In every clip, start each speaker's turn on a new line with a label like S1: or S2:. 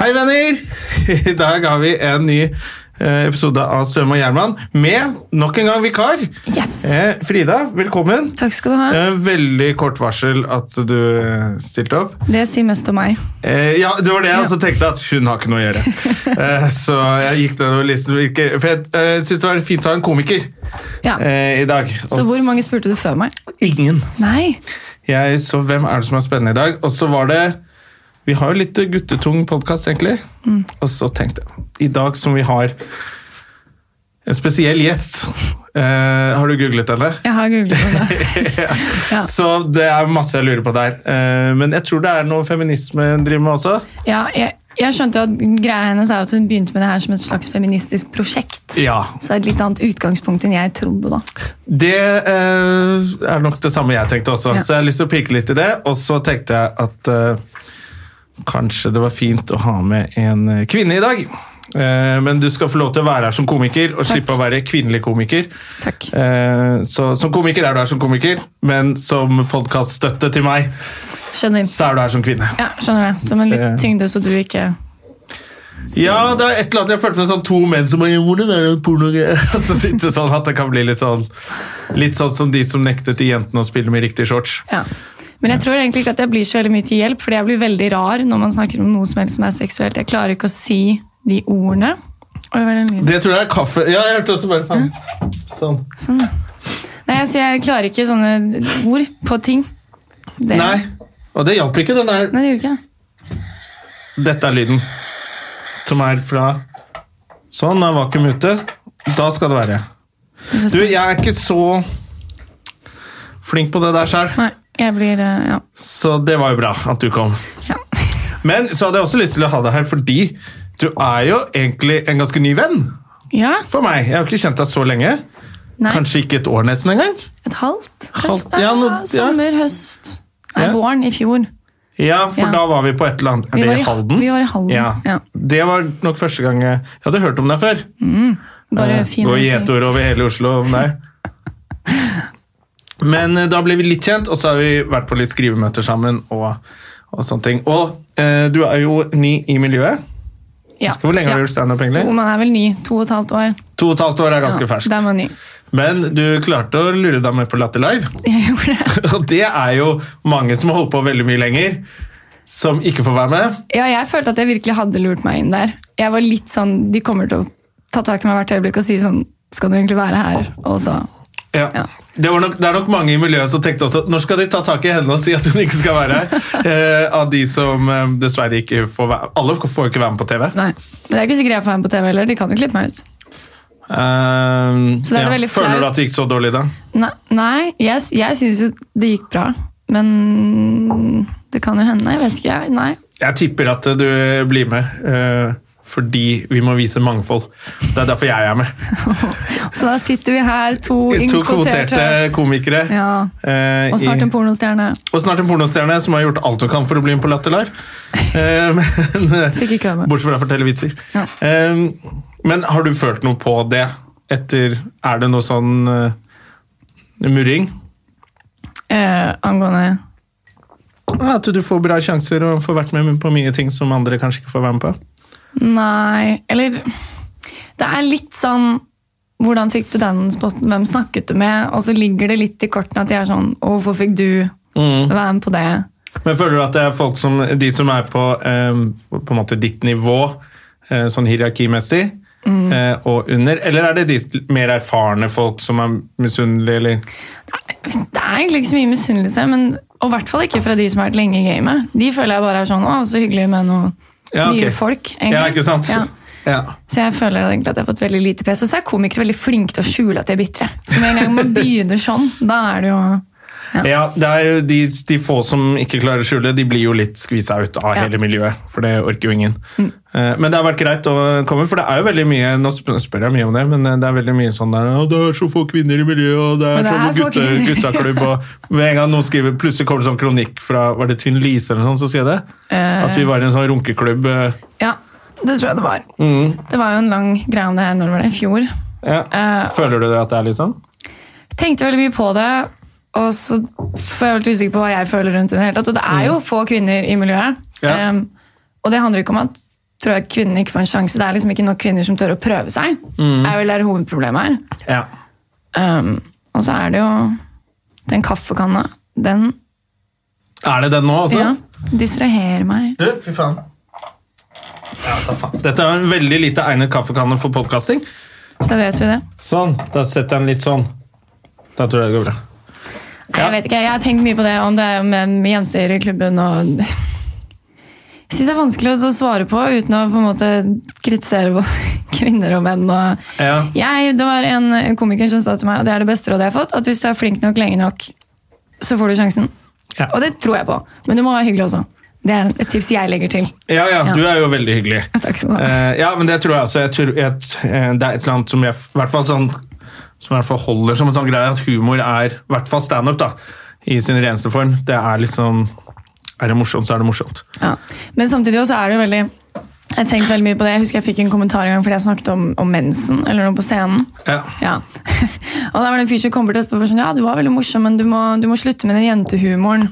S1: Hei, venner! I dag har vi en ny eh, episode av Svøm og Gjerman med nok en gang vikar. Eh, Frida, velkommen.
S2: Takk skal du ha.
S1: Eh, veldig kort varsel at du eh, stilte opp.
S2: Det sier mest om meg.
S1: Eh, ja, det var det jeg også tenkte, at hun har ikke noe å gjøre. eh, så jeg gikk nedover listen, hvilke- for jeg eh, synes det var fint å ha en komiker
S2: Ja.
S1: eh, i dag.
S2: Så
S1: Og
S2: hvor
S1: s-
S2: mange spurte du før meg?
S1: Ingen.
S2: Nei.
S1: Jeg så hvem er det som er spennende i dag, og så var det Vi har jo litt guttetung podkast, egentlig. Og så tenkte jeg I dag som vi har en spesiell gjest eh, Har du googlet henne?
S2: Jeg har googlet det. Ja.
S1: Så det er masse jeg lurer på der. Eh, men jeg tror det er noe feminisme hun driver med også.
S2: Ja, jeg, jeg skjønte jo at greia hennes er at hun begynte med det her som et slags feministisk prosjekt.
S1: Ja.
S2: Så det er et litt annet utgangspunkt enn jeg trodde, da.
S1: Det eh, er nok det samme jeg tenkte også,
S2: Ja.
S1: så jeg har lyst til å pirke litt i det. Og så tenkte jeg at eh, kanskje det var fint å ha med en eh, kvinne i dag. Eh, men du skal få lov til å være her som komiker, og
S2: Takk.
S1: slippe å være kvinnelig komiker.
S2: Takk.
S1: Eh, så som komiker er du her som komiker, men som podkaststøtte til meg,
S2: Skjønner.
S1: så er du her som kvinne.
S2: Ja, skjønner det. Som en litt
S1: Det-
S2: tyngde, så du ikke
S1: Ja, det er et eller annet jeg følte med sånn to menn som bare Hvordan er det at porno Så sitter det sånn at det kan bli litt sånn Litt sånn som de som nektet de jentene å spille med riktig shorts.
S2: Ja. Men jeg tror egentlig ikke at jeg blir så veldig mye til hjelp, fordi jeg blir veldig rar når man snakker om noe som helst som er seksuelt. Jeg klarer ikke å si de ordene. Oi, hva er den lyden?
S1: Det tror jeg er kaffe. Ja, jeg hørte også bare faen. Sånn.
S2: Sånn. Nei, altså, jeg klarer ikke sånne ord på ting. Det,
S1: Nei. Og det hjalp ikke. Den der.
S2: Nei, det gjør ikke det.
S1: Dette er lyden. Som er fra Sånn, da er vakuum ute. Da skal det være.
S2: Vi får
S1: Du,
S2: se.
S1: jeg er ikke så flink på det der sjøl,
S2: Nei, jeg blir eh, Ja.
S1: så det var jo bra at du kom.
S2: ja.
S1: Men så hadde jeg også lyst til å ha deg her fordi du er jo egentlig en ganske ny venn
S2: ja
S1: for meg. Jeg har jo ikke kjent deg så lenge.
S2: nei,
S1: Kanskje ikke et år nesten engang.
S2: et halvt? kanskje?
S1: Halvt, ja,
S2: Nei,
S1: noe- ja.
S2: Sommer, høst Nei,
S1: Ja.
S2: våren i fjor.
S1: Ja, for
S2: Ja.
S1: da var vi på et eller annet Er
S2: Vi
S1: det
S2: var i-
S1: i Halden?
S2: vi var i Halden, ja.
S1: Det var nok første gang jeg, jeg hadde hørt om deg før.
S2: Bare
S1: Eh,
S2: fine
S1: Gå i
S2: ting.
S1: gjetord over hele Oslo om deg. Men eh, da ble vi litt kjent, og så har vi vært på litt skrivemøter sammen. Og, og sånne ting. Og eh, du er jo ny i miljøet.
S2: Ja.
S1: Hvor lenge har
S2: Ja.
S1: du gjort standup? egentlig?
S2: Jo, man er vel ny. To og et halvt år.
S1: To og et halvt år er ganske
S2: Ja,
S1: ferskt.
S2: Da er man ny.
S1: Men du klarte å lure deg med på Latter Live.
S2: Jeg gjorde det.
S1: Og det er jo mange som har holdt på veldig mye lenger, som ikke får være med.
S2: Ja, jeg følte at jeg virkelig hadde lurt meg inn der. Jeg var litt sånn, De kommer til å ta tak i meg hvert øyeblikk og si sånn Skal du egentlig være her? Og så
S1: Ja.
S2: Ja.
S1: Det, var nok, det er nok mange i miljøet som tenkte også når skal de ta tak i henne og si at hun ikke skal være her? eh, av de som eh, dessverre ikke får være Alle får jo ikke være med på Eh, TV.
S2: Nei. Men det er ikke sikkert jeg får være med på TV heller. De kan jo klippe meg ut.
S1: Eh,
S2: Så da er det veldig
S1: føler du
S2: flaut.
S1: at det gikk så dårlig da?
S2: Nei, nei jeg, jeg syns jo det gikk bra. Men det kan jo hende. Jeg vet ikke, jeg. Nei.
S1: Jeg tipper at eh, du blir med. eh, fordi vi må vise mangfold. Det er derfor jeg er med.
S2: Så da sitter vi her, to
S1: To kvoterte
S2: innkvoterte
S1: komikere.
S2: Ja.
S1: eh,
S2: og snart
S1: i-
S2: en pornostjerne.
S1: Og snart en pornostjerne som har gjort alt hun kan for å bli med på Latter Live. Eh, men,
S2: Fikk ikke være med.
S1: Bortsett fra å fortelle vitser.
S2: Ja.
S1: Eh, men har du følt noe på det etter Er det noe sånn eh, murring?
S2: Eh, angående
S1: At du får bra sjanser og får vært med på mye ting som andre kanskje ikke får være med på?
S2: Nei, eller Det er litt sånn Hvordan fikk du den spotten? Hvem snakket du med? Og så ligger det litt i kortene at jeg er sånn Å, hvorfor fikk du
S1: Mm.
S2: være med på det?
S1: Men føler du at det er folk som, de som er på, eh, på en måte ditt nivå, eh, sånn hierarkimessig,
S2: Mm.
S1: eh, og under? Eller er det de mer erfarne folk som er misunnelige, eller?
S2: Det er egentlig ikke så mye misunnelse, men og i hvert fall ikke fra de som har vært lenge i gamet. De føler jeg bare er sånn Å, så hyggelig med noen
S1: Ja, ok.
S2: nye folk. egentlig.
S1: Ja, ikke sant?
S2: Ja.
S1: Ja.
S2: Så jeg føler egentlig at jeg har fått veldig lite press. Og så er komikere veldig flinke til å skjule at de er bitre. Med en gang man begynner sånn, da er det jo
S1: Ja, det er jo de, de få som ikke klarer å skjule, de blir jo litt skvisa ut av
S2: Ja. Mm.
S1: hele miljøet. For det orker jo ingen. Eh, Men det har vært greit å komme, for det er jo veldig mye Nå sp- spør jeg mye om det, men eh, det er veldig mye sånn der «Å, Det er så få kvinner i miljøet, og det
S2: Men
S1: er,
S2: det
S1: sånn
S2: er få
S1: gutte,
S2: kvinner».
S1: guttaklubb og Med en gang noen skriver Plutselig kommer det sånn kronikk fra Var det Tynn Lise eller noe sånt som skrev det?
S2: Eh.
S1: At vi var i en sånn runkeklubb. eh,
S2: Ja, det tror jeg det var.
S1: Mm.
S2: Det var jo en lang greie om det her når var det i fjor.
S1: Ja.
S2: Eh,
S1: Føler du det at det er litt sånn?
S2: Tenkte veldig mye på det, og så får jeg litt usikker på hva jeg føler rundt det. i det hele tatt. Og det er jo få kvinner i miljøet.
S1: Ja.
S2: Em, og det handler ikke om at tror jeg kvinnene ikke får en sjanse. Det er liksom ikke nok kvinner som tør å prøve seg. Det er vel der hovedproblemet her.
S1: Ja.
S2: Em, og så er det jo den kaffekanna. Den
S1: Er det den nå, altså?
S2: ja, distraherer meg.
S1: Du, fy faen. Ja, ta faen. Dette er jo en veldig lite egnet kaffekanne for podkasting.
S2: Så da vet vi det.
S1: Sånn, da setter jeg den litt sånn. Da tror jeg det går bra.
S2: Nei, Jeg vet ikke, jeg har tenkt mye på det, om det er med med jenter i klubben og Jeg syns det er vanskelig å svare på uten å på en måte kritisere både kvinner og menn. Og
S1: Ja.
S2: jeg, det var en komiker som sa til meg, og det er det beste rådet jeg har fått, at hvis du er flink nok lenge nok, så får du sjansen.
S1: Ja.
S2: Og det tror jeg på, men du må være hyggelig også. Det er et tips jeg legger til.
S1: Ja, ja,
S2: Ja.
S1: du er jo veldig hyggelig.
S2: Takk skal du ha.
S1: Eh, ja, men det tror jeg også. Jeg tror, jeg, eh, det er et eller annet som jeg i hvert fall sånn, som jeg i hvert fall holder som en sånn greie, at humor er i hvert fall standup, da. I sin reneste form. Det er liksom Er det morsomt, så er det morsomt.
S2: Ja. Men samtidig også er det jo veldig Jeg har tenkt veldig mye på det. Jeg husker jeg fikk en kommentar en gang fordi jeg snakket om, om mensen eller noe på scenen.
S1: Ja.
S2: Og da var det en fyr som kom bort etterpå og var sånn Ja, du var veldig morsom, men du må, du må slutte med den jentehumoren.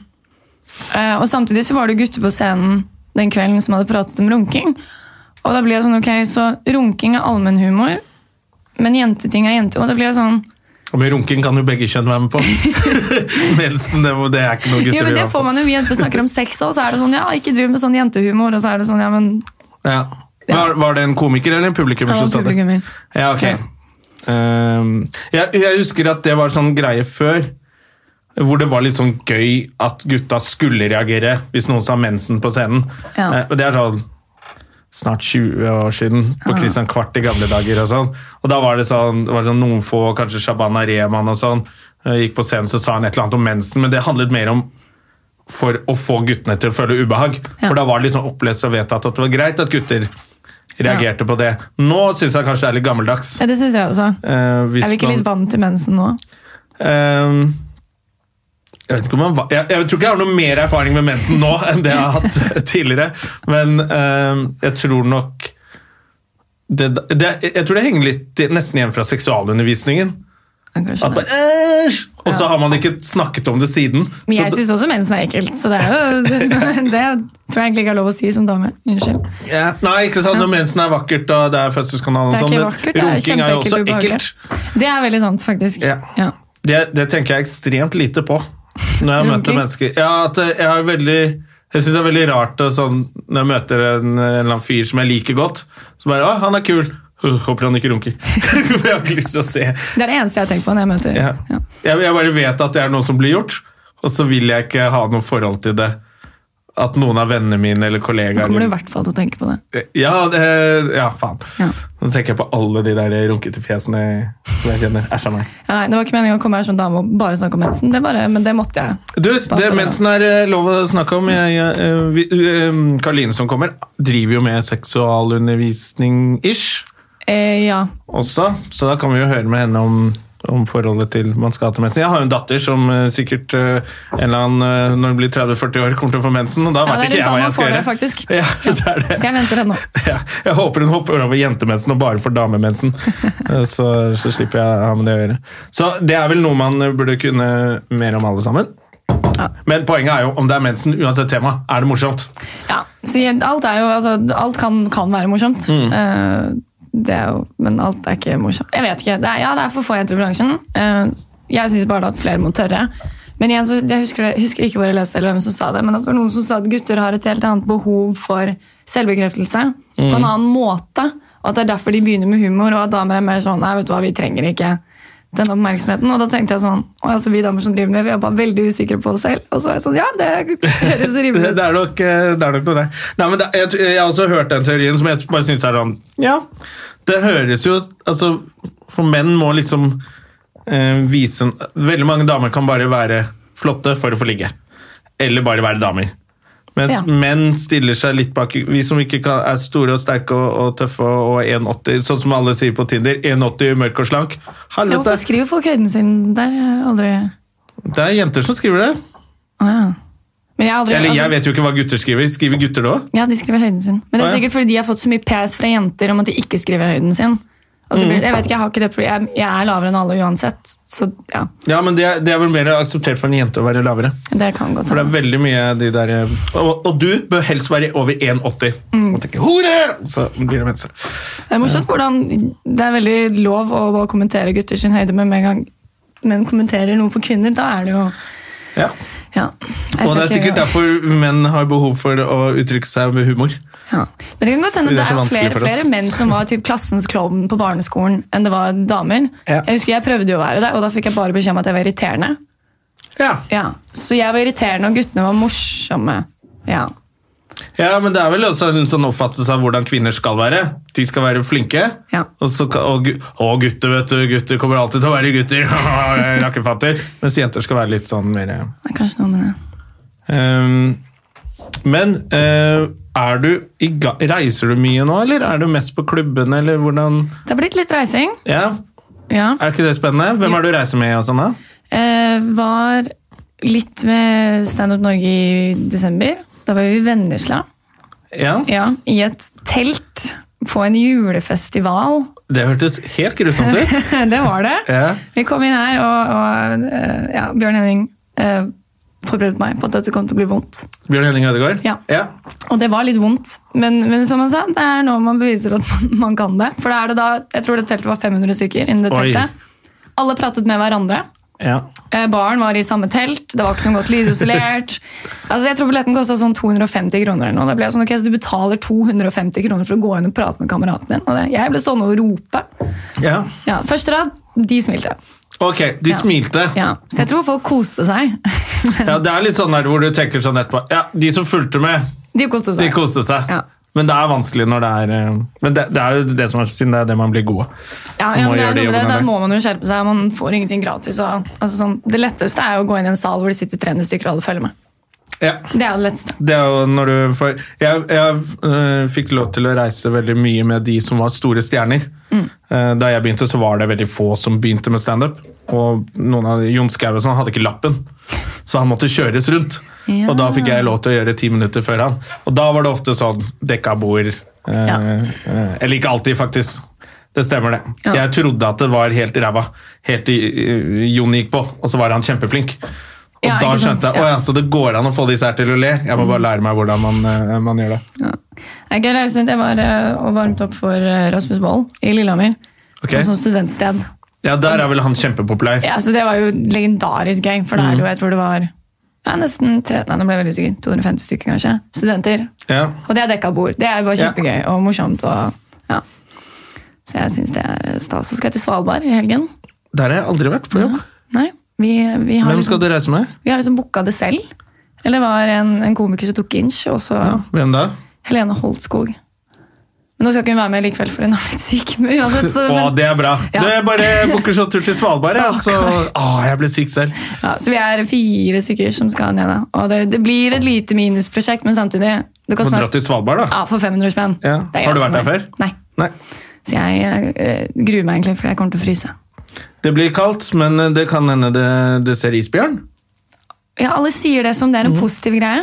S2: Eh, og samtidig så var det gutter på scenen den kvelden som hadde pratet om runking. Og da blir jeg sånn, ok, så runking er allmennhumor, men jenteting er jente... Og da blir jeg sånn
S1: Og med runking kan jo begge kjønn være med på. Mensen, det, må- det er ikke noe gutter
S2: Jo, men
S1: vil
S2: det
S1: være
S2: får man jo, vi jenter snakker om sex òg, så er det sånn Ja, ikke driv med sånn jentehumor, og så er det sånn Ja, men
S1: Ja. Var, var det en komiker eller en publikummer
S2: Ja,
S1: som sa det?
S2: publikummer.
S1: Ja, ok. Ehm, jeg, jeg husker at det var sånn greie før, hvor det var litt sånn gøy at gutta skulle reagere hvis noen sa mensen på scenen.
S2: Ja.
S1: Eh, og det er sånn snart 20 år siden, på
S2: Ah.
S1: Christian Kvart i gamle dager og sånn. Og da var det sånn, det var sånn noen få, kanskje Shabana Rehman og sånn, eh, gikk på scenen så sa han et eller annet om mensen, men det handlet mer om for å få guttene til å føle ubehag.
S2: Ja.
S1: For da var det liksom opplest og vedtatt at det var greit at gutter reagerte på det. Nå syns jeg kanskje det er litt gammeldags.
S2: Ja, det syns jeg også.
S1: Eh, hvis
S2: Er vi ikke
S1: man-
S2: litt vant til mensen nå?
S1: Ehm, jeg, vet ikke om man, va- jeg, jeg tror ikke jeg har noe mer erfaring med mensen nå enn det jeg har hatt tidligere, men ehm, jeg tror nok det, det, Jeg tror det henger litt nesten igjen fra seksualundervisningen.
S2: Ja, kanskje
S1: At
S2: det.
S1: bare, Æsj! Og så har man ikke snakket om det siden.
S2: Men
S1: så
S2: jeg
S1: det-
S2: syns også mensen er ekkelt, så det er jo Det tror jeg egentlig ikke er lov å si som dame. Unnskyld.
S1: Ja, nei, ikke sant? Når mensen er vakkert og det er fødselskanal og
S2: Det er
S1: sånn,
S2: ikke
S1: men
S2: vakkert. Det er
S1: runking er jo
S2: kjempeekkelt
S1: også
S2: og ubehagelig.
S1: ekkelt.
S2: Det er veldig sant, faktisk.
S1: Ja.
S2: Ja.
S1: Det, det tenker jeg ekstremt lite på når jeg møter
S2: Runking?
S1: mennesker. Ja, at jeg er veldig... Jeg synes det er veldig rart og sånn, når jeg møter en, en eller annen fyr som jeg liker godt, så bare, å, han er kul. Uh, håper han ikke runker. For jeg har ikke lyst til å se.
S2: Det er det eneste jeg tenker på når jeg møter
S1: Ja.
S2: Ja.
S1: Jeg, jeg bare vet at det er noe som blir gjort, og så vil jeg ikke ha noe forhold til det. At noen av vennene mine eller
S2: Da
S1: kollegaer...
S2: kommer du i hvert fall til å tenke på det.
S1: Ja, det, ja faen.
S2: Ja.
S1: Nå tenker jeg på alle de der runkete fjesene som jeg kjenner. Æsj a meg.
S2: Ja, nei, det var ikke meningen å komme her som dame og bare snakke om mensen, det bare, men det måtte jeg.
S1: Du, det mensen er eh, lov å snakke om. Jeg, jeg, eh, vi, eh, Karoline som kommer, driver jo med seksualundervisning-ish
S2: Eh, ja.
S1: også, så da kan vi jo høre med henne om om forholdet til man skal ha til mensen. Jeg har jo en datter som eh, sikkert eh, en eller annen, eh, når hun blir 30-40 år, kommer til å få mensen, og da
S2: Ja,
S1: vet
S2: det er
S1: ikke
S2: rundt
S1: jeg hva
S2: da man
S1: jeg skal
S2: får det,
S1: gjøre.
S2: faktisk.
S1: Ja, det er det.
S2: Så jeg venter ennå.
S1: Ja, jeg håper hun hopper over jentemensen og bare får damemensen. Eh, Så, så slipper jeg å ha med det å gjøre. Så det er vel noe man burde kunne mer om alle sammen. Men poenget er jo om det er mensen, uansett tema, er det morsomt.
S2: Ja. Så jeg- alt er jo altså, Alt kan, kan være morsomt. Eh, det er jo, men alt er ikke morsomt. Jeg vet ikke. Det er, ja, det er for få jenter i bransjen. Eh, jeg syns bare at flere må tørre. Men igjen, så, jeg husker, det, husker ikke hvor jeg leste eller hvem som sa det, men at det var noen som sa at gutter har et helt annet behov for selvbekreftelse på en annen måte. Og at det er derfor de begynner med humor, og at damer er mer sånn Nei, vet du hva, vi trenger ikke den oppmerksomheten. Og da tenkte jeg sånn «Å, altså, Vi damer som driver med, vi er bare veldig usikre på oss selv. Og så er jeg sånn Ja, det høres rimelig
S1: Det,
S2: ut.
S1: det er nok, eh, det er nok noe der. Nei, men det, jeg, tror- jeg har også hørt den teorien som jeg bare syns er sånn Ja, det høres jo Altså, for menn må liksom eh, vise Veldig mange damer kan bare være flotte for å få ligge. Eller bare være damer. Mens
S2: Ja.
S1: menn stiller seg litt bak Vi som ikke kan, er store og sterke og, og tøffe og 1,80, sånn som alle sier på Tinder. 1,80, mørk og slank.
S2: Ja, Hvorfor
S1: Helvete!
S2: skriver folk høyden sin der? Jeg har aldri...
S1: Det er jenter som skriver det.
S2: Å, ja. Men jeg har aldri...
S1: Eller jeg
S2: altså-
S1: vet jo ikke hva gutter skriver. Skriver gutter det òg?
S2: Ja, de skriver høyden sin. Men
S1: Å,
S2: det er
S1: ja.
S2: sikkert fordi de har fått så mye PS fra jenter om at de ikke skriver høyden sin. Og så
S1: Mm.
S2: blir, jeg vet ikke, jeg har ikke det problemet. Jeg, jeg er lavere enn alle uansett, så ja,
S1: Ja, men det er, det er vel mer akseptert for en jente å være lavere.
S2: det kan godt
S1: For det
S2: hende.
S1: er veldig mye de der eh, Og, og du bør helst være over 1,80.
S2: Mm.
S1: Og tenke 'hore!' Så blir det menser.
S2: Det er morsomt hvordan det er veldig lov å bare kommentere gutter sin høyde, men med en gang menn kommenterer noe på kvinner, da er det jo
S1: Ja.
S2: ja. Jeg
S1: Og det
S2: skal
S1: er
S2: ikke-
S1: sikkert derfor menn har behov for å uttrykke seg med humor.
S2: Ja. Men det kan godt hende
S1: Fordi
S2: det
S1: det er så
S2: er
S1: vanskelig
S2: flere,
S1: for oss.
S2: flere menn som var typ klassens klovn på barneskolen enn det var damer.
S1: Ja.
S2: Jeg husker jeg prøvde jo å være det, og da fikk jeg bare beskjed om at jeg var irriterende.
S1: Ja.
S2: Ja. Så jeg var irriterende, og guttene var morsomme. Ja.
S1: ja, men det er vel også en sånn oppfattelse av hvordan kvinner skal være. De skal være flinke.
S2: Ja.
S1: Og, så, ka- og, gu- å, gutter, vet du. Gutter kommer alltid til å være gutter. Rakkefatter. Mens jenter skal være litt sånn mer eh,
S2: Det er kanskje noe med det.
S1: Ehm, men eh, er du i ga reiser du mye nå, eller er du mest på klubben, eller hvordan
S2: Det har blitt litt reising.
S1: Ja,
S2: Ja.
S1: Er ikke det spennende? Hvem er det du reiser med? og sånn da?
S2: Eh, var litt med Stand Up Norge i desember. Da var vi i Vennesla.
S1: Ja,
S2: Ja, I et telt på en julefestival.
S1: Det hørtes helt grusomt ut.
S2: det var det.
S1: Ja.
S2: Vi kom inn her, og, og eh, ja, Bjørn Henning eh, forberedte meg på at dette kom til å bli vondt.
S1: Bjørn Henning Ødegaard?
S2: Ja. Og det var litt vondt, men, men som han sa, det er nå man beviser at man kan det. For da er det da, jeg tror det teltet var 500 stykker innen det
S1: Oi.
S2: teltet. Alle pratet med hverandre.
S1: Ja.
S2: Eh, Barn var i samme telt, det var ikke noe godt lydisolert. altså, jeg tror billetten kosta sånn 250 kroner. eller noe. Da ble jeg sånn, ok, så Du betaler 250 kroner for å gå inn og prate med kameraten din. Og det, jeg ble stående og rope.
S1: ja.
S2: Ja, Første rad, de smilte.
S1: Ok, de
S2: Ja.
S1: smilte. Ja.
S2: Ja, Så jeg tror folk koste seg.
S1: Det er litt sånn der hvor du tenker sånn etterpå Ja, de som fulgte med,
S2: de koste seg.
S1: de koste seg.
S2: Ja.
S1: Men det er vanskelig når det er eh, Men det, det er jo det som er siden det er det man blir god av.
S2: Ja,
S1: Man
S2: ja
S1: må
S2: men det er
S1: gjøre de
S2: noe med det.
S1: jobbene
S2: Da
S1: der.
S2: må man jo skjerpe seg. Man får ingenting gratis. Og, altså, sånn, det letteste er jo å gå inn i en sal hvor det sitter 300 stykker og alle følger med.
S1: Ja.
S2: Det er jo det letteste.
S1: Det er jo når du får Jeg, jeg øh, fikk lov til å reise veldig mye med de som var store stjerner.
S2: Mm.
S1: Eh, Da jeg begynte, så var det veldig få som begynte med standup. Og noen av de- Jon Skau og sånn hadde ikke lappen, så han måtte kjøres rundt.
S2: Ja.
S1: Og da fikk jeg lov til å gjøre ti minutter før han. Og da var det ofte sånn dekka bord eh,
S2: Ja.
S1: eh, Eller ikke alltid, faktisk. Det stemmer, det.
S2: Ja.
S1: Jeg trodde at det var helt ræva, helt til eh, Jon gikk på, og så var han kjempeflink. Og
S2: Ja,
S1: da
S2: ikke sant?
S1: skjønte jeg,
S2: Ja. Mm.
S1: å ja, så det går an å få disse her til å le. Jeg må bare lære meg hvordan man, eh, man gjør det.
S2: Ja. Jeg, kan reise rundt. jeg var eh, og varmet opp for eh, Rasmus Wold i Lillehammer.
S1: Ok.
S2: På sånn studentsted.
S1: Ja, der er vel han kjempepopulær.
S2: Ja, så det var jo legendarisk gøy. For da er det
S1: Mm.
S2: jo, jeg tror det var ja, nesten tre, nei, nå ble jeg veldig usikker. 250 stykker, kanskje. Studenter.
S1: Ja.
S2: Og det er dekka bord. Det er bare
S1: Ja.
S2: kjempegøy og morsomt. Og, ja. Så jeg syns det er stas. Så skal jeg til Svalbard i helgen.
S1: Der har jeg aldri vært på jobb.
S2: Nei, vi, vi har
S1: Hvem skal
S2: liksom,
S1: du reise med?
S2: vi har liksom booka det selv. Eller det var en, en komiker som tok inch, og så
S1: Hvem da?
S2: Helene Holtskog. Men nå skal ikke hun være med likevel, for hun er litt syk. Men uansett, så,
S1: Å,
S2: men,
S1: det er bra!
S2: Ja.
S1: Du, jeg bare booker sånn tur til Svalbard, ja, så
S2: Stakkar.
S1: Å, jeg ble syk selv.
S2: ja, så vi er fire stykker som skal ned. da. Og det, det blir et lite minusprosjekt, men samtidig det
S1: Få
S2: koster
S1: dra til Svalbard, da.
S2: ja, for 500 spenn.
S1: Ja.
S2: Det er
S1: Har du
S2: greit
S1: vært der
S2: for meg.
S1: før? Nei.
S2: Nei. Så jeg eh, gruer meg egentlig, for jeg kommer til å fryse.
S1: Det blir kaldt, men eh, det kan hende det, du ser isbjørn.
S2: Ja, Alle sier det som det er en positiv greie.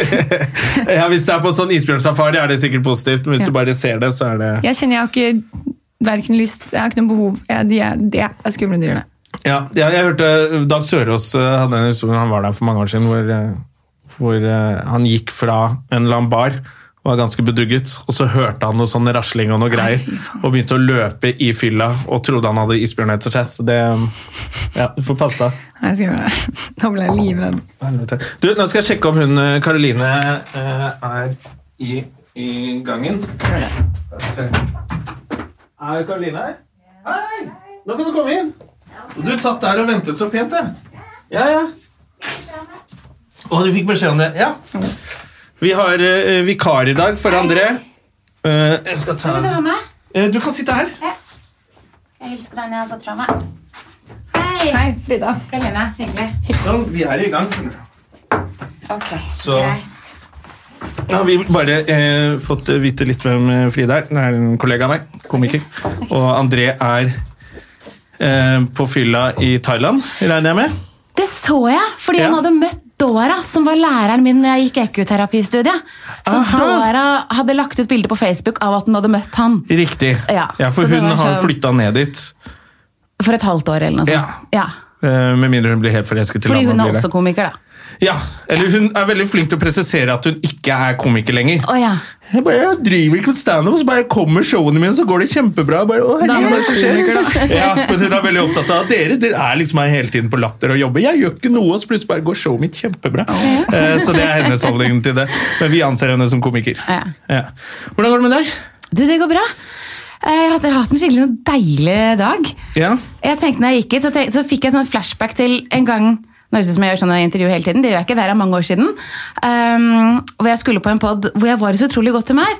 S1: Ja, Hvis det er på sånn isbjørnsafari, er det sikkert positivt, men hvis
S2: Ja.
S1: du bare ser det, så er det
S2: Jeg kjenner jeg har ikke hverken lyst Jeg har ikke noe behov. Jeg, de er, de er skumle dyr, det.
S1: Ja, jeg, jeg hørte Dag Sørås eh, hadde en historie, han var der for mange år siden, hvor, eh, hvor eh, han gikk fra en eller annen bar, var ganske bedugget, og så hørte han noe sånn rasling og noe greier,
S2: fy faen.
S1: og begynte å løpe i fylla, og trodde han hadde isbjørn etter seg, så det, ja, du får passe deg.
S2: Nei, jeg skal gjøre det. Nå ble jeg livredd.
S1: Helvete. Du, nå skal jeg sjekke om hun, eh, Karoline, eh, er i, i gangen. Skal vi se. Er Karoline her? Hei! Nå kan du komme inn. Du satt der og ventet så pent, jeg. Ja, ja. Å, du fikk beskjed om det. Ja. Vi har eh, vikar i dag for André. Eh, jeg skal ta...
S3: Vil du ha meg?
S1: Eh, du kan sitte her.
S3: Jeg hilser på den jeg har satt fra meg. Hei.
S2: Hei, Frida.
S3: Helene, hyggelig.
S1: vi er i gang.
S3: Ok,
S1: Så-
S3: greit.
S1: Nå har vi bare eh, fått vite litt hvem eh, Frida er. Hun er en kollega av meg, komiker. Og André er eh, på fylla i Thailand, regner jeg med.
S4: Det så jeg, fordi
S1: Ja.
S4: han hadde møtt Dora, som var læreren min når jeg gikk ekoterapistudiet. Så
S1: Aha.
S4: Dora hadde lagt ut bilde på Facebook av at hun hadde møtt han
S1: Riktig.
S4: Ja,
S1: for
S4: så det
S1: hun
S4: var
S1: har
S4: så-
S1: flytta ned dit.
S4: for et halvt år eller noe sånt. Ja.
S1: eh, Med mindre hun blir helt forelsket. i
S4: Fordi
S1: han
S4: hun
S1: og
S4: er
S1: blir
S4: også
S1: det.
S4: komiker, da.
S1: Ja, Eller hun er veldig flink til å presisere at hun ikke er komiker lenger.
S4: Å ja.
S1: Jeg bare jeg driver ikke med standup, og så bare kommer showene mine, så går det kjempebra. Jeg Bare, å,
S2: Da må
S1: herregud, hva
S2: du være komiker,
S1: skjer? ja, men Hun er veldig opptatt av at dere dere er liksom her hele tiden på latter og jobber. Jeg gjør ikke noe, og så plutselig bare går showet mitt kjempebra. Eh, Så det er hennes holdning til det. Men vi anser henne som komiker.
S4: Ja.
S1: Ja. Hvordan går det med deg?
S4: Du, det går bra. Eh, Jeg har hatt- jeg har hatt en skikkelig sånn deilig dag.
S1: Ja.
S4: Jeg tenkte når jeg gikk hit, så, tenk- så fikk jeg sånn flashback til en gang Nå høres det ut som jeg gjør sånne intervju hele tiden, det gjør jeg ikke, det her er mange år siden. ehm, hvor jeg skulle på en pod hvor jeg var i så utrolig godt humør.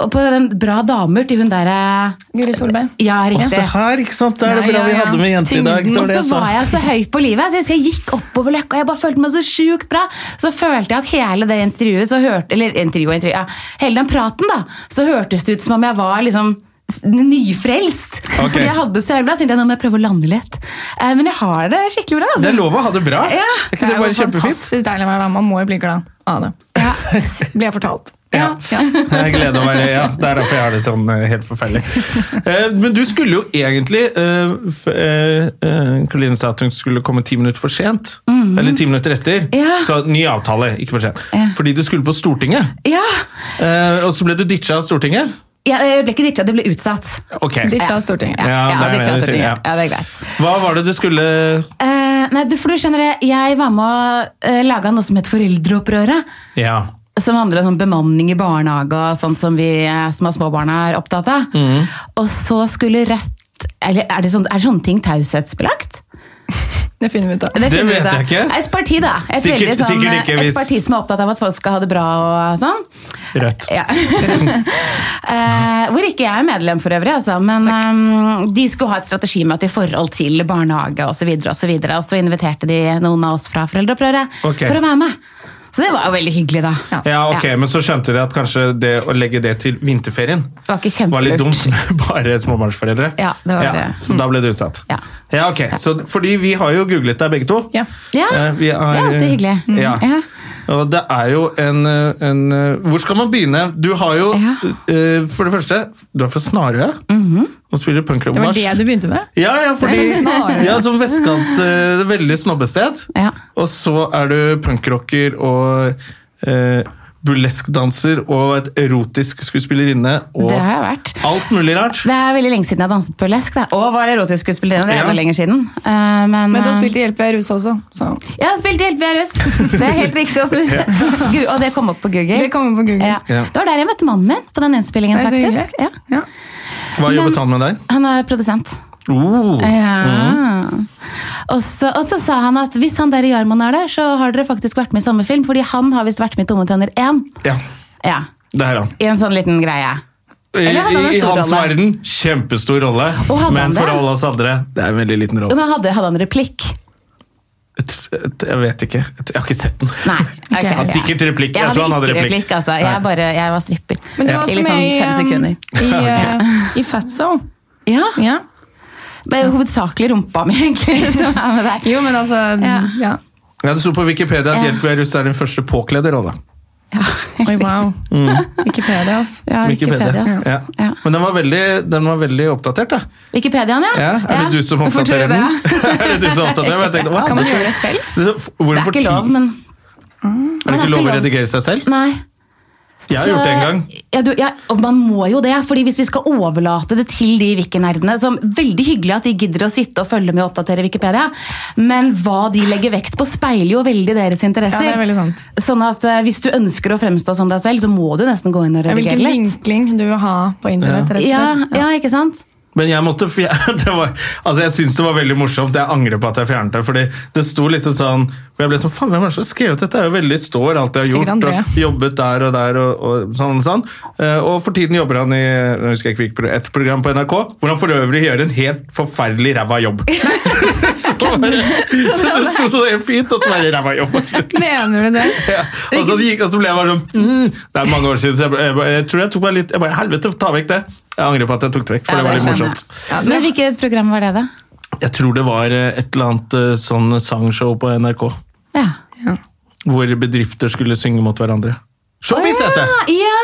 S4: Og på den Bra damer til hun der eh,
S2: Guri Solberg.
S4: Ja, riktig.
S1: Se her, ikke sant? Det er det
S2: Ja,
S1: bra
S2: ja,
S1: vi
S2: ja.
S1: hadde med jenter i dag. Det
S4: Og
S1: var det
S4: så
S1: jeg sa.
S4: var jeg så høy på livet. Så jeg husker jeg gikk oppover løkka, og jeg bare følte meg så sjukt bra. Så følte jeg at hele det intervjuet, så hørte, eller intervju, og intervju, ja, hele den praten, da, så hørtes det ut som om jeg var liksom s- nyfrelst.
S1: Ok.
S4: Fordi jeg hadde det så jævlig bra. Så tenkte jeg nå må jeg prøve å lande litt. Eh, Men jeg har det skikkelig bra.
S1: Det er
S4: Altså.
S1: lov å ha det bra.
S4: Ja,
S1: er ikke det,
S2: jo
S1: bare kjempefint?
S2: Fantastisk deilig å være dame. Man må jo bli glad av det. Blir jeg fortalt.
S1: Ja. Jeg gleder meg det, ja. Det er derfor jeg har det sånn eh, helt forferdelig. Eh, Men du skulle jo egentlig eh, f- eh, eh, Karoline sa at hun skulle komme ti minutter for sent. Eller ti minutter etter.
S4: Mhm. Ja.
S1: Så ny avtale, ikke for sent.
S4: Ja.
S1: Fordi du skulle på Stortinget.
S4: Ja.
S1: Eh, Og så ble du ditcha av Stortinget.
S4: Ja, Jeg ble ikke ditcha, det ble utsatt.
S1: Ok.
S2: Ditcha av Stortinget.
S4: Ja,
S1: Ja, det er det
S4: ditcha
S1: jeg sier,
S4: Stortinget.
S1: ja.
S4: ja, det er greit.
S1: Hva var det du skulle
S4: Eh, nei, du, for du skjønner det, jeg var med å uh, lage noe som het Foreldreopprøret.
S1: Ja.
S4: Som handler om sånn bemanning i barnehage og sånt som vi eh, som har små barn er opptatt av.
S1: Mhm.
S4: Og så skulle Rødt eller Er det, sånn, er det sånne ting taushetsbelagt?
S2: Det finner vi ut av.
S4: Det finner vi
S1: vet
S4: ut av.
S1: jeg ikke.
S4: Et parti, da. Et,
S1: Sikkert-
S4: veldig sånn,
S1: sikkert ikke
S4: eh,
S1: hvis-
S4: et parti som er opptatt av at folk skal ha det bra og sånn.
S1: Rødt.
S4: Ja. Eh, hvor ikke jeg er medlem for øvrig, altså. Men ehm, de skulle ha et strategimøte i forhold til barnehage osv. Og, så videre, og så inviterte de noen av oss fra Foreldreopprøret
S1: Ok.
S4: for å være med. Så det var jo veldig hyggelig, da.
S1: Ja, ok, Men så skjønte de at kanskje det å legge det til vinterferien
S4: var ikke
S1: var litt
S4: kjempelurt.
S1: dumt med bare småbarnsforeldre.
S4: Ja, det var det.
S1: Så da ble det utsatt.
S4: Ja.
S1: ok. Så, fordi vi har jo googlet deg begge to.
S2: Ja.
S4: Ja,
S1: Eh, vi er,
S4: det er alltid hyggelig. Mm.
S1: Ja.
S4: Ja.
S1: Og det er jo en, eh, en eh, Hvor skal man begynne? Du har jo,
S4: Ja. Mhm.
S1: eh, for det første, du er fra Snarøya og spiller punkrock.
S2: Det var det du begynte med?
S1: Ja, ja, fordi
S2: Snarøya.
S1: ja, som vestkant, eh, veldig snobbested.
S4: Ja.
S1: Og så er du punkrocker og eh, burleskdanser og et erotisk skuespillerinne. Og
S4: Det har jeg vært.
S1: alt mulig rart.
S4: Det er veldig lenge siden jeg har danset burlesk. Da. Og var erotisk skuespillerinne. Det er
S1: Ja.
S4: enda lenger siden. Eh, men,
S2: Men du har
S4: eh,
S2: spilt i Hjelp, jeg er rusa også. Så.
S4: Jeg har spilt i Hjelp, vi er russ! Det er helt riktig. å snu seg. Gud, Og det kom opp på Google.
S2: Det kommer på Google.
S4: Ja.
S1: Ja.
S4: Det var der jeg møtte mannen min, på den innspillingen.
S2: Det er så
S4: faktisk. Ja.
S2: Ja.
S1: Hva jobbet han med der?
S4: Han er produsent.
S1: Oh.
S4: Eh. Ja. Og, så, og så sa han at hvis han der i Jarmon er der, så har dere faktisk vært med i samme film. Fordi han har visst vært med i Tomme tønner 1.
S1: Ja,
S4: Ja,
S1: det er han.
S4: I en sånn liten greie.
S1: I,
S4: Eller hadde han en
S1: i, i
S4: stor
S1: hans
S4: rolle?
S1: verden, kjempestor rolle.
S4: Og hadde han
S1: Men for
S4: det?
S1: alle oss andre, det er en veldig liten
S4: Jo,
S1: rolle.
S4: Men hadde, hadde han replikk?
S1: Et- et- Jeg vet ikke. Et- Jeg har ikke sett den.
S4: Nei. ok,
S2: Han
S4: ok.
S1: sikkert replikk.
S4: Jeg,
S1: Jeg tror han
S4: hadde
S1: hadde
S4: ikke
S1: replikk.
S4: replikk. altså. jeg,
S1: Nei.
S4: bare, jeg var stripper.
S2: Men du
S1: Ja.
S2: var
S4: I
S2: også
S4: liksom
S2: med i,
S4: fem
S2: um,
S4: sekunder.
S2: i, eh, i Fatso.
S4: Ja,
S2: Ja.
S4: Det er jo hovedsakelig rumpa mi, egentlig, som er med der.
S2: Jo, men altså ja.
S4: Ja.
S1: Ja, det sto på Wikipedia at
S4: Ja.
S1: Hjelp vi er russ er den første påkledde rolla.
S4: Ja, helt
S2: Oi,
S4: riktig.
S2: wow. Wikipedia, altså.
S4: Ja, Wikipedia. ass.
S1: Ja.
S4: Ja.
S1: Men den var, veldig, den var veldig oppdatert, da.
S4: Wikipediaen, ja.
S1: Ja, er det du som
S4: Hvorfor
S1: oppdaterer
S4: tror
S1: den?
S4: du det?
S1: er det du som oppdaterer? Men Jeg tenkte, wow,
S2: Kan man
S1: dette-
S2: gjøre det selv?
S1: det-
S4: Det er
S1: Hvorfor
S4: ikke lov,
S1: ti-
S4: men
S1: Er det
S4: det er
S1: ikke
S4: ikke
S1: lov å
S4: lov.
S1: redigere seg selv?
S4: Nei.
S1: Jeg har gjort det en gang.
S4: Ja, du, ja, og man må jo det, fordi hvis vi skal overlate det til de wiki-nerdene, som veldig hyggelig at de gidder å sitte og følge med og oppdatere Wikipedia, men hva de legger vekt på speiler jo veldig deres
S2: Ja,
S4: interesser.
S2: det er veldig sant.
S4: Sånn at eh, hvis du ønsker å fremstå som deg selv, så må du nesten gå inn og
S2: Ja,
S4: redigere
S2: Hvilken
S4: litt.
S2: vinkling du vil ha på internett, rett og
S4: Ja,
S2: slett.
S4: ja, ikke sant?
S1: Men jeg måtte fjer- det var, altså jeg syns det var veldig morsomt. Jeg angrer på at jeg fjernet det. fordi det sto liksom sånn Og jeg ble sånn, faen, hvem er det som har skrevet dette? Det er jo veldig står alt jeg har
S2: Sikkert
S1: gjort,
S2: André.
S1: og jobbet der og der og, og sånn og sånn. Eh, Og for tiden jobber han i nå husker jeg ikke hvilket pro- et program på NRK, hvor han for øvrig gjør en helt forferdelig ræva jobb. så, bare, så det sto så helt fint, og så var det ræva jobb.
S2: Mener du det?
S1: Ja. Og så, gikk, og så ble jeg bare sånn mm. Det er mange år siden, så jeg, bare- jeg, bare- jeg tror jeg tok meg litt Jeg bare, helvete, ta vekk det. Jeg angrer på at jeg tok det vekk, for
S4: Ja,
S1: det var
S4: det
S1: litt
S4: skjønner
S1: morsomt.
S2: Ja, det-
S4: Men hvilket program var det, da?
S1: Jeg tror det var eh, et eller annet eh, sånn sangshow på NRK.
S4: Ja.
S1: Hvor bedrifter skulle synge mot hverandre. Showbiz
S4: ja!
S1: heter det!
S4: ja!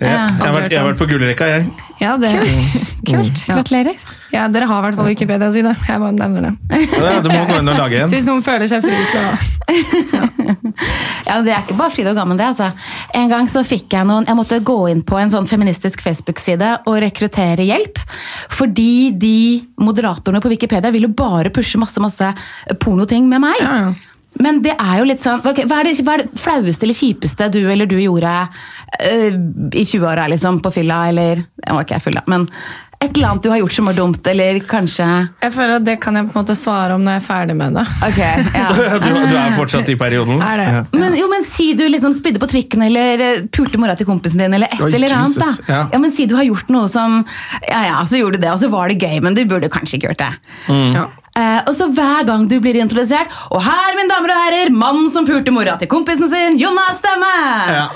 S1: Ja.
S4: ja.
S1: Jeg, har vært, jeg har vært på gullrekka, jeg.
S2: Ja, det. Mm.
S4: Kult.
S2: Ja.
S4: Gratulerer.
S2: ja, Dere har i hvert fall Wikipedia å si det. Jeg bare nevner det.
S1: Ja, du må gå inn og lage
S2: Så
S1: en.
S2: hvis noen føler seg fri til å
S4: Ja, Det er ikke bare Frida og Gammen, det. altså. En gang så fikk jeg noen Jeg måtte gå inn på en sånn feministisk Facebook-side og rekruttere hjelp. Fordi de moderatorene på Wikipedia ville bare pushe masse masse pornoting med meg.
S2: Ja, ja.
S4: Men det er jo litt sånn ok, hva, er det, hva er det flaueste eller kjipeste du eller du gjorde eh, i 20-åra, liksom? På fylla, eller Det var ikke jeg fylla, men et eller annet du har gjort som var dumt, eller kanskje
S2: Jeg føler at det kan jeg på en måte svare om når jeg er ferdig med det.
S4: Ok, ja.
S1: Du, du er fortsatt i perioden.
S2: Er det?
S1: Ja.
S4: Men, jo, men si du liksom spydde på trikken eller eh, pulte mora til kompisen din eller et
S1: Oi,
S4: eller annet.
S1: Jesus,
S4: da.
S1: ja.
S4: Ja. men Si du har gjort noe som Ja ja, så gjorde du det, og så var det gøy, men du burde kanskje ikke gjort det.
S1: Mm.
S2: Ja.
S4: Eh, og så hver gang du blir introdusert Og her, mine damer og herrer, mannen som pulte mora til kompisen sin, Jonas Stemme!
S1: Ja.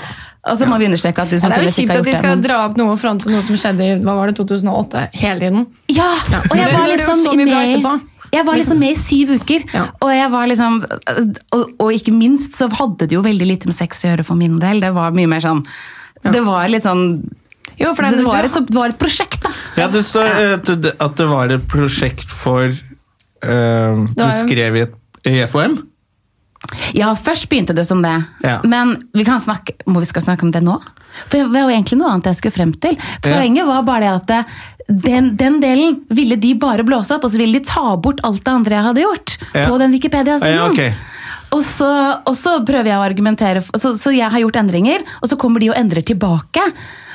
S4: Og så må vi understreke at du
S2: Det er jo
S4: sannsynligvis
S2: kjipt at
S4: ikke har
S2: de
S4: gjort det.
S2: skal
S4: men-
S2: dra opp noe og fronte noe som skjedde i hva var det, 2008 hele tiden.
S4: Ja, og jeg
S2: Men
S4: var
S2: det gjorde jo
S4: liksom
S2: så mye bra
S4: med
S2: etterpå.
S4: jeg var liksom med i syv uker,
S2: Ja.
S4: og, jeg var liksom, og, og ikke minst så hadde det jo veldig lite med sex å gjøre for min del. Det var mye mer sånn Det var litt sånn
S2: Jo, for
S4: det,
S2: det,
S4: var et, så- det var et prosjekt, da.
S1: Ja, det står eh, at det- at det var et prosjekt for eh, Du
S2: var jo-
S1: skrev i, et, i FHM?
S4: Ja, først begynte det som det.
S1: Ja.
S4: Men vi kan snakke, må vi skal snakke om det nå? For det var jo egentlig noe annet jeg skulle frem til. Poenget var bare det at det- den, den delen ville de bare blåse opp, og så ville de ta bort alt det andre jeg hadde gjort.
S1: Ja.
S4: På den Wikipedia-siden.
S1: Ja, ok.
S4: og, så, og så prøver jeg å argumentere, f- så, så jeg har gjort endringer, og så kommer de og endrer tilbake.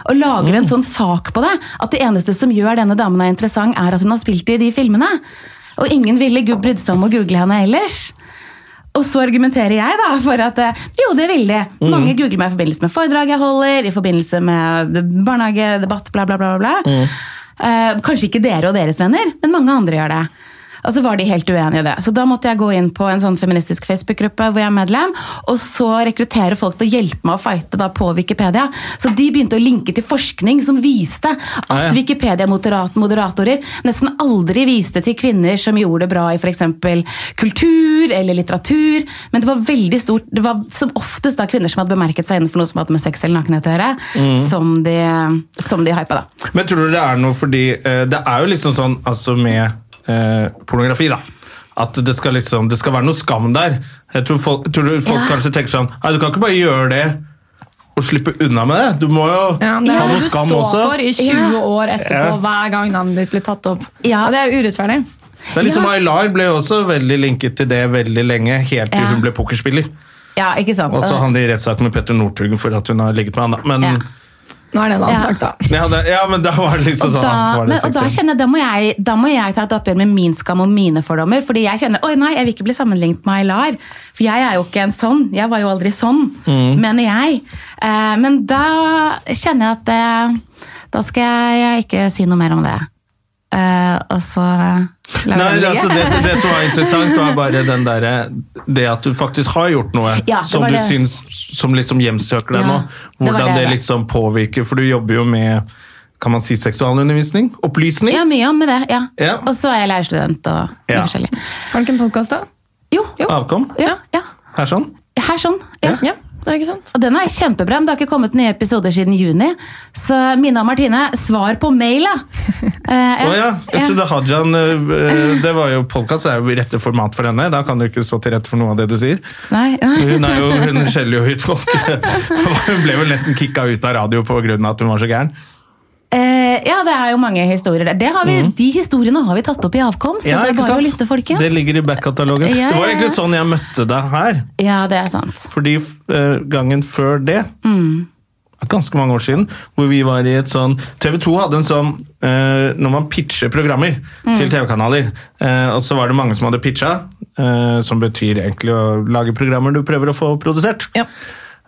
S4: Og lager
S1: Mm.
S4: en sånn sak på det. At det eneste som gjør denne damen er interessant, er at hun har spilt i de filmene. Og ingen ville gu- brydd seg om å google henne ellers. Og så argumenterer jeg da for at eh, jo, det vil de. Mange googler meg i forbindelse med foredrag jeg holder, i forbindelse med barnehagedebatt, bla, bla, bla. bla. bla. Eh, kanskje ikke dere og deres venner, men mange andre gjør det. Og så var de helt uenige i det. Så da måtte jeg gå inn på en sånn feministisk Facebook-gruppe hvor jeg er medlem, og så rekruttere folk til å hjelpe meg å fighte da på Wikipedia. Så de begynte å linke til forskning som viste at
S1: Ah, ja.
S4: Wikipedia-moderatorer nesten aldri viste til kvinner som gjorde det bra i f.eks. kultur eller litteratur, men det var veldig stort Det var som oftest da kvinner som hadde bemerket seg innenfor noe som hadde med sex eller nakenhet å gjøre,
S1: Mm.
S4: som de, som de hypa, da.
S1: Men tror du det er noe fordi eh, Det er jo liksom sånn altså med eh, pornografi, da. At det skal liksom, det skal være noe skam der. Jeg tror folk, tror du folk kanskje tenker sånn Nei, du kan ikke bare gjøre det og slippe unna med det. Du må jo
S2: Ja, men det
S1: ha
S2: er det
S1: noe
S2: du
S1: skam
S2: står
S1: også.
S2: for i 20 år etterpå,
S1: Ja.
S2: hver gang navnet ditt blir tatt opp.
S4: Ja.
S2: Og det er jo urettferdig.
S1: Det er liksom
S4: Ja.
S1: Aylar ble jo også veldig linket til det veldig lenge, helt til
S4: Ja.
S1: hun ble pokerspiller.
S4: Ja, ikke sant?
S1: Og så han i rettssak med Petter Northugen for at hun har ligget med han, da. Men,
S4: Ja.
S2: Nå er det en annen
S4: Ja.
S2: sak, da.
S1: ja, det, ja, men da var det liksom
S4: Og
S1: sånn
S4: da,
S1: ah, var
S4: men,
S1: det
S4: og da
S1: sexy?
S4: kjenner jeg, da må jeg da må jeg ta et oppgjør med min skam og mine fordommer. Fordi jeg kjenner oi nei, jeg vil ikke bli sammenlignet med Aylar. For jeg er jo ikke en sånn. Jeg var jo aldri sånn,
S1: Mm.
S4: mener jeg. Eh, men da kjenner jeg at eh, da skal jeg ikke si noe mer om det. Eh, og så eh, lar vi
S1: Nei,
S4: den ligge.
S1: altså det, som- det som var interessant, var bare den derre Det at du faktisk har gjort noe
S4: Ja, det
S1: som
S4: var
S1: du
S4: det.
S1: syns Som liksom hjemsøker deg
S4: Ja,
S1: nå.
S4: det var
S1: Hvordan det,
S4: det, det.
S1: liksom påvirker For du jobber jo med Kan man si seksualundervisning? Opplysning?
S4: Ja, mye om det. ja.
S1: Ja.
S4: Og så er jeg lærerstudent og mye
S1: Ja.
S4: forskjellig.
S2: Har du ikke en podkast, da?
S4: Jo, jo.
S1: Avkom?
S4: Ja, ja.
S1: Her sånn?
S4: Her sånn. Ja.
S2: Ja, det er ikke sant?
S4: Og den er kjempebra, men det har ikke kommet nye episoder siden juni. Så Mina og Martine, svar på mail, da! Eh,
S1: Å ja. Jeg
S4: ja.
S1: trodde Hajan eh, Det var jo podkast, er jo rette format for henne. Da kan du ikke stå til rette for noe av det du sier.
S4: Nei.
S1: Hun, er jo, hun skjeller jo ut folk. Hun ble vel nesten kicka ut av radio pga. at hun var så gæren.
S4: Eh, ja, det er jo mange historier der. Det har vi, De historiene har vi tatt opp i Avkom, så det er
S1: Mhm. ikke
S4: bare å
S1: sant?
S4: lytte, folkens.
S1: Det ligger i back-katalogen.
S4: Ja,
S1: Det var
S4: ja,
S1: egentlig
S4: ja.
S1: sånn jeg møtte deg her.
S4: Ja, det er sant. Mm.
S1: Fordi eh, gangen før det det er ganske mange år siden, hvor vi var i et sånn TV 2 hadde en sånn eh, Når man pitcher programmer
S4: Mm.
S1: til TV-kanaler, eh, og så var det mange som hadde pitcha, eh, som betyr egentlig å lage programmer du prøver å få produsert.
S2: Ja.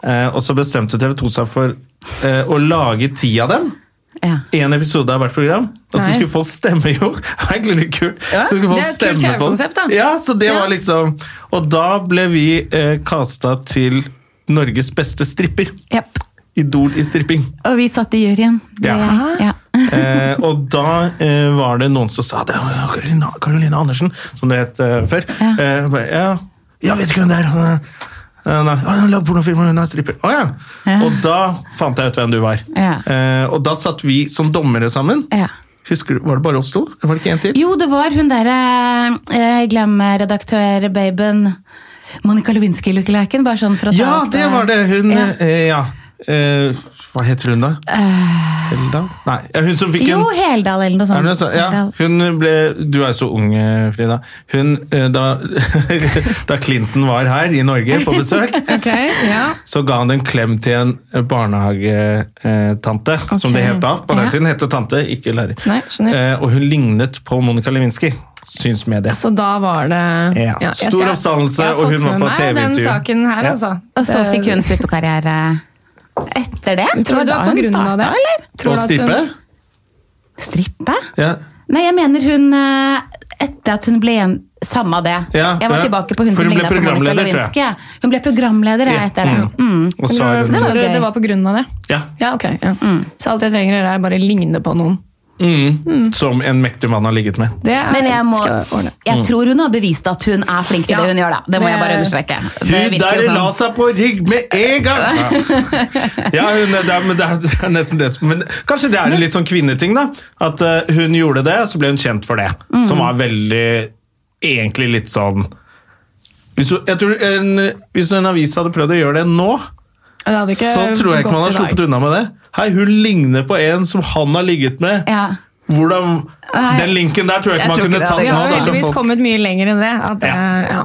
S1: Eh, og så bestemte TV 2 seg for eh, å lage ti av dem.
S4: Ja.
S1: Én episode av hvert program, og så
S2: Nei.
S1: skulle folk stemme jo. Det var egentlig litt kult.
S2: Ja,
S1: så skulle folk
S2: det er et kult
S1: stemme på den.
S2: TV-konsept, da.
S1: Ja, så det
S2: Ja.
S1: var liksom Og da ble vi eh, kasta til Norges beste stripper.
S4: Japp.
S1: Idol i stripping.
S4: Og vi satt i juryen. Det-
S1: Ja.
S4: Ja.
S1: Eh, og da eh, var det noen som sa det var Carolina, Carolina Andersen, som det het eh, før.
S4: Ja.
S1: Eh, bare, ja, jeg vet ikke hvem det er. Eh, Nei, «Å, hun lager pornofilmer, hun er stripper. Å ja!
S4: Ja.
S1: Og da fant jeg ut hvem du var.
S4: Ja.
S1: Eh, og da satt vi som dommere sammen.
S4: Ja.
S1: Husker du, Var det bare oss to? Var det ikke en til?
S4: Jo, det var hun derre eh, glam-redaktør-baben Monica Lewinsky-lookalaken. Bare sånn for å ta
S1: Ja,
S4: opp,
S1: det
S4: eh,
S1: var det! Hun
S4: ja.
S1: Eh, ja. Eh, hva heter hun, da? Helda? Nei, ja, hun som fikk en
S4: Jo, Heldal eller noe sånt.
S1: Er det så, ja,
S4: Heldal.
S1: hun ble, du er så ung, eh, Frida. Hun, eh, da, da Clinton var her i Norge på besøk,
S2: Ok, ja.
S1: så ga han en klem til en barnehagetante, som det het da. På den
S4: Ja.
S1: tiden het det tante, ikke lærer.
S2: Nei, skjønner.
S1: Eh, og hun lignet på Monica Lewinsky, syns mediet.
S2: Så da var det
S1: Ja.
S2: jeg
S1: Stor
S2: ser- jeg har
S1: oppstandelse, og
S2: fått
S1: hun var
S2: med
S1: på
S2: meg
S1: TV-intervju.
S2: den saken her,
S1: Ja.
S2: altså.
S4: Og så fikk hun superkarriere etter det.
S2: Tror du det var på grunn av det, eller? Tror
S1: Og
S2: du at hun-
S1: Stipe?
S4: Strippe?
S1: Ja.
S4: Nei, jeg mener hun eh, etter at hun ble igjen Samme det.
S1: Ja,
S4: jeg var
S1: ja.
S4: tilbake på hun
S1: For
S4: som
S1: hun ble
S4: lignet på Monica
S1: programleder, tror jeg.
S4: Lewinsky. Hun ble programleder jeg, etter det. Mm.
S1: Og så
S2: Tror
S1: er
S2: du
S1: hun,
S4: var gøy. Mm.
S2: det var på grunn av det?
S1: ja.
S2: Ja, ok. Ja. Så alt jeg trenger å gjøre, er bare ligne på noen.
S1: Mm, som en mektig mann har ligget med.
S2: Det er,
S4: Men jeg, må,
S2: skal jeg ordne.
S4: jeg tror hun har bevist at hun er flink til
S2: Ja.
S4: det hun gjør, da. Det må jeg bare
S2: Det-
S4: understreke. Det
S1: Hun
S4: virker
S1: der
S4: jo sånn.
S1: la seg på rygg med en gang! Ja, ja hun, det, er, men det, er, det er nesten det som men Kanskje det er en litt sånn kvinneting, da. At eh, hun gjorde det, så ble hun kjent for det.
S4: Mm.
S1: Som var veldig Egentlig litt sånn Hvis, hun- jeg tror en, hvis en avis hadde prøvd å gjøre det nå,
S2: Det hadde ikke
S1: så tror jeg ikke man
S2: gått i
S1: hadde
S2: dag.
S1: sluppet unna med det. Hei, hun ligner på en som han har ligget med.
S4: Ja.
S1: Hvordan
S4: Nei.
S1: Den linken der tror jeg ikke
S4: Jeg
S1: man
S4: tror
S1: kunne
S4: ikke det
S1: tatt
S4: hadde-
S2: Vi
S1: nå.
S2: har
S1: da,
S2: jo
S1: kan
S2: heldigvis
S1: folk-
S2: kommet mye lenger enn det. At det
S1: Ja.
S2: ja.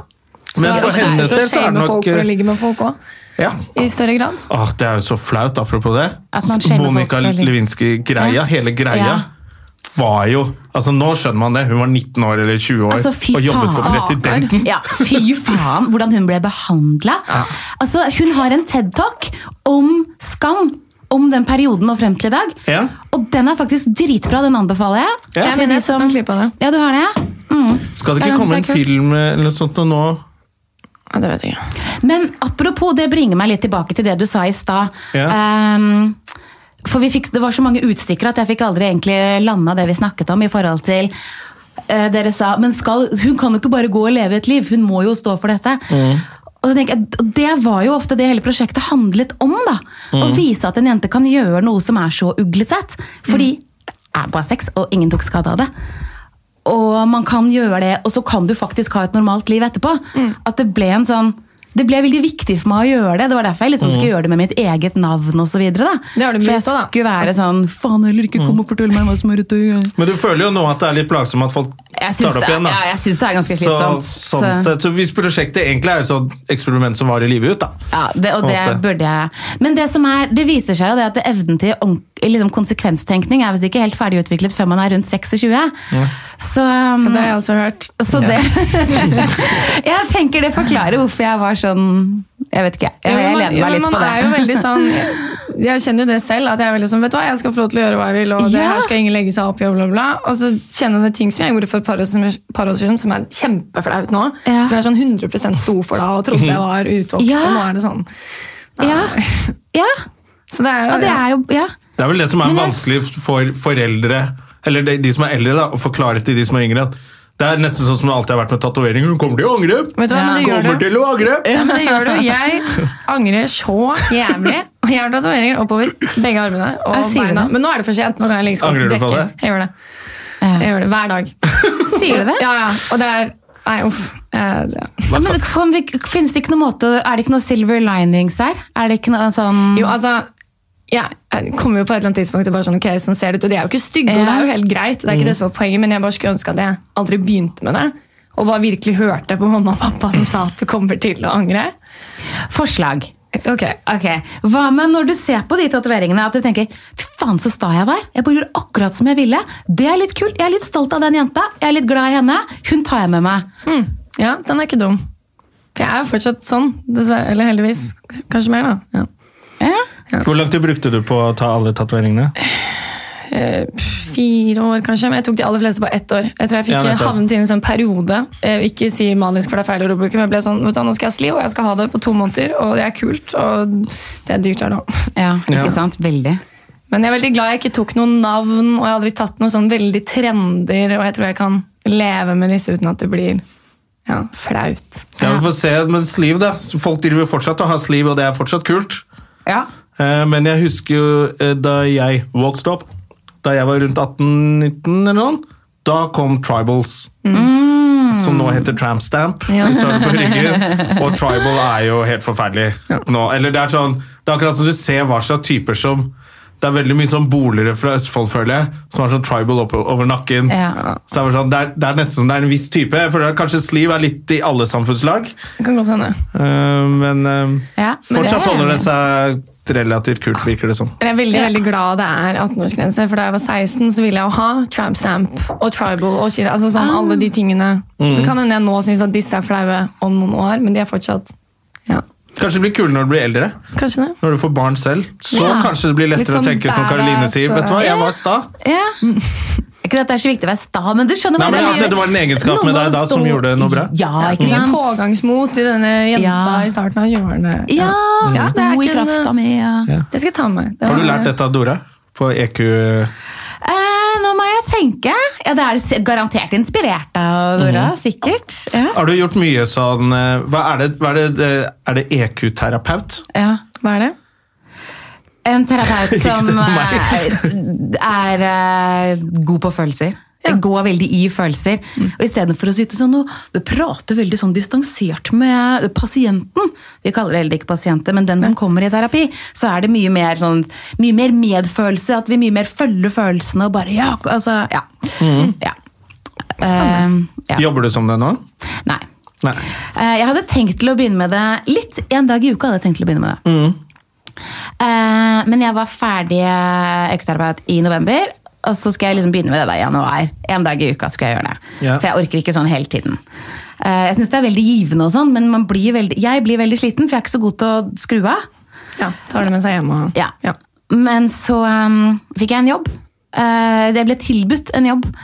S1: Men
S2: Så det er
S1: for hennes
S2: jo greit å
S1: del så er det
S2: shame
S1: nok eh,
S2: folk for å ligge med folk også,
S1: ja.
S2: i større grad.
S1: Åh, det er jo så flaut, apropos det.
S4: At man skjelver
S1: Monica
S4: folk for litt.
S1: Lewinsky-greia,
S4: Ja.
S1: hele greia,
S4: Ja.
S1: var jo Altså, nå skjønner man det. Hun var 19 år eller 20 år
S4: Altså, fy
S1: og jobbet for
S4: faen.
S1: presidenten.
S4: Ja, fy faen, hvordan hun ble behandla. Altså, hun har en TED-talk om skam. Om den perioden og frem til i dag.
S1: Ja.
S4: Og den er faktisk dritbra, den anbefaler jeg.
S1: Ja.
S2: Jeg mener,
S4: Til de
S2: jeg har sett
S4: som-
S2: en klipp av det.
S4: Ja, du har det, ja? Mm.
S1: Skal det
S4: Ja,
S1: ikke
S4: det
S1: komme en
S4: synes jeg er
S1: film eller noe sånt noe nå?
S2: Ja, det vet jeg ikke.
S4: Men apropos, det bringer meg litt tilbake til det du sa i stad.
S1: Ja.
S4: Ehm, for vi fikk, det var så mange utstikkere at jeg fikk aldri egentlig landa det vi snakket om. i forhold til eh, dere sa, men skal, Hun kan jo ikke bare gå og leve et liv, hun må jo stå for dette. Og så tenker jeg, Det var jo ofte det hele prosjektet handlet om. da, Å vise at en jente kan gjøre noe som er så uglesett. Fordi det er bare sex, og ingen tok skade av det. Og man kan gjøre det, og så kan du faktisk ha et normalt liv etterpå.
S2: Mm.
S4: At det ble en sånn det ble veldig viktig for meg å gjøre det. Det var derfor jeg liksom skulle gjøre det med mitt eget navn. Og så videre, da.
S2: Mm. Det har du
S4: for jeg
S2: bevist også, da. Mm.
S4: skulle være sånn Faen heller, ikke kom og fortell meg hva som er rett og galt.
S1: Men du føler jo nå at det er litt plagsomt at folk
S4: Jeg
S1: tar
S4: syns
S1: det
S4: det,
S1: opp igjen, da.
S4: ja, jeg syns det er ganske
S1: så,
S4: slitsomt.
S1: sånn sett, så hvis prosjektet egentlig er et sånt eksperiment som varer livet ut, da.
S4: Ja, det, og
S1: På en
S4: det
S1: måte.
S4: burde jeg Men det som er, det viser seg jo det at det evnen til ordent- liksom konsekvenstenkning er visst ikke helt ferdigutviklet før man er rundt 26. Så, um,
S2: Det har jeg også hørt.
S4: så det Jeg tenker det forklarer hvorfor jeg var sånn Jeg vet ikke. Jeg, jeg lener meg litt
S2: man
S4: på det.
S2: Er jo veldig sånn, jeg kjenner jo det selv, at jeg er veldig sånn Vet du hva, jeg skal få lov til å gjøre hva jeg vil, og det
S4: Ja.
S2: her skal ingen legge seg opp i, og bla, bla. Og så kjenner jeg det ting som jeg gjorde for et par år siden, par år siden, som er kjempeflaut nå.
S4: Ja.
S2: Som jeg sånn 100 sto for da, og trodde jeg var utvokst,
S4: Ja.
S2: og nå er det sånn.
S4: Ja. ja.
S2: Så det er jo,
S4: Og det
S2: ja.
S4: er jo Ja.
S1: Det er vel det som er
S4: Men jeg-
S1: vanskelig for foreldre, eller de, de som er eldre, da, å forklare til de som er yngre. at Det er nesten sånn som det alltid har vært med tatoveringer. Hun kommer til å angre!
S2: Vet du hva, men det gjør
S1: Kommer
S2: det.
S1: til å angre!
S2: Ja, men det gjør du. Jeg angrer så jævlig. Og jeg har tatoveringer oppover begge armene og
S4: Jeg sier
S2: beina.
S4: det.
S2: Men nå er det for sent. Nå kan jeg legge
S1: Angrer du på det?
S2: Jeg gjør det.
S4: Ja.
S2: Jeg gjør det hver dag.
S4: Sier du det?
S2: Ja, ja. Og det er Nei, uff. Eh, det-
S4: Ja, men det- kan vi, finnes det ikke noe måte Er det ikke noe silver linings her? Er det ikke noe sånn
S1: Mm.
S2: Jo, altså ja, jeg kommer jo på et eller annet tidspunkt og bare sånn, ok, sånn ser det ut, og de er jo ikke stygge, og det
S4: Ja.
S2: er jo helt greit, det er
S1: Mm.
S2: ikke det som er poenget, men jeg bare skulle ønske at jeg aldri begynte med det, og bare virkelig hørte på mamma og pappa som sa at du kommer til å angre.
S4: forslag?
S2: Ok.
S4: Ok, Hva med når du ser på de tatoveringene at du tenker fy faen så sta jeg var? Jeg bare gjorde akkurat som jeg ville. Det er litt kult. Jeg er litt stolt av den jenta. Jeg er litt glad i henne. Hun tar jeg med meg.
S2: Mm. Ja, den er ikke dum. For jeg er jo fortsatt sånn, dessverre. Eller heldigvis. Kanskje mer, da. Ja.
S4: Ja.
S1: Hvor lang tid brukte du på å ta alle tatoveringene?
S2: Eh, pff, fire år, kanskje. Men jeg tok de aller fleste på ett år. Jeg tror jeg fikk
S1: Ja, nettopp.
S2: havnet inn i en sånn periode. Eh, ikke si manisk, for det er feil ord å bruke, men jeg ble sånn vet du, hva, Nå skal jeg sli, og jeg skal ha det på to måneder, og det er kult, og det er dyrt her nå.
S4: Ja, ikke
S1: Ja.
S4: sant? Veldig.
S2: Men jeg er veldig glad jeg ikke tok noen navn, og jeg har aldri tatt noen sånn veldig trender, og jeg tror jeg kan leve med disse uten at det blir ja, flaut.
S1: Ja, vi får se, men sleeve da. Folk driver jo fortsatt å ha sleeve, og det er fortsatt kult.
S4: Ja.
S1: Eh, Men jeg husker jo eh, da jeg vokste opp, da jeg var rundt 18-19 eller noen, da kom tribals. Som nå heter tramp stamp. Hvis du har det på ryggen. Og tribal er jo helt forferdelig nå. Eller det er sånn, det er akkurat som du ser hva slags typer som det er veldig mye sånn bolere fra Østfold, føler jeg, som har sånn tribal opp, over nakken.
S4: Ja.
S1: Så det er, bare sånn, det, er, det er nesten som det er en viss type. Jeg føler at Kanskje sleeve er litt i alle samfunnslag,
S2: Det kan godt hende.
S1: eh, men eh,
S4: Ja, men det er
S1: fortsatt
S4: jeg
S1: holder det
S4: enig i.
S1: seg relativt kult, virker det som.
S2: Men jeg er veldig veldig glad det er 18-årsgrense, for da jeg var 16, så ville jeg jo ha tramp stamp og tribal og kina, altså
S4: Ah.
S2: sånn alle de tingene.
S1: Mhm.
S2: Så kan hende jeg nå synes at disse er flaue om noen år, men de er fortsatt ja,
S1: Kanskje det blir kulere når du blir eldre.
S2: Kanskje det.
S1: Når du får barn selv. Så
S2: Ja.
S1: kanskje det blir
S2: Litt
S1: lettere
S2: sånn
S1: å tenke som Karoline
S2: badass,
S1: sier. Vet du hva, jeg var sta.
S4: Ja. Ikke at det er så viktig å være sta, men du skjønner
S1: Nei,
S4: hva
S1: men
S4: jeg
S1: at det var en egenskap med
S4: Noe
S1: deg da
S4: å
S1: som
S4: stå
S1: gjorde noe bra.
S4: Ja, ikke
S2: Mye sånn
S4: sant?
S2: pågangsmot i denne jenta
S4: Ja.
S2: i starten av 20-årene.
S4: Ja,
S2: Ja, det
S4: sto
S2: er
S4: i
S2: ikke en-
S4: krafta mi. Ja.
S2: Det skal jeg ta med meg. Det
S1: Har du
S2: var-
S1: lært dette av Dora? På E EQ
S4: Eh, nå må jeg tenke. Ja, Det er s- garantert inspirert av Dora,
S2: Mhm.
S4: sikkert. Ja.
S1: Har du gjort mye sånn eh, Hva er det? Hva er det, eh, er det EQ-terapeut?
S4: Ja.
S2: Hva er det?
S4: En terapeut
S1: Ikke se
S4: som
S1: på meg.
S4: eh, er eh, god på følelser. Går veldig i følelser. Og Istedenfor å sitte sånn og du prater veldig sånn distansert med pasienten Vi kaller det heller ikke pasienter, men den som kommer i terapi. Så er det mye mer, sånn, mye mer medfølelse. At vi mye mer følger følelsene og bare ja, altså, ja. ja. Eh, ja.
S1: Jobber du som det nå?
S4: Nei.
S1: Nei.
S4: Eh, Jeg hadde tenkt til å begynne med det litt. En dag i uka hadde jeg tenkt til å begynne med det. Eh, Men jeg var ferdig øketerapeut i november, og så skulle jeg liksom begynne med det da i januar. En dag i uka skulle jeg gjøre det.
S1: Ja.
S4: For jeg orker ikke sånn hele tiden. Eh, Jeg syns det er veldig givende, og sånn, men man blir veldig, jeg blir veldig sliten, for jeg er ikke så god til å skru av.
S2: Ja, Tar det med seg hjem og
S4: Ja. Men så um, fikk jeg en jobb. Eh, det ble tilbudt en jobb.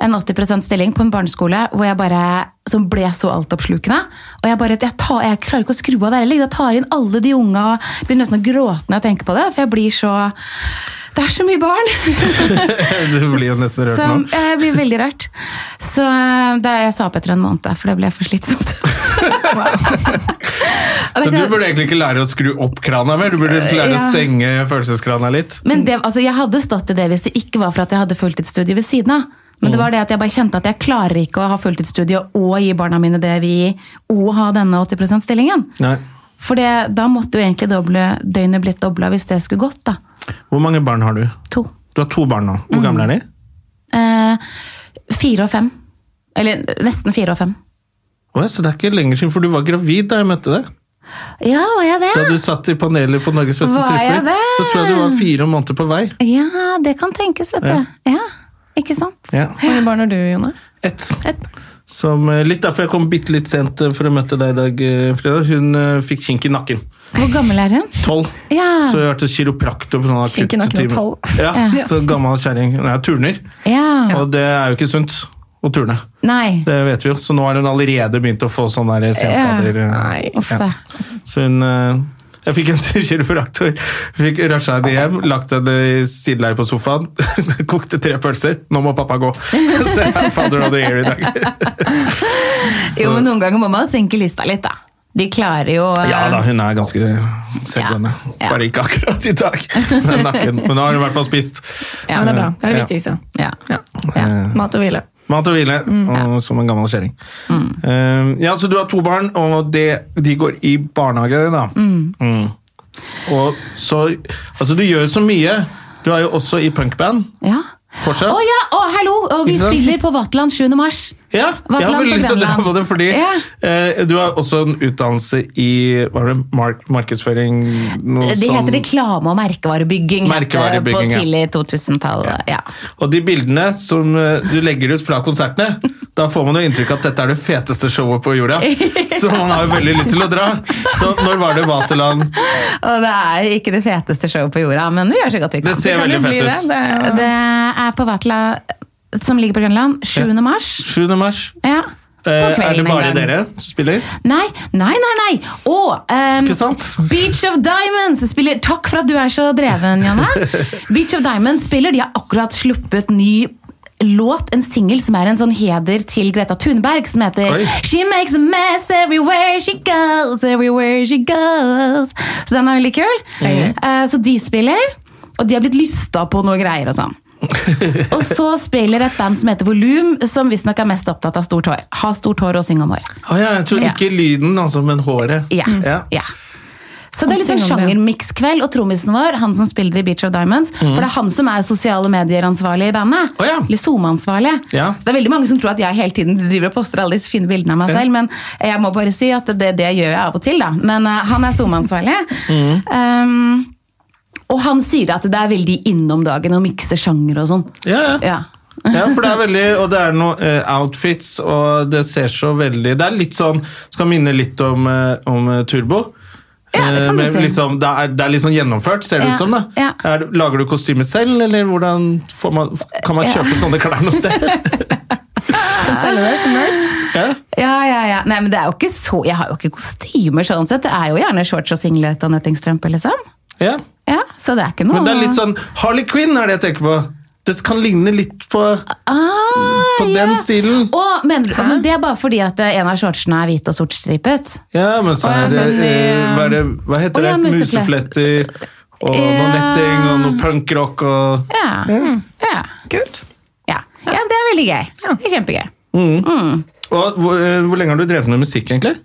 S4: En 80 stilling på en barneskole hvor jeg bare, som ble så altoppslukende. Og jeg bare, jeg, tar, jeg klarer ikke å skru av det heller. Jeg tar inn alle de unge og begynner nesten å gråte når jeg tenker på det. For jeg blir så Det er så mye barn!
S1: Du blir jo nesten rørt
S4: Som,
S1: nå.
S4: ja, jeg blir veldig rørt. Så eh, det jeg sa opp etter en måned, for det ble for slitsomt.
S1: Så du burde egentlig ikke lære å skru opp krana mer, du burde lære å
S4: Ja.
S1: stenge følelseskrana litt.
S4: Men det, altså, jeg hadde stått i det hvis det ikke var for at jeg hadde fulltidsstudie ved siden av. Men det var det at jeg bare kjente at jeg klarer ikke å ha fulltidsstudie og gi barna mine det vi gir, og ha denne 80 %-stillingen.
S1: Nei.
S4: For det, da måtte jo egentlig doble, døgnet blitt dobla hvis det skulle gått, da.
S1: Hvor mange barn har du?
S4: To.
S1: Du har to barn nå.
S4: Mm.
S1: Hvor gamle er de?
S4: Eh, fire og fem. Eller nesten fire og fem.
S1: Åja, så det er ikke lenger siden, for du var gravid da jeg møtte deg.
S4: Ja, var jeg det?
S1: Da du satt i panelet på Norges beste
S4: Var jeg
S1: stripper,
S4: det?
S1: så tror jeg du var fire måneder på vei.
S4: Ja, det kan tenkes, vet du.
S1: Ja.
S4: Ja. Ikke sant?
S1: Ja.
S2: Hvor mange barn har du, Jone?
S1: Ett.
S2: Ett.
S1: Som, eh, litt derfor jeg kom bitte litt sent eh, for å møte deg i dag, eh, Freda. Hun eh, fikk kink i nakken.
S4: Hvor gammel er hun?
S1: Tolv.
S4: Ja.
S1: Så jeg hørte kiropraktor på sånn akutt
S2: Kink i nakken og tolv.
S1: Ja,
S4: Ja.
S1: så gammel kjerring. Hun er turner,
S4: Ja.
S1: og det er jo ikke sunt å turne.
S4: Nei.
S1: Det vet vi jo, så nå har hun allerede begynt å få sånne der senskader. eh,
S2: Nei.
S4: Uff da.
S1: Så hun eh, Jeg fikk en kiropraktor. Fikk rusha henne hjem, lagt henne i sideleie på sofaen. Kokte tre pølser. Nå må pappa gå! Så jeg er father of the year i dag.
S4: Jo, men noen ganger må man senke lista litt, da. De klarer jo eh,
S1: Ja da, hun er ganske selvgående.
S4: Ja, ja.
S1: Bare ikke akkurat i dag. Den nakken. Men nå har hun i hvert fall spist.
S2: Ja, men det er bra. Det er det
S1: Ja.
S2: viktigste.
S4: Ja.
S2: Ja.
S1: Eh,
S2: Mat og hvile.
S1: Mat og hvile,
S4: Mm.
S1: og som en gammel kjerring. Eh, ja, så du har to barn, og det, de går i barnehage, da. Mm. Og så Altså, du gjør så mye. Du er jo også i punkband
S4: Ja.
S1: fortsatt.
S4: Å ja, å, hallo! Og vi
S1: Ikke sant?
S4: spiller på Vatland 7. mars.
S1: Ja, jeg har
S4: Vatland
S1: veldig
S4: på
S1: lyst til å dra
S4: Grønland.
S1: på det, fordi
S4: Ja.
S1: eh, du har også en utdannelse i hva var det, mark markedsføring noe sånn-
S4: Det heter reklame- og merkevarebygging, heter det
S1: Merkevarebygging, ja.
S4: på tidlig 2000-tallet. Ja.
S1: Og de bildene som eh, du legger ut fra konsertene, da får man jo inntrykk av at dette er det feteste showet på jorda. Så man har jo veldig lyst til å dra. Så når var det Vaterland?
S4: Og det er ikke det feteste showet på jorda, men vi gjør så godt vi
S1: Det
S4: kan.
S1: ser
S2: kan jo
S1: veldig
S2: bli
S1: fett
S2: det.
S1: ut.
S2: Det er jo-
S4: Det er på Vatland, som ligger på Grønland, 7. mars.
S1: 7. mars.
S4: Ja. På
S1: Eh, er
S4: kvelden
S1: det
S4: en
S1: bare
S4: gang.
S1: dere som spiller?
S4: Nei, nei, nei! nei. Og ehm,
S1: Ikke sant?
S4: Beach of Diamonds spiller Takk for at du er så dreven, Janne. Beach of Diamonds spiller, de har akkurat sluppet ny låt, en singel som er en sånn heder til Greta Thunberg, som heter
S1: Oi.
S4: She makes a mess everywhere she goes, everywhere she goes. Så den er veldig kul.
S1: Mm.
S4: Eh, så de spiller, og de har blitt lysta på noe greier og sånn. og så spiller et band som heter Volum, som visstnok er mest opptatt av stort hår. Ha stort hår og syng om hår.
S1: Å ja, jeg tror
S4: Ja.
S1: ikke lyden, altså, men håret.
S4: Ja. ja. Så det
S2: Mm.
S4: er
S2: Og
S4: litt sånn
S2: synger om det.
S4: sjangermikskveld, og trommisen vår, han som spiller i Beach of Diamonds, for det er han som er sosiale medier-ansvarlig i bandet.
S1: Mm. Å ja.
S4: Eller SoMe-ansvarlig.
S1: Ja.
S4: Så det er veldig mange som tror at jeg hele tiden driver og poster alle disse fine bildene av meg selv, men jeg må bare si at det, det gjør jeg av og til, da. Men eh, han er SoMe-ansvarlig.
S1: Mm.
S4: Um, og han sier at det er veldig innom dagen å mikse sjanger og sånn.
S1: Ja, ja.
S4: Ja.
S1: Ja, for det er veldig, og det er noen outfits, og det ser så veldig Det er litt sånn Skal minne litt om, eh, om eh, Turbo.
S4: Ja, det
S1: Eh,
S4: kan du
S1: men
S4: si.
S1: liksom, det, er, det er litt sånn gjennomført, ser det
S4: Ja,
S1: ut som. da
S4: ja.
S1: er, Lager du kostyme selv, eller hvordan får man, kan man
S4: Ja.
S1: kjøpe sånne klær noe sted?
S2: Kan selge det som merch.
S1: ja.
S4: Ja, ja, ja. Nei, men det er jo ikke så Jeg har jo ikke kostymer sånn sett. Det er jo gjerne shorts og singlet og nøttingstrømpe, liksom.
S1: ja.
S4: Ja, så det er ikke noe
S1: Men det er litt sånn Harley Quinn er det jeg tenker på. Det kan ligne litt på
S4: ah,
S1: på den stilen.
S4: Å, men, å, men det er bare fordi at eh, en av shortsene er hvit og sortstripet.
S1: Ja, men så
S2: Å, ja,
S1: er det,
S2: sånn i,
S1: eh, hva, er det hva
S4: Å,
S1: heter det?
S4: ja, museflett.
S1: Musefletter og noe
S4: Ja.
S1: netting og noe punkrock og
S4: Ja. Ja.
S2: Kult.
S4: Ja. ja, det er veldig gøy. Det er Kjempegøy.
S1: Mm. Og hvor, eh, hvor lenge har du drevet med musikk, egentlig?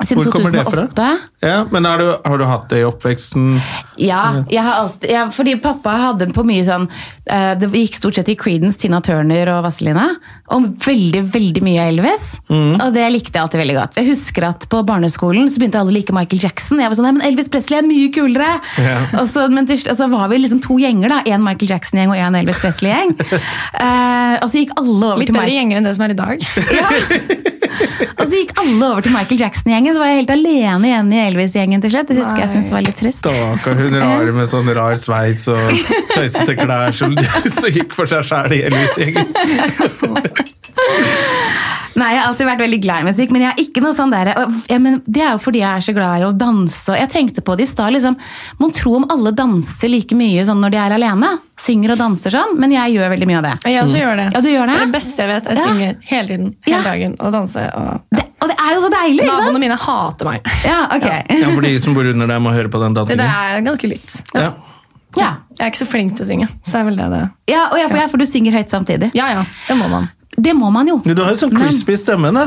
S4: Siden
S1: Hvor kommer det
S4: 2008.
S1: Ja, men er du, Har du hatt det i oppveksten?
S4: Ja, jeg har alltid, ja, fordi pappa hadde på mye sånn eh, Det gikk stort sett i Creedence, Tina Turner og Vazelina. Og veldig, veldig mye Elvis. Og det likte jeg alltid veldig godt. Jeg husker at på barneskolen så begynte alle å like Michael Jackson. Jeg var sånn, nei, men Elvis Presley er mye kulere!
S1: Ja.
S4: Og, så, men til, og så var vi liksom to gjenger, da. En Michael Jackson-gjeng og en Elvis Presley-gjeng. Eh, og så gikk alle over
S2: Litt
S4: til
S2: bedre
S4: Michael
S2: gjenger enn det som er i dag.
S4: og så gikk alle over til Michael Jackson-gjengen, så var jeg helt alene igjen i Elvis-gjengen til slutt. Det husker jeg
S2: Nei.
S4: syntes var litt trist.
S1: Stakkar, hun rar med sånn rar sveis og tøysete klær som, som gikk for seg sjæl i Elvis-gjengen.
S4: Nei, Jeg har alltid vært veldig glad i musikk, men jeg er ikke noe sånn der, og, ja, men det er jo fordi jeg er så glad i å danse. og Jeg tenkte på det i stad. Liksom, man tror om alle danser like mye sånn når de er alene. Synger og danser sånn, men jeg gjør veldig mye av det.
S2: Jeg også gjør det.
S4: Ja, du gjør det?
S2: er det beste jeg vet. Jeg
S4: Ja.
S2: synger hele tiden, hele
S4: Ja.
S2: dagen, og danser. Og,
S4: det og det er jo så deilig! ikke
S2: Naboene
S4: sant?
S2: mine hater meg.
S4: Ja, ok.
S1: Ja, for de som bor under deg, må høre på den
S2: Det
S1: dansingen.
S2: er ganske lytt.
S1: Ja.
S4: Ja.
S2: Jeg er ikke så flink til å synge, så er vel det det.
S4: Ja, og ja, for, ja, for du synger høyt samtidig.
S2: Ja, ja, det må man.
S4: Det må man jo.
S1: Men du har jo sånn crispy stemme, da.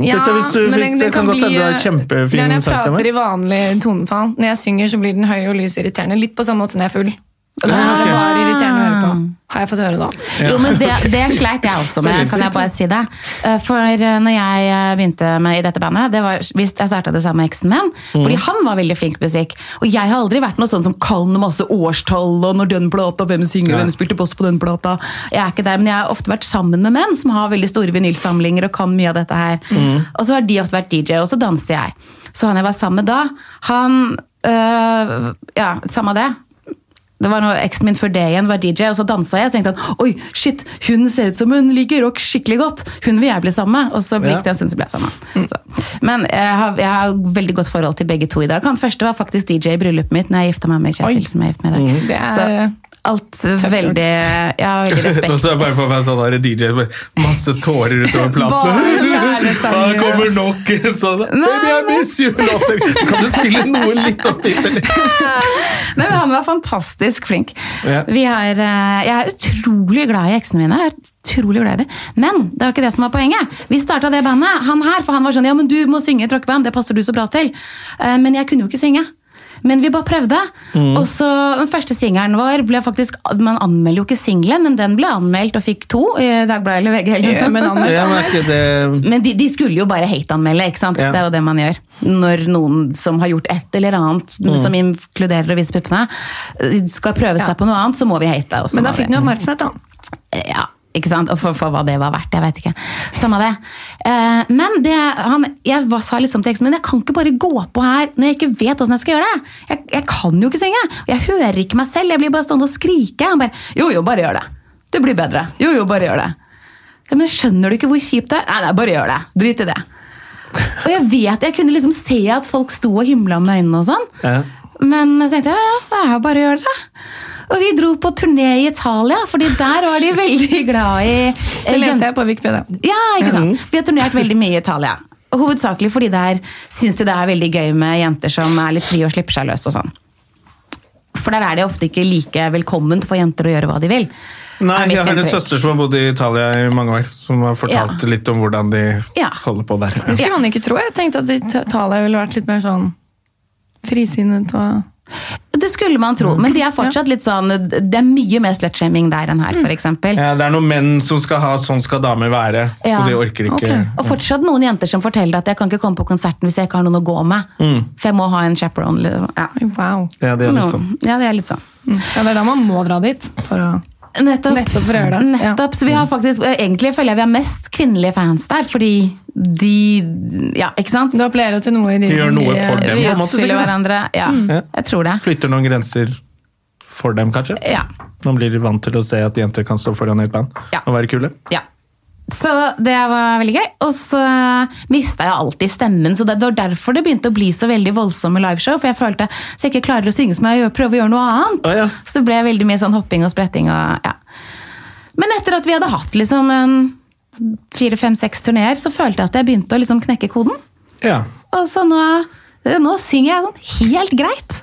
S2: Ja,
S1: Dette, hvis du,
S2: men
S1: det, kan godt hende du har
S2: Det er
S1: kjempefin
S2: når jeg prater
S1: sangstemme.
S2: i vanlig tonefall. Når jeg synger, så blir den høy og lys irriterende. Litt på samme måte når jeg er full. Og da
S1: Ah,
S2: er
S1: ok.
S2: det bare irriterende å høre på. Har jeg fått høre da.
S4: Jo, men det, det sleit jeg også med, kan jeg bare si det. Eh, For eh, når jeg eh, begynte med i dette bandet, det var hvis jeg starta det sammen med eksen min, fordi han var veldig flink til musikk. Og jeg har aldri vært noe sånn som kan masse årstall og når den plata, hvem synger,
S1: Nei.
S4: hvem spilte boss på den plata. Jeg er ikke der, men jeg har ofte vært sammen med menn som har veldig store vinylsamlinger og kan mye av dette her. Og så har de ofte vært DJ, og så danser jeg. Så han jeg var sammen med da, han øh, Ja, samme det. Det var noe, Eksen min før det igjen var DJ, og så dansa jeg. Og så tenkte han oi, shit, hun ser ut som hun liker rock skikkelig godt. Hun vil jeg bli sammen med. Og så
S1: Ja.
S4: gikk det en stund, så ble jeg sammen. Så. Men jeg har, jeg har veldig godt forhold til begge to i dag. Han første var faktisk DJ i bryllupet mitt når jeg gifta meg med
S2: Oi.
S4: Kjetil. som jeg er gift med i dag.
S2: Det er, eh,
S4: så alt veldig Jeg har veldig
S1: Nå
S4: respekt.
S1: så jeg bare for meg sånn der DJ med masse tårer utover
S2: Bare
S1: platen.
S2: kjærlighetssanger.
S1: Her kommer nok en sånn Baby, I miss you-låter. Kan du spille noe litt opp dit, eller?
S4: Nei, men han var fantastisk flink.
S1: Ja.
S4: Vi har, eh, jeg er utrolig glad i eksene mine. Jeg er utrolig glad i det. Men det var ikke det som var poenget. Vi starta det bandet, han her, for han var sånn ja, men du må synge i et rockeband, det passer du så bra til. Eh, Men jeg kunne jo ikke synge. Men vi bare prøvde. Og så Den første singelen vår ble faktisk Man anmelder jo ikke singelen, men den ble anmeldt og fikk to i Dagbladet eller VG. Eller.
S2: Ja, men anmeldt.
S1: Ja, men er ikke det
S4: Men de, de skulle jo bare hate-anmelde, ikke sant?
S1: Ja.
S4: Det er jo det man gjør. Når noen som har gjort et eller annet, som inkluderer å vise puppene, eh, skal prøve
S2: Ja.
S4: seg på noe annet, så må vi hate. Og så
S2: Men da
S4: må
S2: fikk
S4: vi-
S2: den jo oppmerksomhet, da.
S4: Eh, ja, ikke sant? Og for, for hva det var verdt, jeg vet ikke. Samme det. Eh, men det, han, jeg bare sa liksom til eksen min, jeg kan ikke bare gå på her når jeg ikke vet hvordan jeg skal gjøre det. Jeg, jeg kan jo ikke synge. Og Jeg hører ikke meg selv, jeg blir bare stående og skrike. Han bare, jo jo, bare gjør det. Det blir bedre. Jo jo, bare gjør det. Ja, men skjønner du ikke hvor kjipt det er? Nei, nei, bare gjør det. Drit i det. Og jeg vet, jeg kunne liksom se at folk sto og himla med øynene og sånn.
S1: Ja.
S4: Men jeg tenkte, ja, ja, det er jo bare å gjøre det. Og vi dro på turné i Italia, fordi der var de veldig glad i eh,
S2: Det
S4: jenter.
S2: leste jeg Mhm. på Wikipedia.
S4: Ja, ikke sant? Vi har turnert veldig mye i Italia. Og Hovedsakelig fordi der syns de det er veldig gøy med jenter som er litt frie og slipper seg løs og sånn. For der er det ofte ikke like velkomment for jenter å gjøre hva de vil.
S1: Nei,
S4: er mitt
S1: jeg har en
S4: inntrykk.
S1: søster som har bodd i Italia i mange år, som har fortalt
S4: Ja.
S1: litt om hvordan de
S4: Ja.
S1: holder på der.
S2: Det skulle man ikke tro. Jeg tenkte at Italia ville vært litt mer sånn frisinnet og
S4: Det skulle man tro, men de
S2: Mhm.
S4: er fortsatt litt sånn Det er mye mer slutshaming der enn
S2: Mm.
S4: her, f.eks.
S1: Ja, det er noen menn som skal ha 'sånn skal damer være', så
S4: Ja.
S1: de orker ikke
S2: Ok.
S4: Og fortsatt noen jenter som forteller at jeg kan ikke komme på konserten hvis jeg ikke har noen å gå med. For jeg må ha en chaperone. liksom. Ja.
S2: Oi, Wow.
S1: Ja, Mm. det er litt sånn.
S4: Ja, det er litt sånn.
S2: Ja, det er da man må dra dit. For å
S4: Nettopp.
S2: Nettopp for å gjøre det.
S4: Nettopp. Så vi har faktisk, egentlig føler jeg vi har mest kvinnelige fans der, fordi de Ja, ikke sant?
S2: du appellerer jo til noe i de
S1: Gjør
S2: som
S1: noe
S2: de-
S1: for dem.
S4: Vi
S1: på en måte,
S4: utfyller
S1: sikkert.
S4: hverandre. Ja,
S2: Mm.
S4: jeg tror det.
S1: Flytter noen grenser for dem, kanskje?
S4: Ja.
S1: Nå blir de vant til å se at jenter kan stå foran i et band
S4: Ja.
S1: og være kule.
S4: ja. Så det var veldig gøy. Og så mista jeg alltid stemmen, så det var derfor det begynte å bli så veldig voldsomme liveshow. For jeg følte så jeg ikke klarer å synge som jeg gjør, prøver å gjøre noe annet.
S1: Å, ja.
S4: Så det ble veldig mye sånn hopping og spretting og ja. Men etter at vi hadde hatt liksom en fire-fem-seks turneer, så følte jeg at jeg begynte å liksom knekke koden.
S1: Ja,
S4: Og så nå, nå synger jeg sånn helt greit.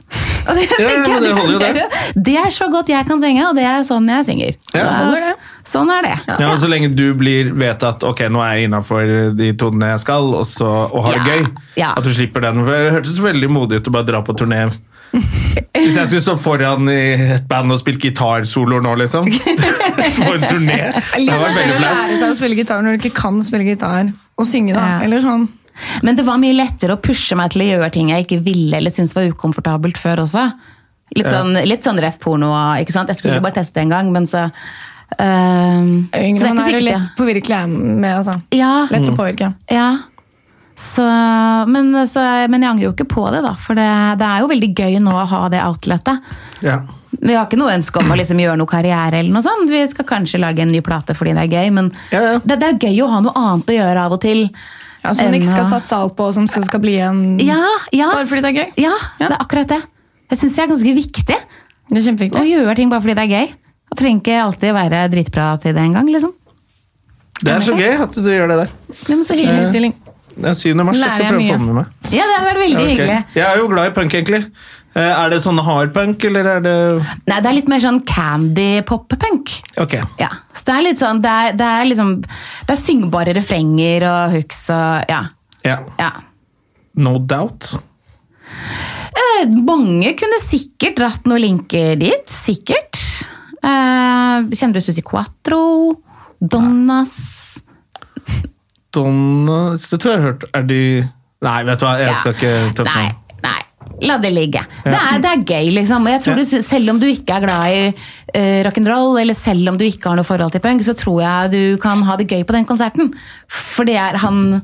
S4: Og det,
S1: ja,
S4: tenker jeg-
S1: men det holder jo det.
S4: Det er så godt jeg kan synge, og det er sånn jeg synger.
S1: Ja,
S4: Så-
S2: holder det.
S4: sånn er det.
S1: ja og Så lenge du blir, vet at ok, nå er jeg innafor de tonene jeg skal, og, så, og har det
S4: Ja.
S1: gøy.
S4: Ja.
S1: At du slipper den. For Det hørtes veldig modig ut å bare dra på turné. Hvis jeg skulle stå foran i et band og spilt gitarsoloer nå, liksom. På en turné. Det hadde vært veldig flaut.
S2: Lære seg å spille gitar når du ikke kan spille gitar. Og synge, da.
S4: Ja.
S2: Eller sånn.
S4: Men det var mye lettere å pushe meg til å gjøre ting jeg ikke ville eller syntes var ukomfortabelt før også. Litt sånn, litt sånn ref porno. Ikke sant? Jeg skulle
S1: Ja.
S4: bare teste en gang, men så øhm,
S2: Jo
S4: Så
S2: Yngre
S4: det er
S2: man
S4: ikke
S2: er, jo
S4: sikkert.
S2: lett påvirkelig er med. Altså.
S4: Ja,
S2: Lett
S1: Mm.
S2: å påvirke.
S4: ja. Så, men, så, men jeg angrer jo ikke på det, da. For det, det er jo veldig gøy nå å ha det outletet.
S1: Ja.
S4: Vi har ikke noe ønske om å liksom gjøre noe karriere. eller noe sånt. Vi skal kanskje lage en ny plate fordi det er gøy, men
S1: Ja, ja.
S4: Det, det er gøy å ha noe annet å gjøre av og til.
S2: Ja, som du ikke
S4: enn
S2: skal
S4: å-
S2: satse alt på, og som skal skal bli en
S4: Ja, ja,
S2: Bare fordi det er gøy.
S4: ja, det er akkurat det. Jeg syns det er ganske viktig
S2: Det er
S4: å
S2: kjempeviktig.
S4: gjøre ting bare fordi det er gøy. Det trenger ikke alltid være dritbra til det engang. Liksom.
S1: Det er så gøy at du gjør det der.
S4: Ja, men så
S2: Fin
S4: hyggelig.
S2: innstilling.
S1: Det er 7. mars, jeg
S2: Lærer
S1: skal
S2: jeg
S1: prøve å
S2: mye.
S1: få den med meg.
S4: Ja, det hadde vært veldig
S1: Ok.
S4: hyggelig.
S1: Jeg er jo glad i punk, egentlig. Eh, Er det sånn hard punk, eller er det
S4: Nei, det er litt mer sånn candy-pop-punk.
S1: Ok.
S4: Ja, så det er litt sånn, det er, det er liksom Det er syngbare refrenger og hooks og ja.
S1: Ja.
S4: ja.
S1: No doubt.
S4: Eh, Mange kunne sikkert dratt noen linker dit, sikkert. Eh, kjenner du Susi Quatro? Donnas?
S1: Donna Det tror jeg jeg har hørt. Er de Nei, vet du hva, jeg skal
S4: Ja.
S1: ikke tøffe
S4: Nei,
S1: meg.
S4: nei. La det ligge. Det, er, det er gøy, liksom. Og jeg tror du, selv om du ikke er glad i eh, rock'n'roll, eller selv om du ikke har noe forhold til punk, så tror jeg du kan ha det gøy på den konserten. For det er han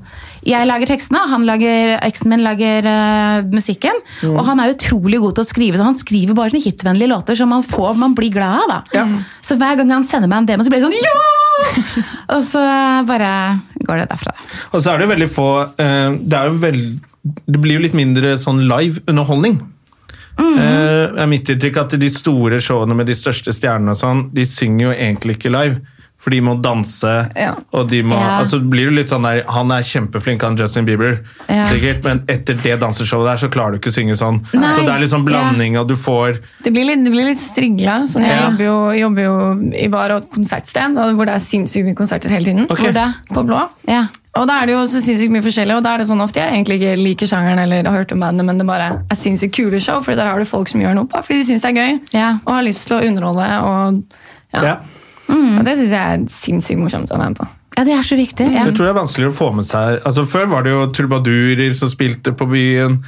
S4: Jeg lager tekstene, han lager, eksen min lager eh, musikken.
S1: Mm.
S4: Og han er utrolig god til å skrive, så han skriver bare sånne hitvennlige låter som man, får, man blir glad av. da. Så hver gang han sender meg en demo, så blir det sånn ja! og så bare går det derfra.
S1: Og så er det jo veldig få eh, Det er jo veld... Det blir jo litt mindre sånn live underholdning.
S4: Mm.
S1: Eh, er mitt inntrykk at de store showene med de største stjernene og sånn, de synger jo egentlig ikke live. For de må danse,
S2: Ja.
S1: og de må
S4: Ja.
S1: altså det blir jo litt sånn der Han er kjempeflink, han Justin Bieber,
S4: Ja.
S1: sikkert, men etter det danseshowet der, så klarer du ikke å synge sånn.
S4: Nei.
S1: Så det er litt sånn blanding, og du får
S2: Det blir litt, det blir litt strigla. Sånn, jeg
S1: Ja.
S2: jobber, jo, jobber jo i bar og konsertsted, og hvor det er sinnssykt mye konserter hele tiden.
S1: Ok.
S4: Hvor da?
S2: På Blå.
S4: Ja.
S2: Og da er det jo så sinnssykt mye forskjellig, og da er det sånn ofte jeg egentlig ikke liker sjangeren eller har hørt om bandet, men det bare er sinnssykt kule show, for der har du folk som gjør noe bare fordi de syns det er gøy
S4: Ja.
S2: og har lyst til å underholde. Og, ja.
S1: Ja.
S2: og det syns jeg er sinnssykt morsomt å være med på.
S4: Ja, det er så viktig. Ja.
S1: Jeg tror det er vanskeligere å få med seg altså Før var det jo trubadurer som spilte på byen.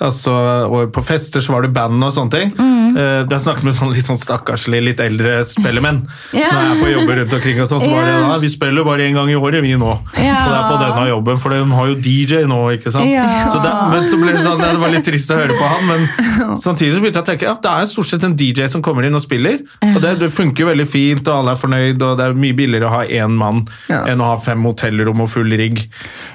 S1: Altså, og på fester så var det band og sånne ting.
S4: Mm.
S1: Eh, da snakket vi med sånn litt sånn stakkarslig, litt eldre spellemenn.
S4: Ja.
S1: Når jeg er på jobber rundt omkring og sånn, så var det da, Vi spiller jo bare én gang i året, vi nå.
S4: Ja.
S1: Så det er på denne jobben, for de har jo DJ nå, ikke sant.
S4: Ja.
S1: Så det, men så ble det sånn, ja, det var litt trist å høre på han, men samtidig så begynte jeg å tenke ja, det er jo stort sett en DJ som kommer inn og spiller. Og det, det funker jo veldig fint, og alle er fornøyd, og det er mye billigere å ha én mann
S2: Ja.
S1: enn å ha fem hotellrom og full rigg.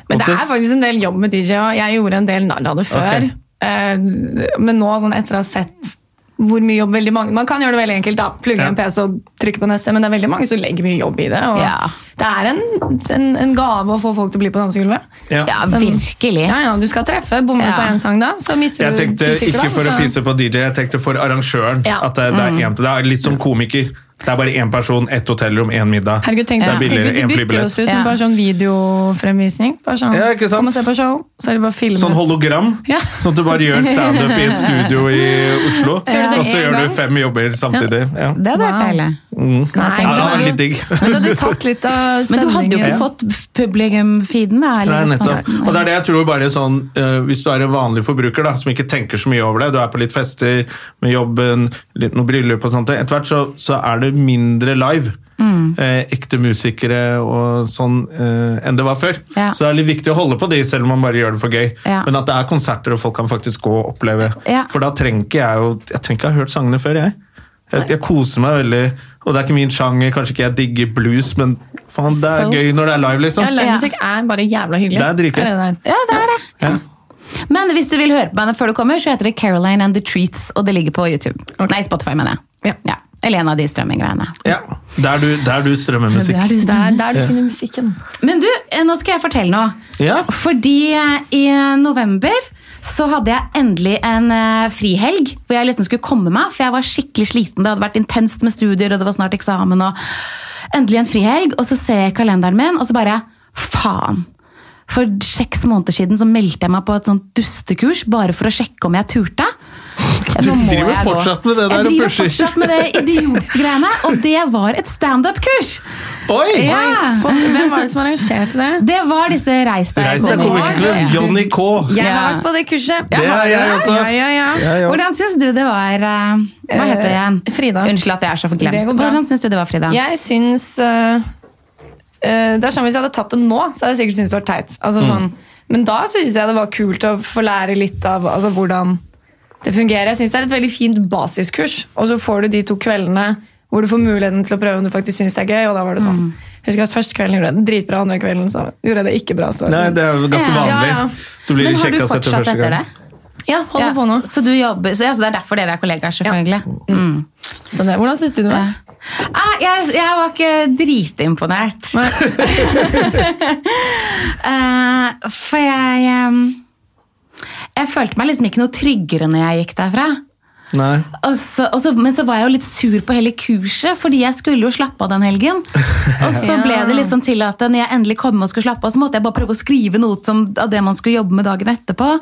S2: Men
S1: Og
S2: det er faktisk en del jobb med DJ, og jeg gjorde en del narr av det før.
S1: Ok.
S2: Eh, Men nå, sånn etter å ha sett hvor mye jobb veldig mange Man kan gjøre det veldig enkelt, da. Plugge
S1: Ja.
S2: en PC og trykke på neste, men det er veldig mange som legger mye jobb i det. Og
S4: Ja.
S2: Det er en, en, en gave å få folk til å bli på dansegulvet.
S1: ja.
S4: Ja,
S2: Sånn-
S4: virkelig.
S2: Ja, ja, du skal treffe. Bommer du
S4: Ja.
S2: på én sang da, så mister
S1: Jeg
S2: Mm, du
S1: tenkte
S2: ti stykker
S1: ikke
S2: da,
S1: for å
S2: så-
S1: pisse på DJ, jeg tenkte for arrangøren.
S2: Ja. Mm.
S1: At det, det, er en, det er litt som komiker. Det er bare én person, ett hotellrom, én middag.
S2: Herregud, tenk,
S1: det er
S2: tenk
S1: billigere,
S2: hvis de
S1: én
S2: bytter oss
S1: flybillett.
S2: ut med
S4: Ja.
S2: bare sånn videofremvisning. Bare sånn,
S1: Ja, ikke sant?
S2: Kom og se på show, så er det bare filmet.
S1: Sånn hologram,
S2: Ja.
S1: sånn at du bare gjør standup i et studio i Oslo.
S2: Så gjør du det
S1: Og så
S2: en
S1: gjør
S2: gang.
S1: du fem jobber samtidig. Ja.
S4: Det hadde vært
S2: Wow.
S4: deilig.
S2: Nei,
S1: Ja, det hadde vært litt
S2: det
S1: digg.
S2: var jo- Men da hadde du tatt litt av
S4: Men du hadde jo
S2: spenningen.
S4: ikke fått publikum-feeden, da?
S1: Nei,
S4: eller sånn.
S1: nettopp. Og det er det jeg tror bare sånn, eh, Hvis du er en vanlig forbruker da, som ikke tenker så mye over det, du er på litt fester med jobben, litt noen bryllup og sånt, etter hvert så, så er det mindre live.
S4: Mm.
S1: Eh, ekte musikere og sånn eh, enn det var før.
S4: Ja.
S1: Så det er litt viktig å holde på de, selv om man bare gjør det for gøy.
S4: Ja.
S1: Men at det er konserter og folk kan faktisk gå og oppleve.
S4: Ja.
S1: For da trenger ikke jeg jo Jeg trenger ikke ha hørt sangene før, jeg. Jeg, jeg koser meg veldig, og det er ikke min sjanger, kanskje ikke jeg digger blues, men faen, det er
S4: Så-
S1: gøy når det er live, liksom.
S2: Ja, livemusikk er bare jævla hyggelig.
S1: Det er dritgøy.
S2: det der.
S4: Ja, det er det.
S1: Ja.
S4: Men hvis du vil høre på bandet før du kommer, så heter det Caroline and the Treats, og det ligger på YouTube. Nei, Spotify, mener
S2: Ja.
S4: jeg. Ja. Eller en av de strømminggreiene.
S1: Ja, der du, der du strømmer musikk.
S2: Det er der du finner musikken.
S4: Men du, eh, nå skal jeg fortelle noe.
S1: Ja.
S4: Fordi eh, i november så hadde jeg endelig en eh, frihelg hvor jeg liksom skulle komme meg, for jeg var skikkelig sliten. Det hadde vært intenst med studier, og det var snart eksamen. og Endelig en frihelg, og så ser jeg kalenderen min, og så bare faen. For seks måneder siden så meldte jeg meg på et sånt dustekurs bare for å sjekke om jeg turte.
S1: Du
S4: Nå må
S1: driver
S4: jeg gå.
S1: fortsatt med det der og
S4: Jeg driver
S1: pusher.
S4: fortsatt med det idiotgreiene, og det var et standup-kurs!
S1: Oi!
S4: Ja.
S2: For, hvem var det som arrangerte det?
S4: Det var disse Reis deg
S1: Reis deg komikerklubb,
S4: komikerklubb.
S1: Johnny K.
S2: Jeg
S4: Ja.
S2: har vært på det kurset.
S1: Det har jeg også.
S2: Ja, ja, ja.
S4: Hvordan syns du det var eh, Hva heter det igjen?
S2: Eh, Frida.
S4: Unnskyld at jeg er så
S2: Det
S4: forglemsk.
S2: går bra.
S4: Hvordan syns du det var, Frida?
S2: Jeg syns øh, øh, Det er sånn Hvis jeg hadde tatt det nå, så hadde jeg sikkert syntes det var teit. Altså,
S1: Mm.
S2: sånn. Men da syns jeg det var kult å få lære litt av altså, hvordan det fungerer. Jeg syns det er et veldig fint basiskurs, og så får du de to kveldene hvor du får muligheten til å prøve om du faktisk syns det er gøy. og da var det sånn. Jeg husker at Første kvelden gjorde jeg det dritbra, andre kvelden så gjorde jeg det ikke bra. Så, var det
S1: Nei,
S2: sånn.
S1: det er jo ganske
S4: Ja,
S1: vanlig.
S2: ja.
S1: Du blir
S4: Men har du
S1: sjekka etter
S4: fortsatt
S1: første
S4: etter det?
S1: gang.
S2: Ja, holder
S4: Ja.
S2: på nå.
S4: Så, du jobber, så, ja, så det er derfor dere er kollegaer, selvfølgelig. Mm.
S2: Så det, hvordan syns du det var?
S4: Ah, jeg, jeg var ikke dritimponert. Eh, for jeg eh, Jeg følte meg liksom ikke noe tryggere når jeg gikk derfra.
S1: Nei.
S4: Og så, og så, men så var jeg jo litt sur på hele kurset, fordi jeg skulle jo slappe av den helgen. Og så ble det liksom til at når jeg endelig kom og skulle slappe av, så måtte jeg bare prøve å skrive noe som, av det man skulle jobbe med dagen etterpå.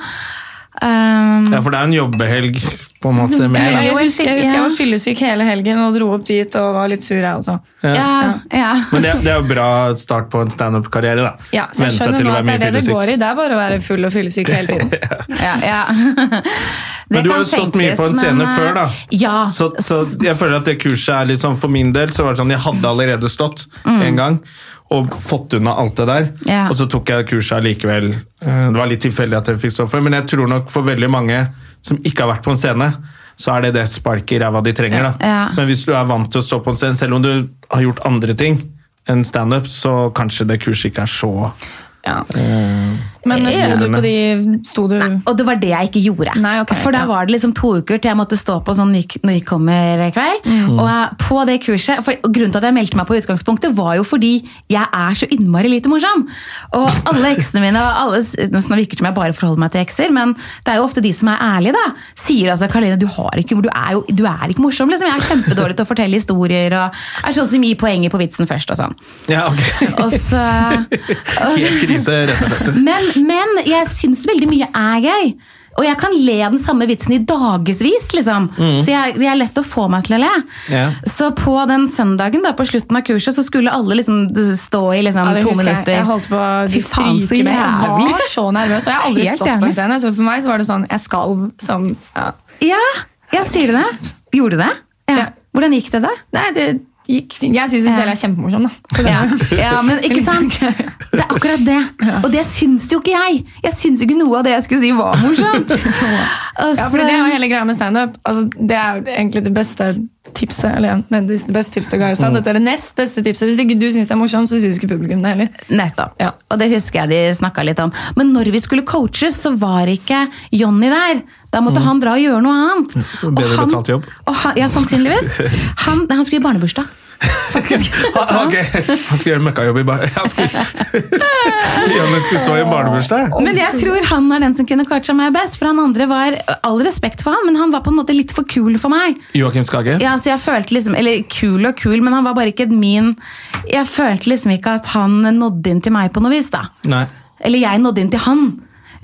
S4: Um,
S1: Ja, for det er en jobbehelg, på en måte.
S2: Jeg,
S1: Mer,
S2: jeg,
S1: da.
S2: husker, jeg husker jeg var fyllesyk hele helgen og dro opp dit og var litt sur, jeg også.
S4: ja, ja.
S1: Men det, det er jo bra start på en standup-karriere, da.
S2: Ja, så
S1: Venne
S2: jeg
S1: seg
S2: skjønner
S1: til å
S2: nå
S1: være
S2: at det
S1: mye
S2: er det det
S1: fyllesyk.
S2: går i. Det er bare å være full og fyllesyk hele tiden.
S4: ja, ja. Det
S1: Men du har
S4: kan
S1: jo stått mye på en
S4: tenkes,
S1: scene
S4: men, eh,
S1: før, da.
S4: Ja.
S1: Så, så jeg føler at det kurset er litt sånn For min del så var det sånn jeg hadde allerede stått en gang og fått unna alt det der.
S4: Mm. Ja.
S1: Og så tok jeg kurset allikevel. Eh, Det var litt tilfeldig at jeg fikk stå for, men jeg tror nok for veldig mange som ikke har vært på en scene, så er det det sparket i ræva de trenger. da.
S4: Ja.
S1: Men hvis du er vant til å stå på en scene, selv om du har gjort andre ting enn standup, så kanskje det kurset ikke er så
S2: Ja. Men sto du på de sto du...
S4: Nei, og det var det jeg ikke gjorde.
S2: Nei, ok,
S4: For da
S2: ja.
S4: var det liksom to uker til jeg måtte stå på sånn nyk- nykommerkveld.
S2: Mm.
S4: Og jeg- på det kurset, for og Grunnen til at jeg meldte meg på utgangspunktet, var jo fordi jeg er så innmari lite morsom. Og alle eksene mine og alle, Nå virker det som jeg bare forholder meg til ekser, men det er jo ofte de som er ærlige, da. Sier altså Karoline, du, har ikke, humor, du er jo du er ikke morsom, liksom. Jeg er kjempedårlig til å fortelle historier og er sånn som gir poenget på vitsen først og sånn.
S1: Ja, ok.
S4: Og så
S1: Helt krise, rett og slett.
S4: men, men jeg syns veldig mye er gøy. Og jeg kan le den samme vitsen i dagevis, liksom. Så jeg, det er lett å få meg til å le.
S1: Ja.
S4: Så på den søndagen da, på slutten av kurset så skulle alle liksom stå i liksom,
S2: Ja, det
S4: to
S2: husker jeg.
S4: minutter.
S2: Jeg holdt på å
S4: Fy faen, så
S2: stryke med. Jeg
S4: jævlig.
S2: var så nervøs, og jeg har aldri
S4: Helt
S2: stått på
S4: jævlig.
S2: en scene. Så for meg så var det sånn Jeg skalv som ja.
S4: Ja, jeg sier du det? Gjorde du det? Ja.
S2: Ja.
S4: Hvordan gikk det, da?
S2: Nei, det gikk fint. Jeg syns jo selv jeg er kjempemorsom, da.
S4: Ja. men ikke sant? Det er akkurat det. Og det syns jo ikke jeg. Jeg syns jo ikke noe av det jeg skulle si var morsomt. Og
S2: Ja,
S4: så-
S2: fordi det er jo hele greia med standup. Altså, det er jo egentlig det beste tipset eller, nei, det beste tipset jeg ga i stad.
S1: Mm.
S2: Dette er det nest beste tipset. Hvis ikke du syns det er morsomt, så syns ikke publikum det heller.
S4: Nettopp.
S2: Ja.
S4: Og det husker jeg de snakka litt om. Men når vi skulle coaches, så var ikke Jonny der. Da måtte han dra og gjøre noe annet. Og
S1: Mm. Bedre
S4: han-
S1: betalt jobb.
S4: Og han, ja, sannsynligvis. Han, nei, han skulle i barnebursdag.
S1: Ah, ok. Han skal gjøre møkkajobb i bar... Han skal... Janne skulle stå i en barnebursdag.
S4: Men jeg tror han er den som kunne coacha meg best. For han andre var all respekt for han, men han var på en måte litt for kul for meg.
S1: Joakim Skage.
S4: Ja, så jeg følte liksom, Eller kul og kul, men han var bare ikke min Jeg følte liksom ikke at han nådde inn til meg på noe vis, da.
S1: Nei.
S4: Eller jeg nådde inn til han.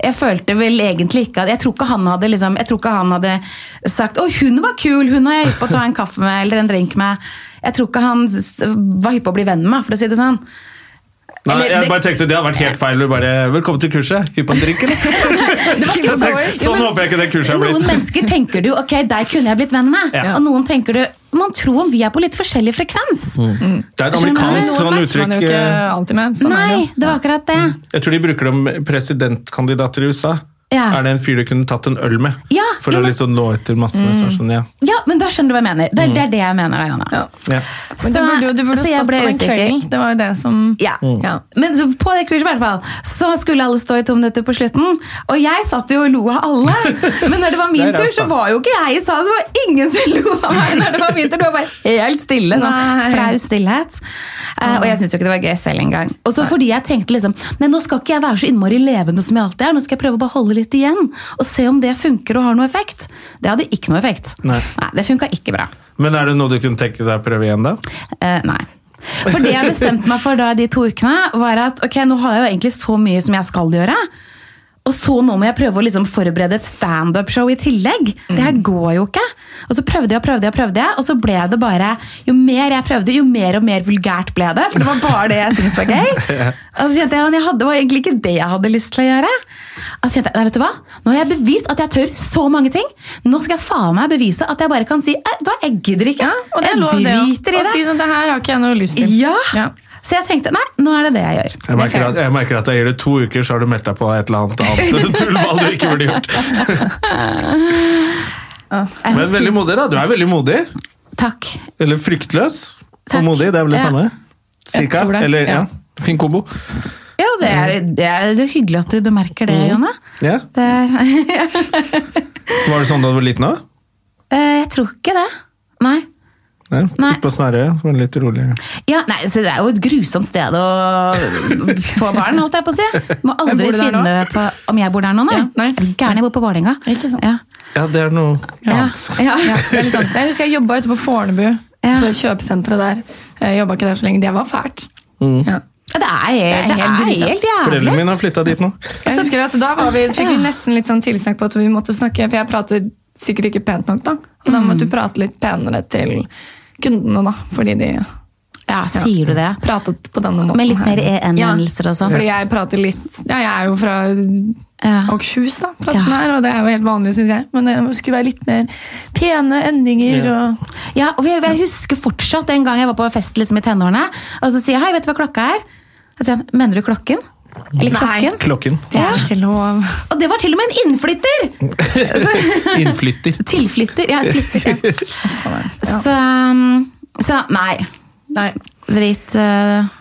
S4: Jeg følte vel egentlig ikke at, jeg tror ikke han hadde, liksom, jeg tror ikke han hadde sagt 'Å, hun var kul! Hun har jeg hypp på å ta en kaffe med eller en drink med'. Jeg tror ikke han s- var hypp på å bli venn med meg, for å si det sånn.
S1: Nei,
S4: Eller,
S1: jeg
S4: det-
S1: bare tenkte Det hadde vært helt feil. Du bare, Velkommen til kurset. Hypp på en drink, eller?
S4: Det var
S1: Jeg
S4: ikke så,
S1: tenkte,
S4: Jo,
S1: sånn
S4: men
S1: håper jeg ikke det kurset har
S4: Noen
S1: blitt.
S4: mennesker tenker du 'ok, der kunne jeg blitt venn med',
S1: Ja.
S4: og noen tenker du 'man tror om vi er på litt forskjellig frekvens'.
S1: Det Mm. Sånn er et
S4: Skjønner du?
S1: amerikansk
S4: Men
S2: Noen
S1: sånn
S2: matcher
S1: uttrykk.
S2: man jo ikke
S1: eh,
S2: alltid med. Sånn er det
S4: Nei,
S2: jo.
S4: det var akkurat det.
S1: Jeg tror de bruker det om presidentkandidater i USA.
S4: Ja.
S1: Er det en fyr du kunne tatt en øl med?
S4: Ja,
S1: for
S4: ja,
S1: å
S4: men- Mm.
S1: liksom nå etter massene. så er det Sånn, ja.
S4: Ja, men da skjønner du hva jeg mener. Det er det, er det jeg mener. da, Johanna.
S2: Ja.
S1: Ja.
S2: Men du
S4: Så-
S2: burde jo du burde
S4: så jeg
S2: stått på
S4: ble
S2: den
S4: usikker.
S2: kvelden. Det var jo det som
S4: Ja.
S2: Ja.
S4: Men så på det kurset i hvert fall, så skulle alle stå i to minutter på slutten. Og jeg satt jo og lo av alle. Men når det var
S1: Det
S4: min
S1: er
S4: tur,
S1: raust,
S4: så
S1: da.
S4: var jo ikke jeg i salen. Så var det ingen som lo av meg når det var min tur. Det var bare helt stille. Sånn
S2: Nei.
S4: flau stillhet. Eh, og jeg syntes jo ikke det var gøy selv engang. Og så fordi jeg tenkte liksom Men nå skal ikke jeg være så innmari levende som jeg alltid er. Nå skal jeg prøve å bare holde litt igjen. Og se om det funker og har noe effekt. Det hadde ikke noe effekt.
S1: Nei.
S4: det funka ikke bra.
S1: Men er det noe du kunne tenke deg å prøve igjen, da?
S4: Eh, nei. For det jeg bestemte meg for da de to ukene, var at ok, nå har jeg jo egentlig så mye som jeg skal gjøre. Og så nå må jeg prøve å liksom forberede et standup-show i tillegg. Det
S2: Mm.
S4: her går jo ikke. Og så prøvde jeg og prøvde jeg, og prøvde jeg, og så ble det bare Jo mer jeg prøvde, jo mer og mer vulgært ble det. For det var bare det jeg syntes var gøy. Og så kjente jeg, men jeg hadde, det var egentlig ikke det jeg hadde lyst til å gjøre. Og så kjente jeg, nei vet du hva? Nå har jeg bevist at jeg tør så mange ting. Nå skal jeg faen meg bevise at jeg bare kan si «Eh, vet du hva, jeg gidder ikke.
S2: Og det er
S4: jeg
S2: lov, det
S4: driter i
S2: Å
S4: det.
S2: si sånn, det her har ikke jeg noe lyst til.
S4: Ja. Så jeg tenkte nei, nå er det det jeg gjør.
S1: Jeg
S2: Det er
S1: merker,
S2: fair.
S1: at, jeg merker at jeg gir det to uker, så har du meldt deg på et eller annet annet tullball du ikke burde gjort.
S4: Jeg
S1: Men veldig
S4: synes-
S1: modig, da. Du er veldig modig.
S4: Takk.
S1: Eller fryktløs
S4: Takk.
S1: og modig. Det er vel det
S4: Ja.
S1: samme?
S2: Jeg
S1: Cirka.
S2: tror det,
S1: Eller, ja.
S2: ja.
S1: Fin kombo.
S4: Ja, det er, det er det er hyggelig at du bemerker det, Janne.
S1: Ja.
S4: Det er,
S1: Var det sånn da du var liten òg?
S4: Eh, jeg tror ikke det. Nei.
S1: Ja.
S4: Nei.
S1: Litt på Sverre, som er litt roligere.
S4: Ja, nei, så Det er jo et grusomt sted å få barn, holdt jeg på å si. Må aldri
S2: bor du der nå?
S4: finne på om jeg bor der nå, nei.
S2: Ja, nei.
S4: Er du Gæren, jeg bor på Vålerenga.
S2: Ikke sant.
S4: Ja.
S1: Ja, det er noe
S4: Ja.
S1: annet.
S4: Ja.
S2: Ja, det er litt annerledes. jeg husker jeg jobba ute på Fornebu,
S4: Ja.
S2: på det kjøpesenteret der. Jeg jobba ikke der så lenge. Det var fælt. Ja.
S4: Det er, det er
S2: grusomt.
S4: helt jævlig.
S1: Foreldrene mine har flytta dit nå.
S2: Jeg husker at Da var vi, fikk vi nesten litt sånn tilsnakk på at vi måtte snakke, for jeg prater sikkert ikke pent nok. da. Og
S4: Mm.
S2: da måtte du prate litt penere til kundene, da, fordi de
S4: Ja, sier du det?
S2: pratet på denne måten.
S4: Med litt mer
S2: her.
S4: EN-endelser og sånn.
S2: Fordi jeg prater litt Ja, jeg er jo fra
S4: Ja.
S2: Åkershus, da, prater
S4: Ja.
S2: sånn her, og det er jo helt vanlig, syns jeg. Men det skulle være litt mer pene endinger og
S4: Ja, og jeg, jeg husker fortsatt en gang jeg var på fest liksom, i tenårene, og så sier jeg 'hei, vet du hva klokka er?' Og så sier han 'mener du klokken?' Eller klokken?
S1: Klokken.
S2: Det
S4: Ja.
S2: er ikke lov.
S4: Og det var til og med en innflytter!
S1: Innflytter.
S4: Tilflytter. Ja, flytter, ja.
S2: Ja.
S4: Så, um, så nei.
S2: Nei.
S4: Drit eh,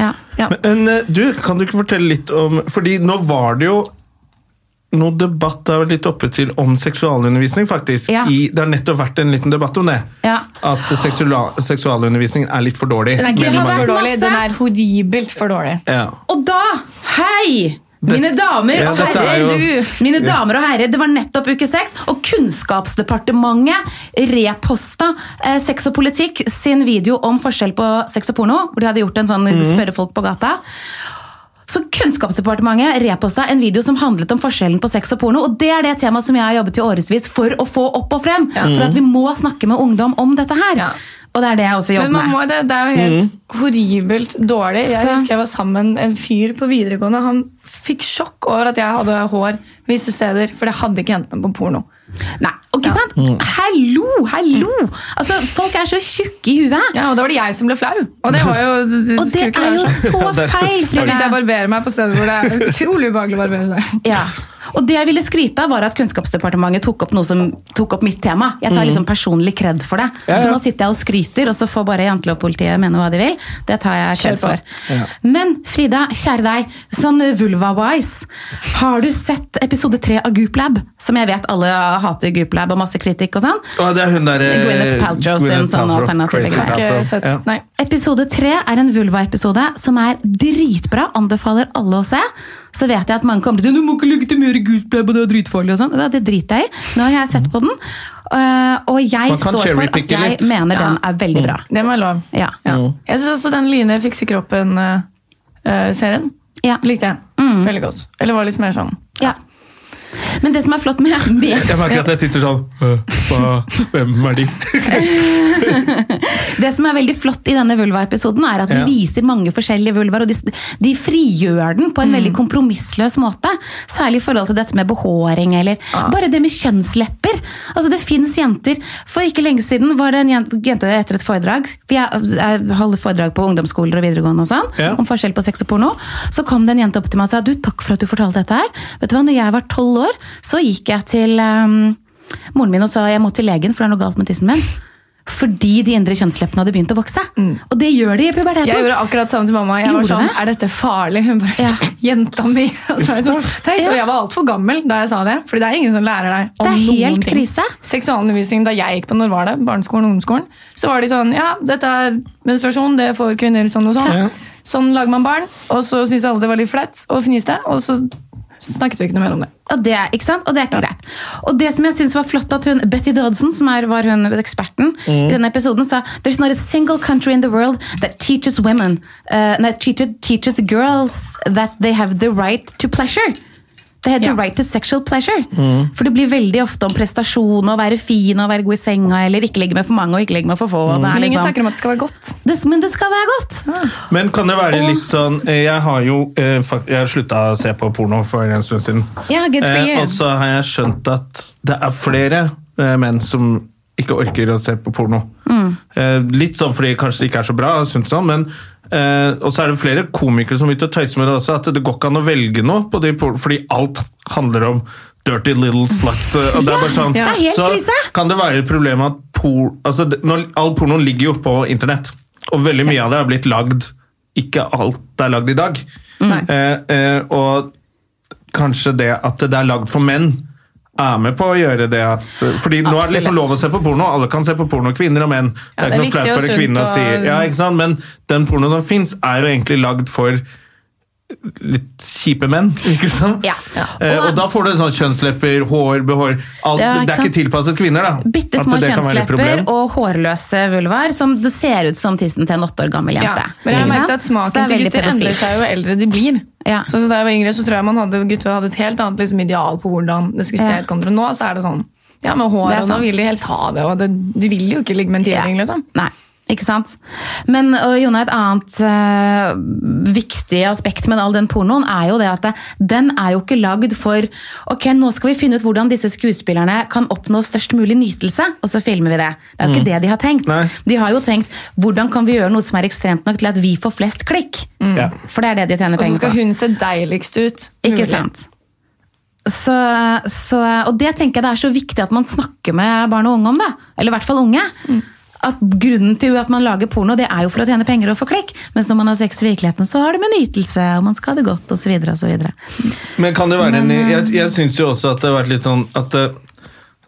S4: Ja.
S2: Ja.
S1: Men eh, du, kan du ikke fortelle litt om Fordi nå var det jo noe debatt da var litt oppe til om seksualundervisning, faktisk.
S4: Ja.
S1: I, det har nettopp vært en liten debatt om det.
S4: Ja.
S1: At seksuala- seksualundervisningen er litt for dårlig.
S2: Den er ikke
S1: Men
S2: litt
S1: man-
S2: for
S4: vært
S2: dårlig,
S4: masse.
S2: den er horribelt for dårlig.
S1: ja.
S4: Og da, hei! Mine
S1: Dette-
S4: damer
S1: Ja,
S4: og
S1: dette er
S4: herrer,
S1: jo-
S4: du, mine damer og herrer, det var nettopp uke seks, og Kunnskapsdepartementet reposta eh, Sex og politikk sin video om forskjell på sex og porno, hvor de hadde gjort en sånn
S1: Mhm.
S4: spørre folk på gata. Så Kunnskapsdepartementet reposta en video som handlet om forskjellen på sex og porno. og Det er det temaet som jeg har jobbet i årevis for å få opp og frem. For at vi
S1: Mhm.
S4: må snakke med ungdom om dette her.
S2: Ja.
S4: Og det er det jeg også
S2: Men
S4: jobber
S2: man
S4: med.
S2: må det, det er jo helt horribelt dårlig. Jeg
S4: Så-
S2: husker jeg var sammen med en fyr på videregående. Han fikk sjokk over at jeg hadde hår visse steder, for det hadde ikke jentene på porno.
S4: Nei, og ikke sant?
S1: Mm.
S4: Hallo, hallo! Altså, Folk er så tjukke i huet.
S2: Ja, Og da var det jeg som ble flau. Og det var jo det, det,
S4: Og det
S2: skulle ikke
S4: er
S2: være
S4: jo
S2: sånn.
S4: så
S1: det er-
S4: feil!
S2: Det er
S4: Frida.
S2: litt jeg barberer meg på steder hvor det er utrolig ubehagelig å barbere seg.
S4: Ja. Og det jeg ville skryte av, var at Kunnskapsdepartementet tok opp noe som tok opp mitt tema. Jeg tar liksom personlig kred for det.
S1: Mm. Ja,
S4: Så
S1: ja.
S4: nå sitter jeg og skryter, og så får bare jantelovpolitiet mene hva de vil. Det tar jeg
S2: Kjør
S4: kred
S2: på.
S4: for. Men Frida, kjære deg, sånn vulva-wise, har du sett episode tre av Gooplab? Som jeg vet alle hater Gooplab og masse kritikk og sånn.
S1: Og det er hun eh, derre
S4: Gwyneth Paltrow sin sånn alternativ greie.
S2: Ikke søtt.
S1: Ja.
S2: Nei.
S4: Episode tre er en vulva-episode som er dritbra. Anbefaler alle å se. Så vet jeg at mange kommer til å si, du må ikke legitimere gult blei, det er dritfarlig. og sånn. Ja, Det driter jeg i. Nå har jeg sett på den, øh, og jeg
S1: Man kan
S4: står for at
S1: cherrypicke
S4: jeg
S1: litt.
S4: mener den er veldig bra.
S1: Mm.
S2: Det må være lov.
S4: Ja.
S2: Ja. Jeg syns også den Line fikser kroppen-serien
S4: Ja.
S2: eh,
S4: Mm.
S2: likte jeg. Veldig godt. Eller var litt mer sånn
S4: Ja. Men det som er flott med, med
S1: Jeg merker at jeg sitter sånn «Øh, hva- Hvem er de?
S4: Det som er veldig flott i denne vulva-episoden, er at de
S1: Ja.
S4: viser mange forskjellige vulvar, og de, de frigjør den på en
S1: Mm.
S4: veldig kompromissløs måte. Særlig i forhold til dette med behåring, eller bare det med kjønnslepper. Altså, det fins jenter. For ikke lenge siden var det en jen- jente etter et foredrag for jeg, jeg holder foredrag på ungdomsskoler og videregående og sånn,
S1: Ja.
S4: om forskjell på sex og porno. Så kom det en jente opp til meg og sa du, takk for at du fortalte dette her. Vet du hva, når jeg var tolv år, så gikk jeg til ehm, moren min og sa jeg må til legen, for det er noe galt med tissen min. Fordi de indre kjønnsleppene hadde begynt å vokse. Og det gjør de i
S2: Mm.
S4: puberteten.
S2: Jeg gjorde akkurat samme til mamma. Jeg var
S4: Gjorde
S2: sånn,
S4: det?
S2: er dette farlig? Hun bare,
S4: Ja.
S2: jenta mi. Og så var jeg sånn, Tenk, så
S4: Ja.
S2: jeg var altfor gammel da jeg sa det, Fordi det er ingen som lærer deg om
S4: Det er
S2: noen
S4: helt
S2: ting.
S4: krise.
S2: Seksualundervisning da jeg gikk på når var det, barneskolen og ungdomsskolen, så var de sånn, ja, dette er menstruasjon, det får kvinner sånn og sånn.
S1: Ja.
S2: Sånn lager man barn, og så syntes alle det var litt flaut og fniste, og så snakket vi ikke noe mer om det.
S4: Og det, er- ikke sant? Og det er ikke greit. Og det som jeg synes var flott at hun, Betty Dodson, som er, var hun eksperten
S2: Mm.
S4: i denne episoden, sa «There's not a single country in the world that teaches women, uh, that teaches, teaches girls that they have the right to pleasure». Det heter
S2: Ja. Mm.
S4: right to sexual pleasure. For det blir veldig ofte om prestasjon, å være fin, å være god i senga, eller ikke ligge med for mange og ikke ligge med for få. og Det er
S2: Mm. Men ingen
S4: liksom,
S2: snakker om Ah. at det skal være godt.
S4: det, men det skal være godt!
S1: Men kan det være litt sånn eh, Jeg har jo eh, fakt- jeg har slutta å se på porno for en stund siden.
S4: Ja, good
S2: Eh,
S4: for you.
S1: Eh,
S2: altså,
S1: og så har jeg skjønt at det er flere eh, menn som ikke orker å se på porno.
S4: Mm.
S1: Eh, litt sånn fordi kanskje det ikke er så bra, synes jeg, sånn, men eh, og så er det flere komikere som begynte å tøyse med det også, at det går ikke an å velge noe på de por- fordi alt handler om dirty little slut. eh, Og det er bare sånn,
S4: Ja, det er helt
S1: så
S4: krise.
S1: kan det være et problem at por, altså, det- når, all porno ligger jo på internett, og veldig mye av det er blitt lagd, ikke alt er lagd i dag.
S4: Mm.
S1: Eh, eh, og kanskje det at det er lagd for menn, er med på å gjøre det at Fordi nå er det liksom
S4: Absolutt.
S1: lov å se på porno, alle kan se på porno, kvinner og menn.
S2: Ja,
S1: det er ikke noe
S2: det er viktig
S1: flaut
S2: og
S1: for en
S2: sunt
S1: kvinne å si
S2: og-
S1: ja, ikke sant? Men den pornoen som fins, er jo egentlig lagd for litt kjipe menn, ikke sant?
S4: Ja.
S1: Eh, og da får du sånn kjønnslepper, hår, behår alt,
S4: Ja, ikke
S1: Det er ikke
S4: sant?
S1: tilpasset kvinner, da.
S4: Bitte
S1: At
S4: små
S1: det kan være et
S4: kjønnslepper
S1: problem.
S4: og hårløse vulvar som det ser ut som tissen til en åtte år gammel
S2: Ja,
S4: jente.
S2: men jeg har
S4: Ikke
S2: merket
S4: sant?
S2: at
S4: Så det
S2: smaken
S4: er
S2: til
S4: veldig
S2: gutter endrer
S4: pedofilt.
S2: seg jo eldre de blir.
S4: Ja.
S2: Så, så da jeg var yngre, så tror jeg man hadde, gutter hadde et helt annet liksom, ideal på hvordan det skulle
S4: Ja.
S2: se ut. kontra Nå så er det sånn Ja, med
S4: Det er
S2: håret, og nå
S4: sant.
S2: vil de helst ha det, og det, du vil jo ikke ligge med en tiåring, liksom.
S4: Nei, ikke sant? Men og Jona, et annet eh, viktig aspekt med all den pornoen er jo det at det, den er jo ikke lagd for ok, nå skal vi finne ut hvordan disse skuespillerne kan oppnå størst mulig nytelse, og så filmer vi det. Det er jo ikke det de har tenkt.
S1: Mm. Nei.
S4: De har jo tenkt hvordan kan vi gjøre noe som er ekstremt nok til at vi får flest klikk?
S1: Mm. Ja.
S4: For det er det de tjener
S2: Og så
S4: penger på.
S2: skal hun se deiligst ut.
S4: Ikke
S2: mulig.
S4: sant? Så,
S2: Mm.
S4: så, og det tenker jeg det er så viktig at man snakker med barn og unge om det. Eller i hvert fall unge. at grunnen til at man lager porno, det er jo for å tjene penger og få klikk. Mens når man har sex i virkeligheten, så har det med nytelse, og man skal ha det godt, osv. osv.
S1: Men kan det være en Jeg,
S4: eh,
S1: jeg syns jo også at det har vært litt sånn at eh,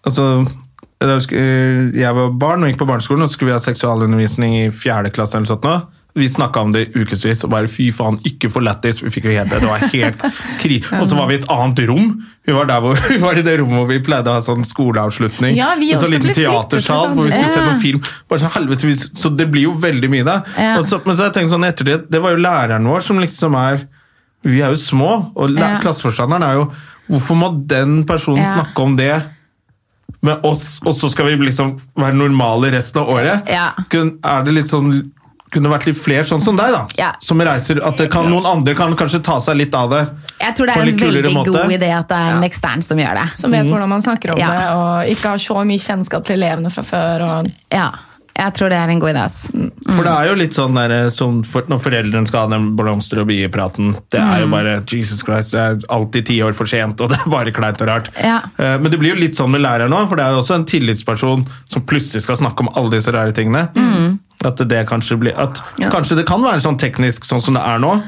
S1: Altså jeg husker, eh, jeg var barn og gikk på barneskolen, og så skulle vi ha seksualundervisning i fjerde klasse. eller sånt nå. Vi snakka om det i ukevis og bare fy faen, ikke for lættis. Vi fikk jo helt det. det var helt kri. Og så var vi i et annet rom. Vi var, der hvor, vi var i det rommet hvor vi pleide å ha sånn skoleavslutning.
S4: Ja, vi
S1: og så
S4: også ble
S1: liten
S4: flyttet til
S1: teatersal hvor vi skulle se
S4: sånn-
S1: noe
S4: Ja.
S1: film. Bare sånn, helvete, vi- så det blir jo veldig mye da.
S4: Ja.
S1: Og så, men så har jeg tenkt sånn etter det, det var jo læreren vår som liksom er Vi er jo små, og lær,
S4: Ja.
S1: klasseforstanderen er jo Hvorfor må den personen
S4: Ja.
S1: snakke om det med oss, og så skal vi liksom være normale resten av året?
S4: Ja.
S1: Kun- Er det litt sånn kunne det vært litt flere sånn som deg, da.
S4: Ja.
S1: Som reiser, at det kan, Noen andre kan kanskje ta seg litt av det.
S4: Jeg tror det
S1: på
S4: er en
S1: litt kulere
S4: veldig
S1: måte. Mm.
S4: god idé at det er en ekstern som gjør det.
S2: Som vet hvordan man snakker om
S4: Mm. Ja.
S2: det, og ikke har så mye kjennskap til elevene fra før. Og
S4: Ja, jeg tror det er en god idé. ass.
S2: Mm.
S1: For det er jo litt sånn der, eh, som for, når foreldrene skal ha den blomster- og biepraten. Det er
S2: Mm.
S1: jo bare Jesus Christ, det er alltid ti år for sent, og det er bare kleint og rart.
S4: Ja.
S1: Eh, Men det blir jo litt sånn med læreren òg, for det er jo også en tillitsperson som plutselig skal snakke om alle disse rare tingene. At det kanskje blir at
S2: Mm. Ja.
S1: Kanskje det kan være sånn teknisk sånn som det er nå,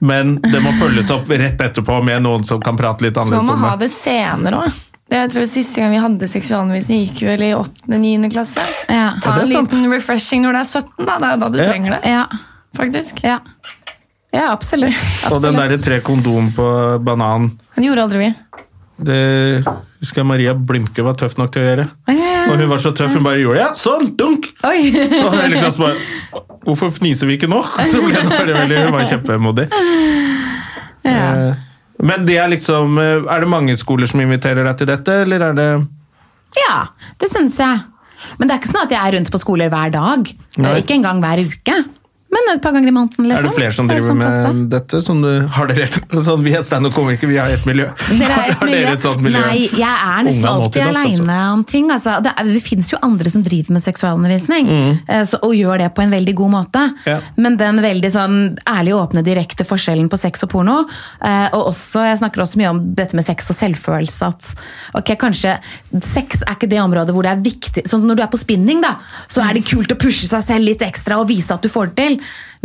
S1: men det må følges opp rett etterpå med noen som kan prate litt
S2: Så man
S1: annerledes
S2: må
S1: om
S2: ha
S1: det.
S2: det senere òg. Jeg tror Siste gang vi hadde seksualundervisning, gikk jo vel i 8.-9. klasse.
S4: Ja.
S1: Ja,
S2: Ta en
S1: det er sant.
S2: liten refreshing når det er 17, da. Det er jo da du
S1: Ja.
S2: trenger det.
S4: Ja,
S2: faktisk.
S4: ja. ja absolutt.
S1: Og den
S4: absolutt.
S1: derre tre kondom på banan
S2: Den gjorde aldri vi.
S1: Det husker jeg Maria Blimke var tøff nok til å gjøre. Og hun var så tøff, hun bare gjorde det. Ja, sånn, dunk!
S4: Oi!
S1: Og hele klassen bare Hvorfor fniser vi ikke nå? Så ble det bare veldig, Hun var kjempemodig. Eh, Men det er liksom eh, Er det mange skoler som inviterer deg til dette, eller er det
S4: Ja, det syns jeg. Men det er ikke sånn at jeg er rundt på skoler hver dag.
S1: Nei.
S4: Ikke engang hver uke. Men et par ganger i måneden. liksom.
S1: er det flere som
S4: Det er
S1: driver
S4: sånn passe.
S1: med dette? Som du, har dere sånn, Vi er standup-komikere, vi har et miljø.
S4: Dere er et
S1: Har
S4: miljø.
S1: dere et sånt miljø?
S4: Nei, jeg er nesten
S1: Ungdom
S4: alltid
S1: alltid, altså.
S4: aleine om ting. Altså. Det, er- det finnes jo andre som driver med seksualundervisning, eh, så, og gjør det på en veldig god måte.
S1: Mm. Ja.
S4: Men den veldig sånn ærlig åpne, direkte forskjellen på sex og porno, eh, og også, jeg snakker også mye om dette med sex og selvfølelse, at ok, kanskje sex er ikke det området hvor det er viktig, sånn som når du er på spinning da, så er det kult å pushe seg selv litt ekstra og vise at du får det til,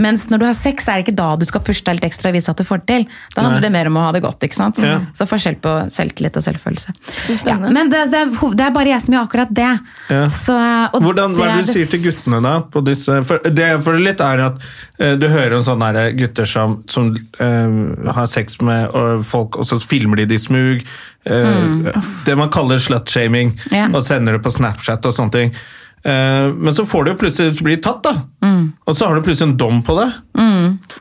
S4: mens når du har sex er det ikke da du skal pushe deg litt ekstra og vise at du får det til. Da handler
S1: Nei.
S4: det mer om å ha det godt, ikke sant?
S1: Ja.
S4: Så forskjell på selvtillit og selvfølelse. Ja,
S2: spennende.
S4: men det, det, er, hov- det er bare jeg som gjør akkurat det.
S1: Ja.
S4: Så, og
S1: Hvordan, hva er det du
S4: det-
S1: sier til guttene da? På disse, for det jeg føler litt er at eh, du hører om sånne her gutter som, som eh, har sex med og folk, og så filmer de det i smug. eh, Det man kaller slutshaming,
S4: Mm. Ja.
S1: og sender det på Snapchat og sånne ting. Eh, men så får du jo plutselig bli tatt, da.
S4: Mm.
S1: Og så har du plutselig en dom på det.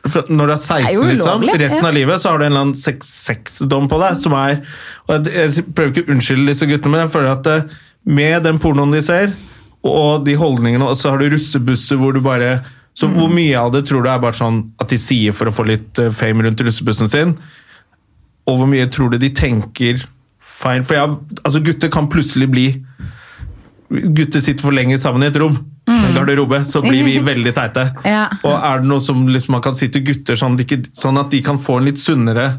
S1: For når du er 16,
S4: Det er jo
S1: liksom,
S4: ulovlig,
S1: resten
S4: ja.
S1: av livet, så har du en eller annen sex- sexdom på deg. Som er, og jeg, jeg prøver ikke å unnskylde disse guttene, men jeg føler at eh, med den pornoen de ser, og de holdningene, og så har du russebusser hvor du bare så Hvor
S4: Mm.
S1: mye av det tror du er bare sånn at de sier for å få litt eh, fame rundt russebussen sin? Og hvor mye tror du de tenker feil? For jeg, har- altså gutter kan plutselig bli Gutter sitter for lenge sammen i et rom. En garderobe, så blir vi veldig teite.
S4: Mm. Ja.
S1: Og er det noe som liksom, man kan si til gutter, sånn, at de ikke, sånn at de kan få en litt sunnere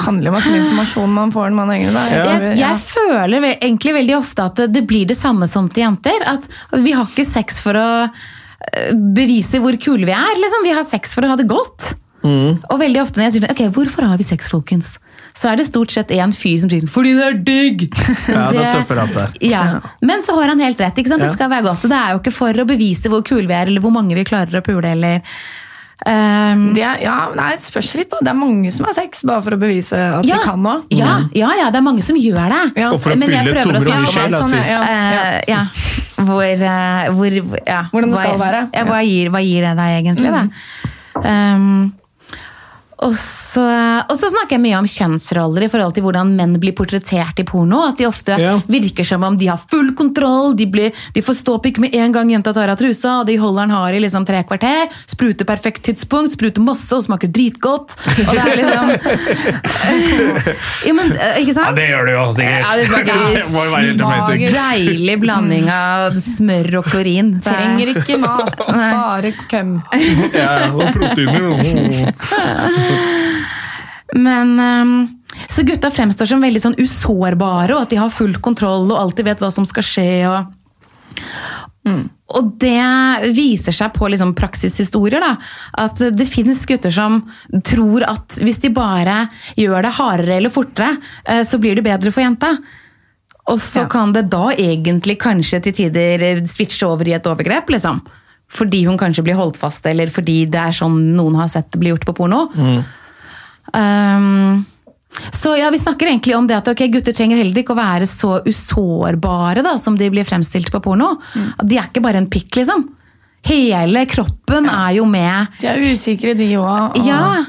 S2: handler jo om at mye informasjon man får når man er yngre. Da. Jeg, tror-
S4: Jeg,
S2: ja.
S4: jeg føler ve- egentlig veldig ofte at det blir det samme som til jenter. At vi har ikke sex for å eh, bevise hvor kule vi er. Liksom. Vi har sex for å ha det godt.
S1: Mm.
S4: Og veldig ofte når jeg sier sånn, ok, hvorfor har vi sex, folkens? Så er det stort sett én fyr som sier 'fordi det er digg'.
S1: Ja,
S4: Så
S1: da
S4: jeg-
S1: tøffer han seg.
S4: Ja. Men så har han helt rett. ikke sant?
S1: Ja.
S4: Det skal være godt. Så det er jo ikke for å bevise hvor kule vi er, eller hvor mange vi klarer å pule, eller ehm,
S2: Det er, ja, nei, det spørs litt på. Det er mange som har sex bare for å bevise at
S4: ja,
S2: de kan òg.
S4: ja, ja, ja, det er mange som gjør det.
S2: Mm. Ja.
S1: Og altså. for å
S4: Men jeg
S1: fylle
S4: prøver å
S1: tomrom i
S4: snakke om
S1: sjela
S2: sånn,
S1: si.
S2: ja.
S4: Eh, ja. Hvor, eh, hvor ja.
S2: Hvordan det
S4: hva-
S2: skal være. Mm.
S4: Ja, hva, gir, hva gir det deg egentlig, da? Um, og så, og så snakker jeg mye om kjønnsroller i forhold til hvordan menn blir portrettert i porno. At de ofte
S1: Ja.
S4: virker som om de har full kontroll, de, blir, de får ståpikk med en gang jenta tar av trusa, og de holder den hard i liksom tre kvarter. Spruter perfekt tidspunkt, spruter masse og smaker dritgodt. Og det er liksom Jo, men, eh, ikke
S1: Ja,
S4: sant?
S1: det gjør du jo sikkert.
S4: Ja, det smaker
S1: Det må jo være helt amazing.
S4: Deilig blanding av smør og klorin. Det er-
S2: Trenger ikke mat, bare køm.
S1: Ja, ja, og proteiner. og-
S4: Men ehm, Så gutta fremstår som veldig sånn usårbare, og at de har full kontroll og alltid vet hva som skal skje. og Og det viser seg på liksom praksishistorier da, at det finnes gutter som tror at hvis de bare gjør det hardere eller fortere, eh, så blir det bedre for jenta. Og så
S2: Ja.
S4: kan det da egentlig kanskje til tider eh, switche over i et overgrep, liksom. Fordi hun kanskje blir holdt fast, eller fordi det er sånn noen har sett det bli gjort på porno. Um, så ja, vi snakker egentlig om det at ok, gutter trenger heller ikke å være så usårbare da, som de blir fremstilt på porno. At De er ikke bare en pikk, liksom. Hele kroppen er jo med.
S2: De er usikre, de òg.
S4: Ja.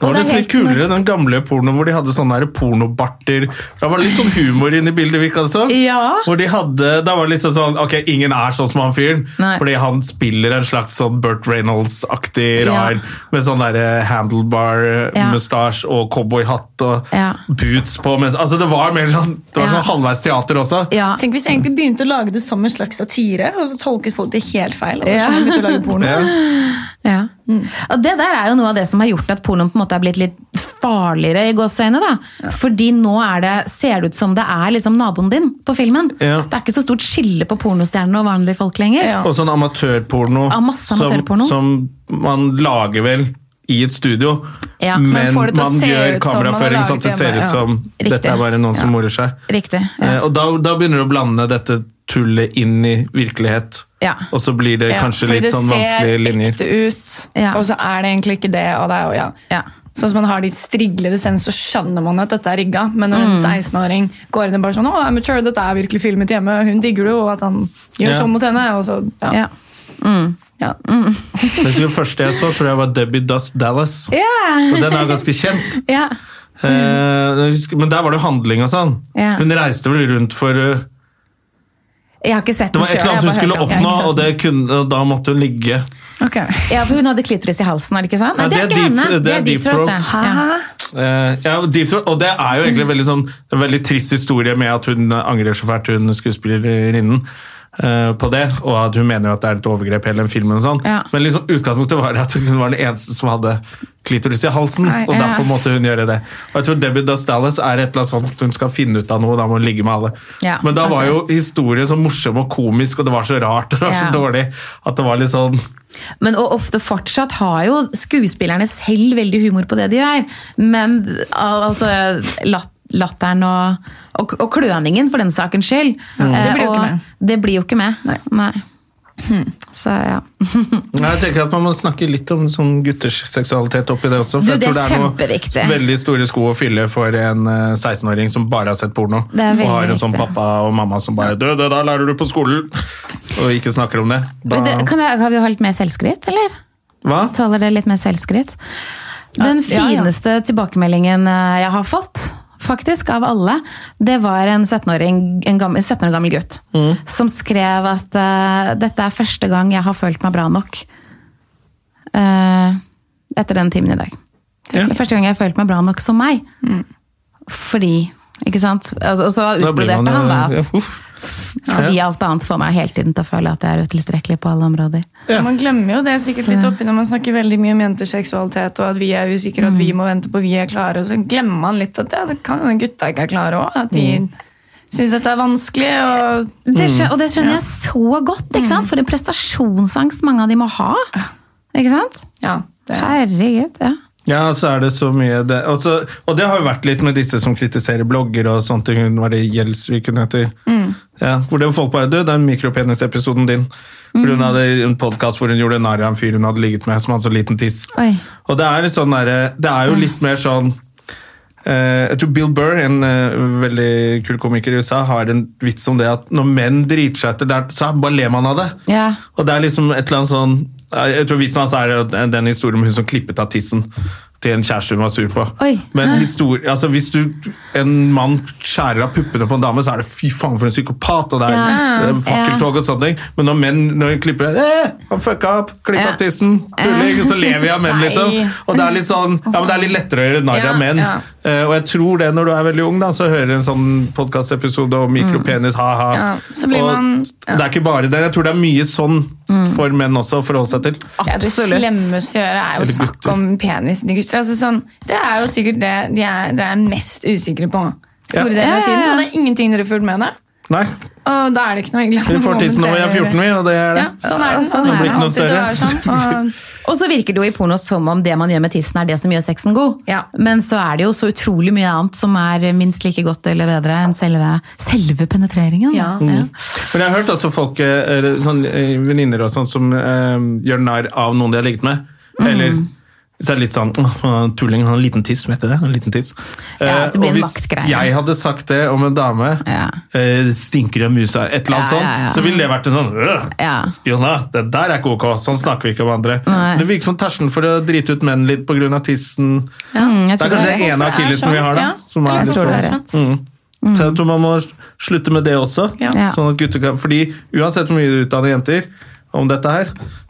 S1: Det var
S4: Og det er
S1: nesten litt
S4: helt
S1: kulere, den gamle porno hvor de hadde sånne her pornobarter. Det var litt sånn humor inne i bildet, virka det som.
S4: Ja.
S1: Hvor de hadde, da var det liksom sånn Ok, ingen er sånn som han fyren,
S4: Nei.
S1: fordi han spiller en slags sånn Burt Reynolds-aktig
S4: Ja.
S1: rar med sånn derre
S4: Ja.
S1: handlebar-mustasje eh, og cowboyhatt og
S4: Ja.
S1: boots på mens Altså, det var mer sånn, det var
S4: Ja.
S1: sånn halvveis teater også.
S4: Ja.
S2: Tenk hvis de egentlig begynte å lage det som en slags satire, og så tolket folk det helt feil. Og
S4: Ja.
S2: så begynte å lage porno.
S1: Ja.
S4: Ja. Mm. Og det der er jo noe av det som har gjort at pornoen på en måte er blitt litt farligere i gåseøyne. da. Fordi nå er det, ser det ut som det er liksom naboen din på filmen.
S1: Ja.
S4: Det er ikke så stort skille på pornostjernene og vanlige folk lenger.
S2: Ja.
S1: Og sånn amatørporno,
S4: Ja, masse
S1: Som,
S4: amatørporno.
S1: som man lager vel i et studio,
S4: Ja, men
S1: men
S2: får det til å
S1: man
S2: se
S1: gjør
S2: ut som man har
S1: kameraføring sånn at det
S2: laget
S1: ser
S2: hjemme,
S1: ut
S2: ja.
S1: som
S4: Riktig.
S1: dette er bare noen som
S2: Ja.
S1: morer seg.
S4: Riktig. Ja.
S1: Eh, og da, da begynner du å blande dette tullet inn i virkelighet,
S4: Ja.
S1: og så blir det
S2: Ja,
S1: kanskje
S2: fordi
S1: litt sånn vanskelige linjer.
S2: Det ser ekte ut,
S4: Ja.
S2: og så er det egentlig ikke det. Og det er jo, ja.
S4: Ja.
S2: Sånn som man har de striglede scenene, så skjønner man at dette er rigga. Men når en 16-åring går inn og bare sånn, å, amateur, dette er virkelig filmet hjemme, hun digger det jo, og at han gjør
S1: Ja.
S2: sånn mot henne. Og så, ja.
S4: Ja.
S2: Ja.
S1: Men Det første jeg så, tror jeg var Debbie Dust Dallas, og den er ganske kjent.
S4: Ja.
S1: Eh, jeg husker- men der var det jo handling og sånn.
S4: Ja.
S1: Hun reiste vel rundt for eh,
S4: Jeg har ikke sett
S1: Det
S4: den
S1: var et
S4: selv,
S1: eller annet hun
S4: jeg har bare
S1: skulle
S4: hørt om
S1: oppnå,
S4: den.
S1: og, det kunne, og da måtte hun ligge.
S2: Ok.
S4: Ja, for hun hadde klitoris i halsen, er det ikke sant? Nei,
S1: Ja,
S4: det er
S1: det er
S4: ikke
S1: deep-
S4: henne.
S1: det er deep throat.
S4: Ja.
S1: Eh, ja, og de, og det er jo egentlig veldig sånn, en veldig trist historie med at hun angrer så fælt, hun skuespillerinnen, eh, på det, og at hun mener jo at det er et overgrep hele den filmen. og Sånn.
S4: Ja.
S1: Men liksom utgangspunktet var at hun var den eneste som hadde klitoris i halsen,
S2: Nei,
S1: og
S4: ja.
S1: derfor måtte hun gjøre det. Og jeg tror Debbie Does Dallas er et eller annet sånt, hun skal finne ut av noe, da må hun ligge med alle.
S4: Ja,
S1: Men da var jo historien så morsom og komisk, og det var så rart, og det var så
S4: Ja.
S1: dårlig, at det var litt sånn...
S4: Men og ofte fortsatt har jo skuespillerne selv veldig humor på det de gjør. Men al- altså lat, latteren og, og, og kløningen, for den sakens skyld. eh,
S2: Det blir jo
S4: og
S2: ikke med.
S4: Det blir jo ikke med. Nei. Hm. Så ja.
S1: Nei, jeg tenker at Man må snakke litt om sånn gutters seksualitet oppi det også.
S4: Du,
S1: For
S4: det
S1: jeg tror det
S4: er
S1: er
S4: kjempeviktig.
S1: noe veldig store sko å fylle for en eh, 16-åring som bare har sett porno.
S4: Det er veldig
S1: og har en sånn
S4: viktig.
S1: pappa og mamma som bare 'Du, det der lærer du på skolen', og ikke snakker om det. Da,
S4: Det- Kan jeg, kan vi ha litt mer selvskryt, eller?
S1: hva?
S4: Tåler det litt mer selvskryt? Den
S2: Ja, ja.
S4: fineste tilbakemeldingen eh, jeg har fått, faktisk, av alle, det var en 17-åring, en gammel, 17 år gammel gutt,
S1: Mm.
S4: som skrev at eh, dette er første gang jeg har følt meg bra nok. eh, etter den timen i dag.
S1: Ja.
S4: Det er første gang jeg har følt meg bra nok som meg. Fordi, ikke sant? Altså, og så
S1: Da blir man
S4: utbroderte han
S1: jo-
S4: da at
S1: ja, uff.
S4: fordi alt annet får meg hele tiden til å føle at jeg er utilstrekkelig på alle områder.
S1: Ja.
S2: Man glemmer jo det sikkert litt oppi når man snakker veldig mye om jenters seksualitet, og at vi er usikre, og at vi må vente på vi er klare, og så glemmer man litt at ja, det kan hende gutta ikke er klare òg. At de syns dette er vanskelig. og...
S4: Det skjø- og det skjønner jeg så godt, ikke sant? For en prestasjonsangst mange av de må ha. Ikke sant?
S2: Ja, det er
S4: Herregud, ja.
S1: Ja, så er det så mye det. Og, så, og det har jo vært litt med disse som kritiserer blogger og sånt. Hun var det Gjelsvik hun heter. Ja, hvor det var folk bare Du, den mikropenis-episoden din. For hun hadde en podkast hvor hun gjorde narr av en fyr hun hadde ligget med som hadde så liten tiss.
S4: Oi.
S1: Og det er, litt sånn derre- det er jo litt mer sånn eh, jeg tror Bill Burr, en eh, veldig kul komiker i USA, har en vits om det at når menn driter seg etter, der, så bare ler man av det.
S4: Ja.
S1: Og det er liksom et eller annet sånn Jeg tror vitsen hans er jo den historien om hun som klippet av tissen til en kjæreste hun var sur på.
S4: Oi.
S1: Men histori- altså hvis du, en mann skjærer av puppene på en dame, så er det fy faen for en psykopat, og det er
S4: Ja.
S1: det er fakkeltog og sånne ting. Men når menn når de klipper eh, han fucka opp, klippa
S4: Ja.
S1: tissen, tulling, så ler vi av menn,
S2: Nei.
S1: liksom. Og det er litt sånn, ja, men det er litt lettere å gjøre narr
S2: Ja,
S1: av menn.
S2: ja.
S1: Eh, og jeg tror det når du er veldig ung, da, så hører du en sånn podkastepisode om mikropenis, ha-ha.
S2: Ja, så blir
S1: og
S2: man- ja.
S1: Det er ikke bare det. Jeg tror det er mye sånn
S4: Mm.
S1: for menn også å forholde seg til.
S2: Ja, det slemmeste å gjøre er jo
S1: Eller
S2: snakk
S1: gutter.
S2: om penisen til gutter. Altså, sånn, det er jo sikkert det de er, dere er mest usikre på.
S1: Ja.
S2: Store deler av
S4: Ja, ja,
S2: tiden,
S4: ja.
S2: og det er ingenting dere har fulgt med. Det.
S1: Nei,
S2: Og da er det ikke noe hyggelig. at
S1: Vi
S2: noen
S1: får tissen når vi er
S2: kommenterer.
S1: 14, vi, og det er det.
S4: Ja, sånn er det. Sånn
S1: Det
S4: er
S1: blir ikke noe
S4: Alltid å være
S1: større.
S4: sånn. Og- Og så virker det jo i porno som om det man gjør med tissen er det som gjør sexen god.
S2: Ja.
S4: Men så er det jo så utrolig mye annet som er minst like godt eller bedre enn selve, selve penetreringen.
S2: Ja.
S1: Men jeg har hørt altså folk, eh, sånn, eh, venninner og sånn, som eh, gjør narr av noen de har ligget med.
S4: Mm.
S1: Eller så er det litt sånn «Åh, faen, Tulling, han har en liten tiss, vet du det? En liten tiss.
S4: Ja,
S1: Eh,
S4: det blir
S1: og
S4: en
S1: hvis
S4: maktgreie.
S1: jeg hadde sagt det om en dame,
S4: Ja.
S1: eh, stinker av musa, et eller annet
S4: Ja, ja, ja.
S1: sånt, så ville det vært en sånn «Øh,
S4: Ja.
S1: Jonna, det der er ikke ok, sånn snakker vi ikke om andre.
S4: Nei.
S1: Det virker som terskelen for å drite ut menn litt pga. tissen
S4: Mm, jeg
S1: Det er
S4: tror
S1: kanskje
S4: det.
S1: det ene
S2: Det er
S1: akillesen vi
S2: sånn,
S1: har, da.
S2: ja.
S1: Som er
S4: Jeg
S1: litt
S4: tror
S1: sånn.
S4: det er rett.
S1: Mm. Så jeg tror man må slutte med det også.
S2: Ja.
S1: Sånn at gutter kan, fordi uansett hvor mye du utdanner jenter om dette her,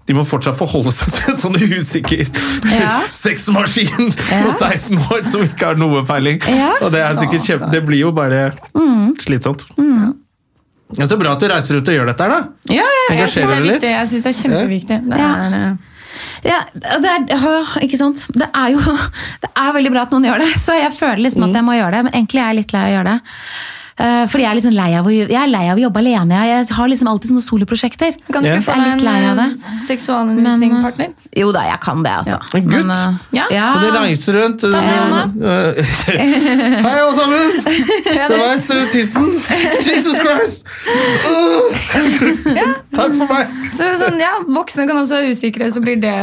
S1: de må fortsatt forholde seg til en sånn usikker
S4: Ja.
S1: sexmaskin på 16 år som ikke har noe peiling.
S4: Ja.
S1: Og det er sikkert kjempe... Det blir jo bare slitsomt. Ja, så bra at du reiser ut og gjør dette her, da.
S4: Ja, ja, ja.
S2: Jeg synes
S1: Engasjerer
S2: det er
S1: deg
S2: viktig,
S1: litt.
S2: Jeg syns det er kjempeviktig. Det
S4: Ja.
S2: er, eh,
S4: ja og det er, åh, ikke sant? Det er jo det er veldig bra at noen gjør det, så jeg føler liksom at jeg må gjøre det. Men egentlig er jeg litt lei av å gjøre det. Eh, Fordi jeg er, litt sånn lei av å, jeg er lei av å jobbe alene. Jeg- Jeg har liksom alltid sånne soloprosjekter.
S2: Kan du
S1: Ja.
S2: ikke få
S4: Jeg er litt
S2: deg
S4: lei av
S2: en
S4: det.
S2: eh, seksualundervisningspartner?
S4: Jo da, jeg kan det, altså.
S1: En gutt?
S2: Ja.
S4: ja.
S1: Og dere reiser rundt.
S2: Ah. Ta med
S1: Eh, Hei, alle sammen! Det var
S2: Penis.
S1: etter tissen. Jesus Christ! Åh! Takk for meg!
S2: Så sånn, ja, voksne kan også være usikre, så blir det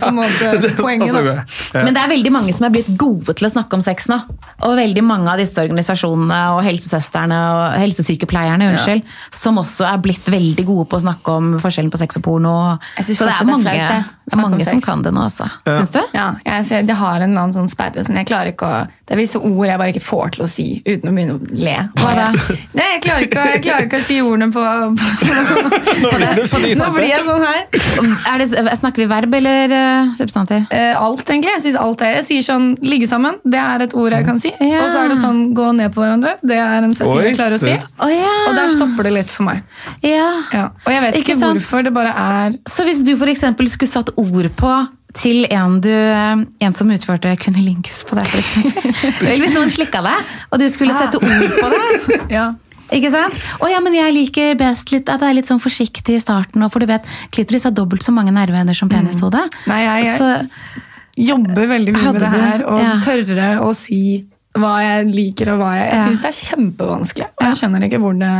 S2: på en måte
S1: Det-
S2: poenget.
S1: altså,
S2: Da.
S1: ja.
S4: Men det er veldig mange som er blitt gode til å snakke om sex nå. Og veldig mange av disse organisasjonene og helsesøstrene og helsesykepleierne unnskyld, som også er blitt veldig gode på å snakke om forskjellen på sex og porno.
S2: Jeg synes
S4: Så
S2: fortsatt
S4: det er
S2: det er
S4: mange,
S2: flaut, det, å
S4: det er
S2: snakke om
S4: mange som
S2: sex.
S4: kan det nå, altså. Syns du?
S2: Ja, jeg, ser, jeg har en eller annen sånn sperre. Sånn, jeg klarer ikke å, det er visse ord jeg bare ikke får til å si uten å begynne å le.
S4: Hva da?
S2: Nei, jeg klarer, ikke, å- jeg klarer ikke å si ordene på,
S1: Nå blir det sånn
S2: Nå blir jeg sånn her.
S4: Er det, snakker vi verb eller eh, substantiv?
S2: Eh, alt, egentlig. Jeg synes alt er, jeg sier sånn ligge sammen, det er et ord jeg kan si.
S4: Ja.
S2: Og så er det sånn gå ned på hverandre. Det er en setning
S1: Oi,
S2: jeg klarer å si.
S1: det-
S4: Å ja.
S2: Og der stopper det litt for meg.
S4: ja.
S2: Ja. Og jeg vet
S4: Ikke
S2: ikke,
S4: sant?
S2: hvorfor. Det bare er
S4: Så hvis du for eksempel skulle satt ord på til en, du, en som utførte kunilingus på deg, for eksempel. Eller hvis noen slikka deg, og du skulle sette ord på det,
S2: Ah. ja.
S4: Ikke sant? Å ja, men jeg liker best litt at det er litt sånn forsiktig i starten. og For du vet, klitoris har dobbelt så mange nerveender som penishodet.
S2: Mm. Nei, jeg- jeg-
S4: Så-
S2: jobber veldig mye
S4: Hadde
S2: med det
S4: du-
S2: her, og
S4: ja.
S2: tørre å si hva jeg liker og hva jeg Jeg
S4: Ja.
S2: synes det er kjempevanskelig, og jeg skjønner ikke hvor det,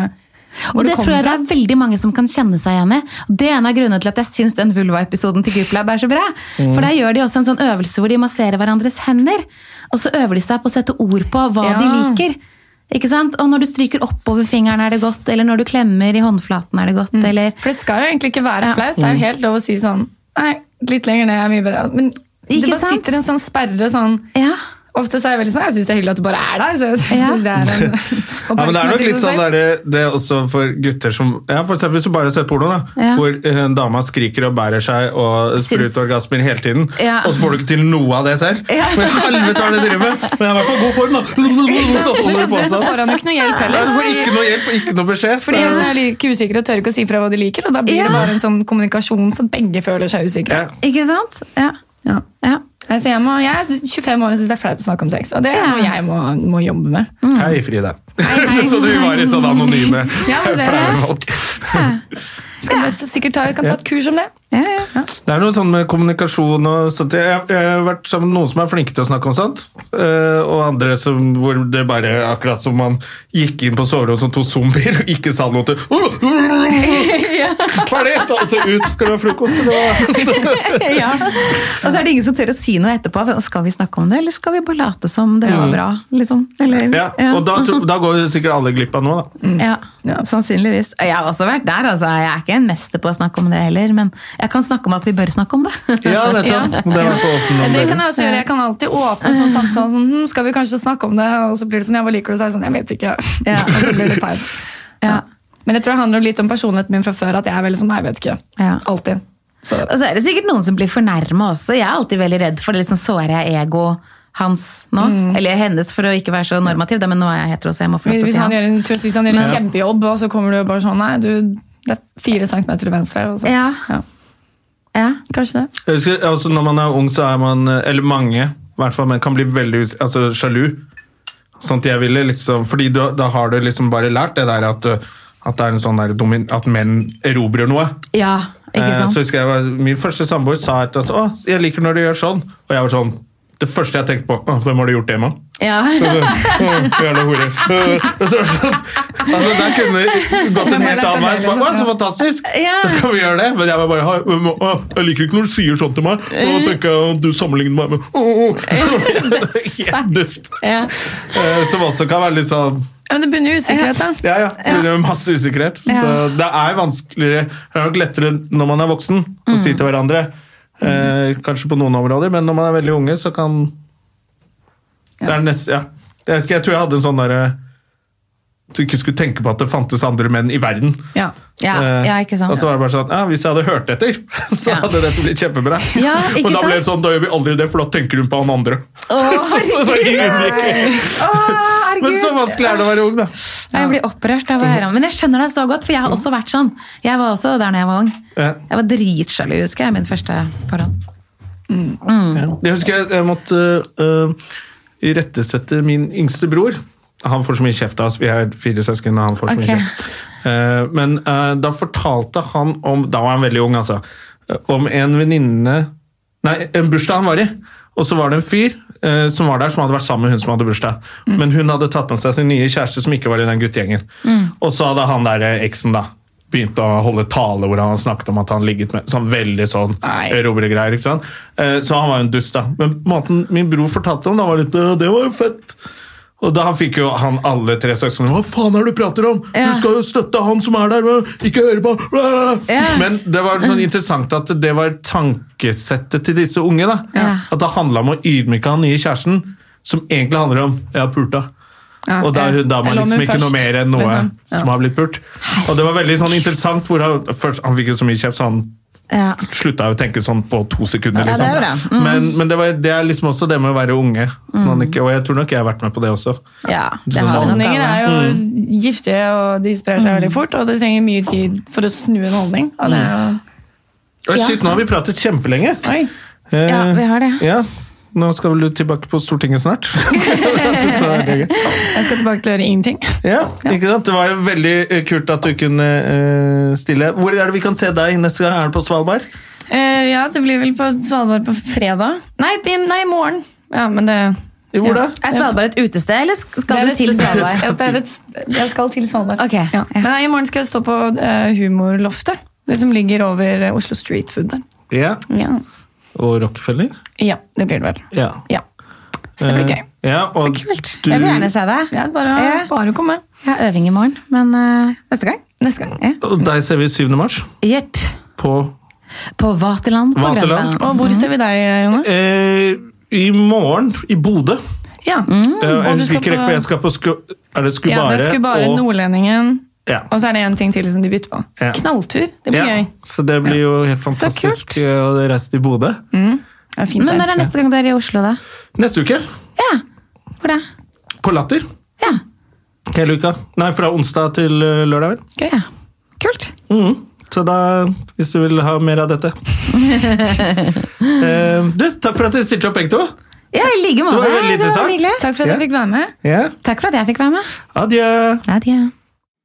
S2: hvor
S4: og det tror
S2: kommer
S4: jeg det er veldig mange som kan kjenne seg igjen i. Det er en av grunnene til at jeg syns den vulva-episoden til Guplab er så bra. For der gjør de også en sånn øvelse hvor de masserer hverandres hender. Og så øver de seg på å sette ord på hva
S2: Ja.
S4: de liker. Ikke sant? Og når du stryker oppover fingeren er det godt, eller når du klemmer i håndflaten er det godt, eller
S2: For det skal jo egentlig ikke være flaut.
S4: Mm.
S2: Det er jo helt lov å si sånn Nei, litt lenger ned er mye bedre. Men det
S4: Ikke
S2: bare
S4: sant?
S2: sitter en sånn sperre sånn
S4: Ja.
S2: Ofte så er jeg veldig sånn Jeg syns det er hyggelig at du bare er der. Så jeg synes
S4: Ja.
S2: det er en
S1: Ja, men Det er nok
S2: oppmerksomhet i
S1: litt
S2: seg
S1: sånn
S2: selv.
S1: der, det er også for gutter som ja, for eksempel Hvis du bare ser porno, da,
S4: Ja.
S1: hvor eh, dama skriker og bærer seg og spruter
S4: Syns-
S1: orgasmer hele tiden,
S4: Ja.
S1: og så får du ikke til noe av det selv. Men helvete hva er det du driver med! Men jeg er i hvert fall i god form, da! Så
S2: Men
S1: holder du på
S2: samtidig så får
S1: sånn.
S2: han jo ikke noe hjelp
S1: Nei,
S2: heller.
S1: Du får ikke noe hjelp og ikke noe beskjed.
S2: sånn- Fordi han er like usikker og tør ikke å si fra hva de liker, og da blir
S4: Ja.
S2: det bare en sånn kommunikasjon så begge føler seg usikre.
S1: Ja.
S4: Ikke sant? Ja.
S2: Ja.
S4: ja.
S2: Nei, så jeg, må, jeg er 25 år og syns det er flaut å snakke om sex. Og det er
S4: Ja.
S2: noe jeg må, må jobbe med.
S1: Mm. Hei, Frida. så du var i sånn anonyme
S2: Ja, men det-
S1: flaue folk.
S2: Skal jeg sikkert ta, jeg kan ta et kurs om det.
S1: Det er noe sånn med kommunikasjon og sånt. Jeg, jeg har vært sammen med noen som er flinke til å snakke om sånt, eh, og andre som, hvor det bare er akkurat som man gikk inn på soverommet som to zombier og ikke sa noe til Ferdig! Og så altså ut, skal du ha frokost? Eller hva?
S4: ja. Og så er det ingen som tør å si noe etterpå. Skal vi snakke om det, eller skal vi bare late som det var bra? Liksom? Eller,
S1: Ja, og da, tro- da går jo sikkert alle glipp av noe, da.
S4: Mm. ja. sannsynligvis. Jeg har også vært der, altså. Jeg er ikke en mester på å snakke om det heller, men jeg kan snakke om at vi bør snakke om det.
S1: Ja, nettopp. Det var for åpen om
S2: Det kan
S1: dere.
S2: jeg også gjøre. Jeg kan alltid åpne sånn samtale sånn hm, Skal vi kanskje snakke om det? Og så blir det sånn Ja, hva liker du? Så er det sånn Jeg vet ikke.
S4: Ja.
S2: Og så blir det teit.
S4: Ja.
S2: Men jeg tror det handler litt om personligheten min fra før, at jeg er veldig sånn Nei, jeg vet ikke.
S4: Ja.
S2: Alltid. Så
S4: Og så er det sikkert noen som blir fornærma også. Jeg er alltid veldig redd for det. Liksom sårer jeg ego hans nå? Eller hennes, for å ikke være så normativ, da, men nå er jeg hetero, så jeg må få lov til å
S2: hvis
S4: si
S2: han
S4: hans.
S2: gjør en, synes han gjør en kjempejobb, og så kommer du bare sånn Nei, du, det er fire centimeter til venstre. Og så.
S4: Ja. Ja.
S2: Kanskje det.
S1: Jeg husker, altså, når man er ung, så er man eh, Eller mange, i hvert fall, men kan bli veldig us- altså, sjalu. Sånn at jeg ville liksom Fordi da, da har du liksom bare lært det der at uh, At, det er en sånn der, domin- at menn erobrer noe.
S4: Ja, ikke
S1: Eh,
S4: sant?
S1: Så husker jeg var- Min første samboer sa et at å, jeg liker når du gjør sånn. Og jeg var sånn Det første jeg tenkte på, «Å, hvem har du gjort det med?
S4: Ja.
S1: Åh, Jævla hore. Øh, og så var det sånn- altså, der kunne det gått en helt annen vei. Så, bare, «Å, så fantastisk!
S4: Ja.
S1: Da kan vi gjøre det. Men jeg var bare «Å, men, å, Jeg liker ikke når du sier sånn til meg. Nå tenker jeg at du sammenligner meg med å, å, å». Helt dust.
S4: ja.
S1: Eh, Som også kan være litt sånn
S2: Men det bunner i usikkerhet, da.
S1: ja, ja. Det blir jo masse usikkerhet. Så det er vanskeligere Det er nok lettere når man er voksen å si til hverandre. Eh, kanskje på noen områder, men når man er veldig unge, så kan Det er nest, ja. Jeg vet ikke, jeg tror jeg hadde en sånn derre At du ikke skulle tenke på at det fantes andre menn i verden.
S2: Ja.
S4: Ja,
S1: Eh,
S4: ja, ikke sant?
S1: Og så var det bare sånn ja, Hvis jeg hadde hørt etter, så hadde dette blitt kjempebra.
S4: Ja, ikke
S1: og da ble
S4: sant?
S1: det sånn, da gjør vi aldri det, for da tenker hun på han andre. så, så, så, men så vanskelig er det å være ung, da.
S4: Nei, Jeg blir opprørt av å høre om Men jeg skjønner deg så godt, for jeg
S1: Mm.
S4: har også vært sånn. Jeg var også der da jeg var ung.
S1: Ja.
S4: Jeg var dritsjalu, husker jeg, min første forhold.
S1: Jeg husker jeg, jeg måtte uh, rettesette min yngste bror. Han får så mye kjeft av oss, vi er fire søsken. og han får så
S4: Ok.
S1: mye kjeft. Eh, men eh, da fortalte han om Da var han veldig ung, altså. eh, Om en venninne Nei, en bursdag han var i. Og så var det en fyr eh, som var der som hadde vært sammen med hun som hadde bursdag. Men hun hadde tatt med seg sin nye kjæreste som ikke var i den guttegjengen. Og så hadde han der eh, eksen da begynt å holde tale hvor han snakket om at han ligget med sånn veldig sånn
S2: Nei.
S1: erobregreier. ikke sant? Eh, Så han var jo en dust, da. Men måten min bror fortalte om, da var litt «Å, Det var jo fett! Og da fikk jo han alle tre søsknene Hva faen er det du prater om?!
S4: Ja.
S1: Du skal jo støtte han som er der! hva? Ikke høre på! han!» Bla, bla, bla.
S4: Ja.
S1: Men det var sånn interessant at det var tankesettet til disse unge. da.
S4: Ja.
S1: At det handla om å ydmyke han nye kjæresten, som egentlig handler om 'jeg har pulta'.
S2: Ja, eh,
S1: og da er hun
S2: ja.
S1: dama
S2: Eller om
S1: liksom
S2: hun
S1: ikke noe
S2: først,
S1: mer enn noe
S2: liksom. Ja.
S1: som har blitt pult. Og det var veldig sånn interessant hvor han, først, han fikk jo så mye kjeft, så han
S4: Ja.
S1: slutta å tenke sånn på to sekunder.
S4: Ja, det
S1: Liksom.
S4: er jo det. Mm.
S1: Men, men det, var, det er liksom også det med å være unge. Man ikke, og jeg tror nok jeg har vært med på det sånn. også.
S4: ja det
S1: Så
S4: har vi nok
S2: Holdninger
S4: alle.
S2: er jo
S1: Mm.
S2: giftige, og de sprer seg veldig fort. Og det trenger mye tid for å snu en holdning. Og det er jo...
S1: Å, Shit, nå har vi pratet kjempelenge!
S2: Oi.
S1: Eh,
S4: Ja, vi har det.
S1: ja. Nå skal vel du tilbake på Stortinget snart? Så er det gøy.
S2: Jeg skal tilbake til å gjøre ingenting.
S1: ja, ikke sant? Det var jo veldig eh, kult at du kunne eh, stille. Hvor er det vi kan se deg neste gang? Er det på Svalbard?
S2: Eh, ja, det blir vel på Svalbard på fredag. Nei, i- nei, i morgen. Ja, men det...
S1: I Hvor da?
S4: Er Svalbard et utested, eller
S2: Det er
S4: skal du
S2: et
S4: til
S2: spesielt-
S4: Svalbard?
S2: Ja, det er et, jeg skal til Svalbard.
S4: Ok,
S2: Ja.
S4: ja.
S2: Men nei, i morgen skal jeg stå på eh, Humorloftet. Det som ligger over eh, Oslo Street Food der.
S1: Ja.
S2: Ja.
S1: Og Rockefeller?
S2: ja, det blir det vel.
S1: Ja.
S2: Ja. Så det blir gøy.
S1: Eh, Ja, og
S4: Så kult.
S1: Du,
S4: Jeg vil gjerne se deg.
S2: Ja, bare,
S4: Ja.
S2: bare å komme
S4: Jeg har øving i morgen, men eh, neste gang.
S2: neste gang.
S1: og deg ser vi 7. mars
S4: Jepp.
S1: på
S4: På Vaterland på
S1: Vaterland.
S4: Grønland.
S2: Og hvor ser vi deg, Jone?
S1: eh, I morgen i Bodø.
S2: Ja.
S4: Mm.
S1: Eh, Jeg
S2: Og du
S1: husker
S2: skal
S1: ikke
S2: på-
S1: rekke, for jeg skal på sku, Er det
S2: ja,
S1: Skubare?
S2: det skulle bare
S1: og-
S2: Nordlendingen.
S1: Ja.
S2: Og så er det en ting til som de bytter på.
S1: Ja.
S2: Knalltur. Det blir
S1: ja,
S2: gøy.
S1: så det blir jo helt fantastisk
S2: kult.
S1: eh, å reise til Bodø.
S2: Det er fint
S4: Men
S2: der.
S4: når er neste gang du er i Oslo, da?
S1: Neste uke,
S4: Ja, hvor da?
S1: på Latter.
S4: Ja,
S1: Hele uka. Nei, fra onsdag til eh, lørdag, vel.
S2: Gøy.
S4: ja. Kult.
S1: Mhm. Så da, hvis du vil ha mer av dette eh, Du, takk for at dere stilte opp, begge to.
S4: Ja, i like måte.
S1: Det var jo veldig
S4: Det var
S1: interessant.
S4: hyggelig.
S2: Takk for at
S1: Ja.
S2: jeg fikk være med.
S1: Ja,
S4: Takk for at jeg fikk være med.
S1: Adjø.
S4: Adjø.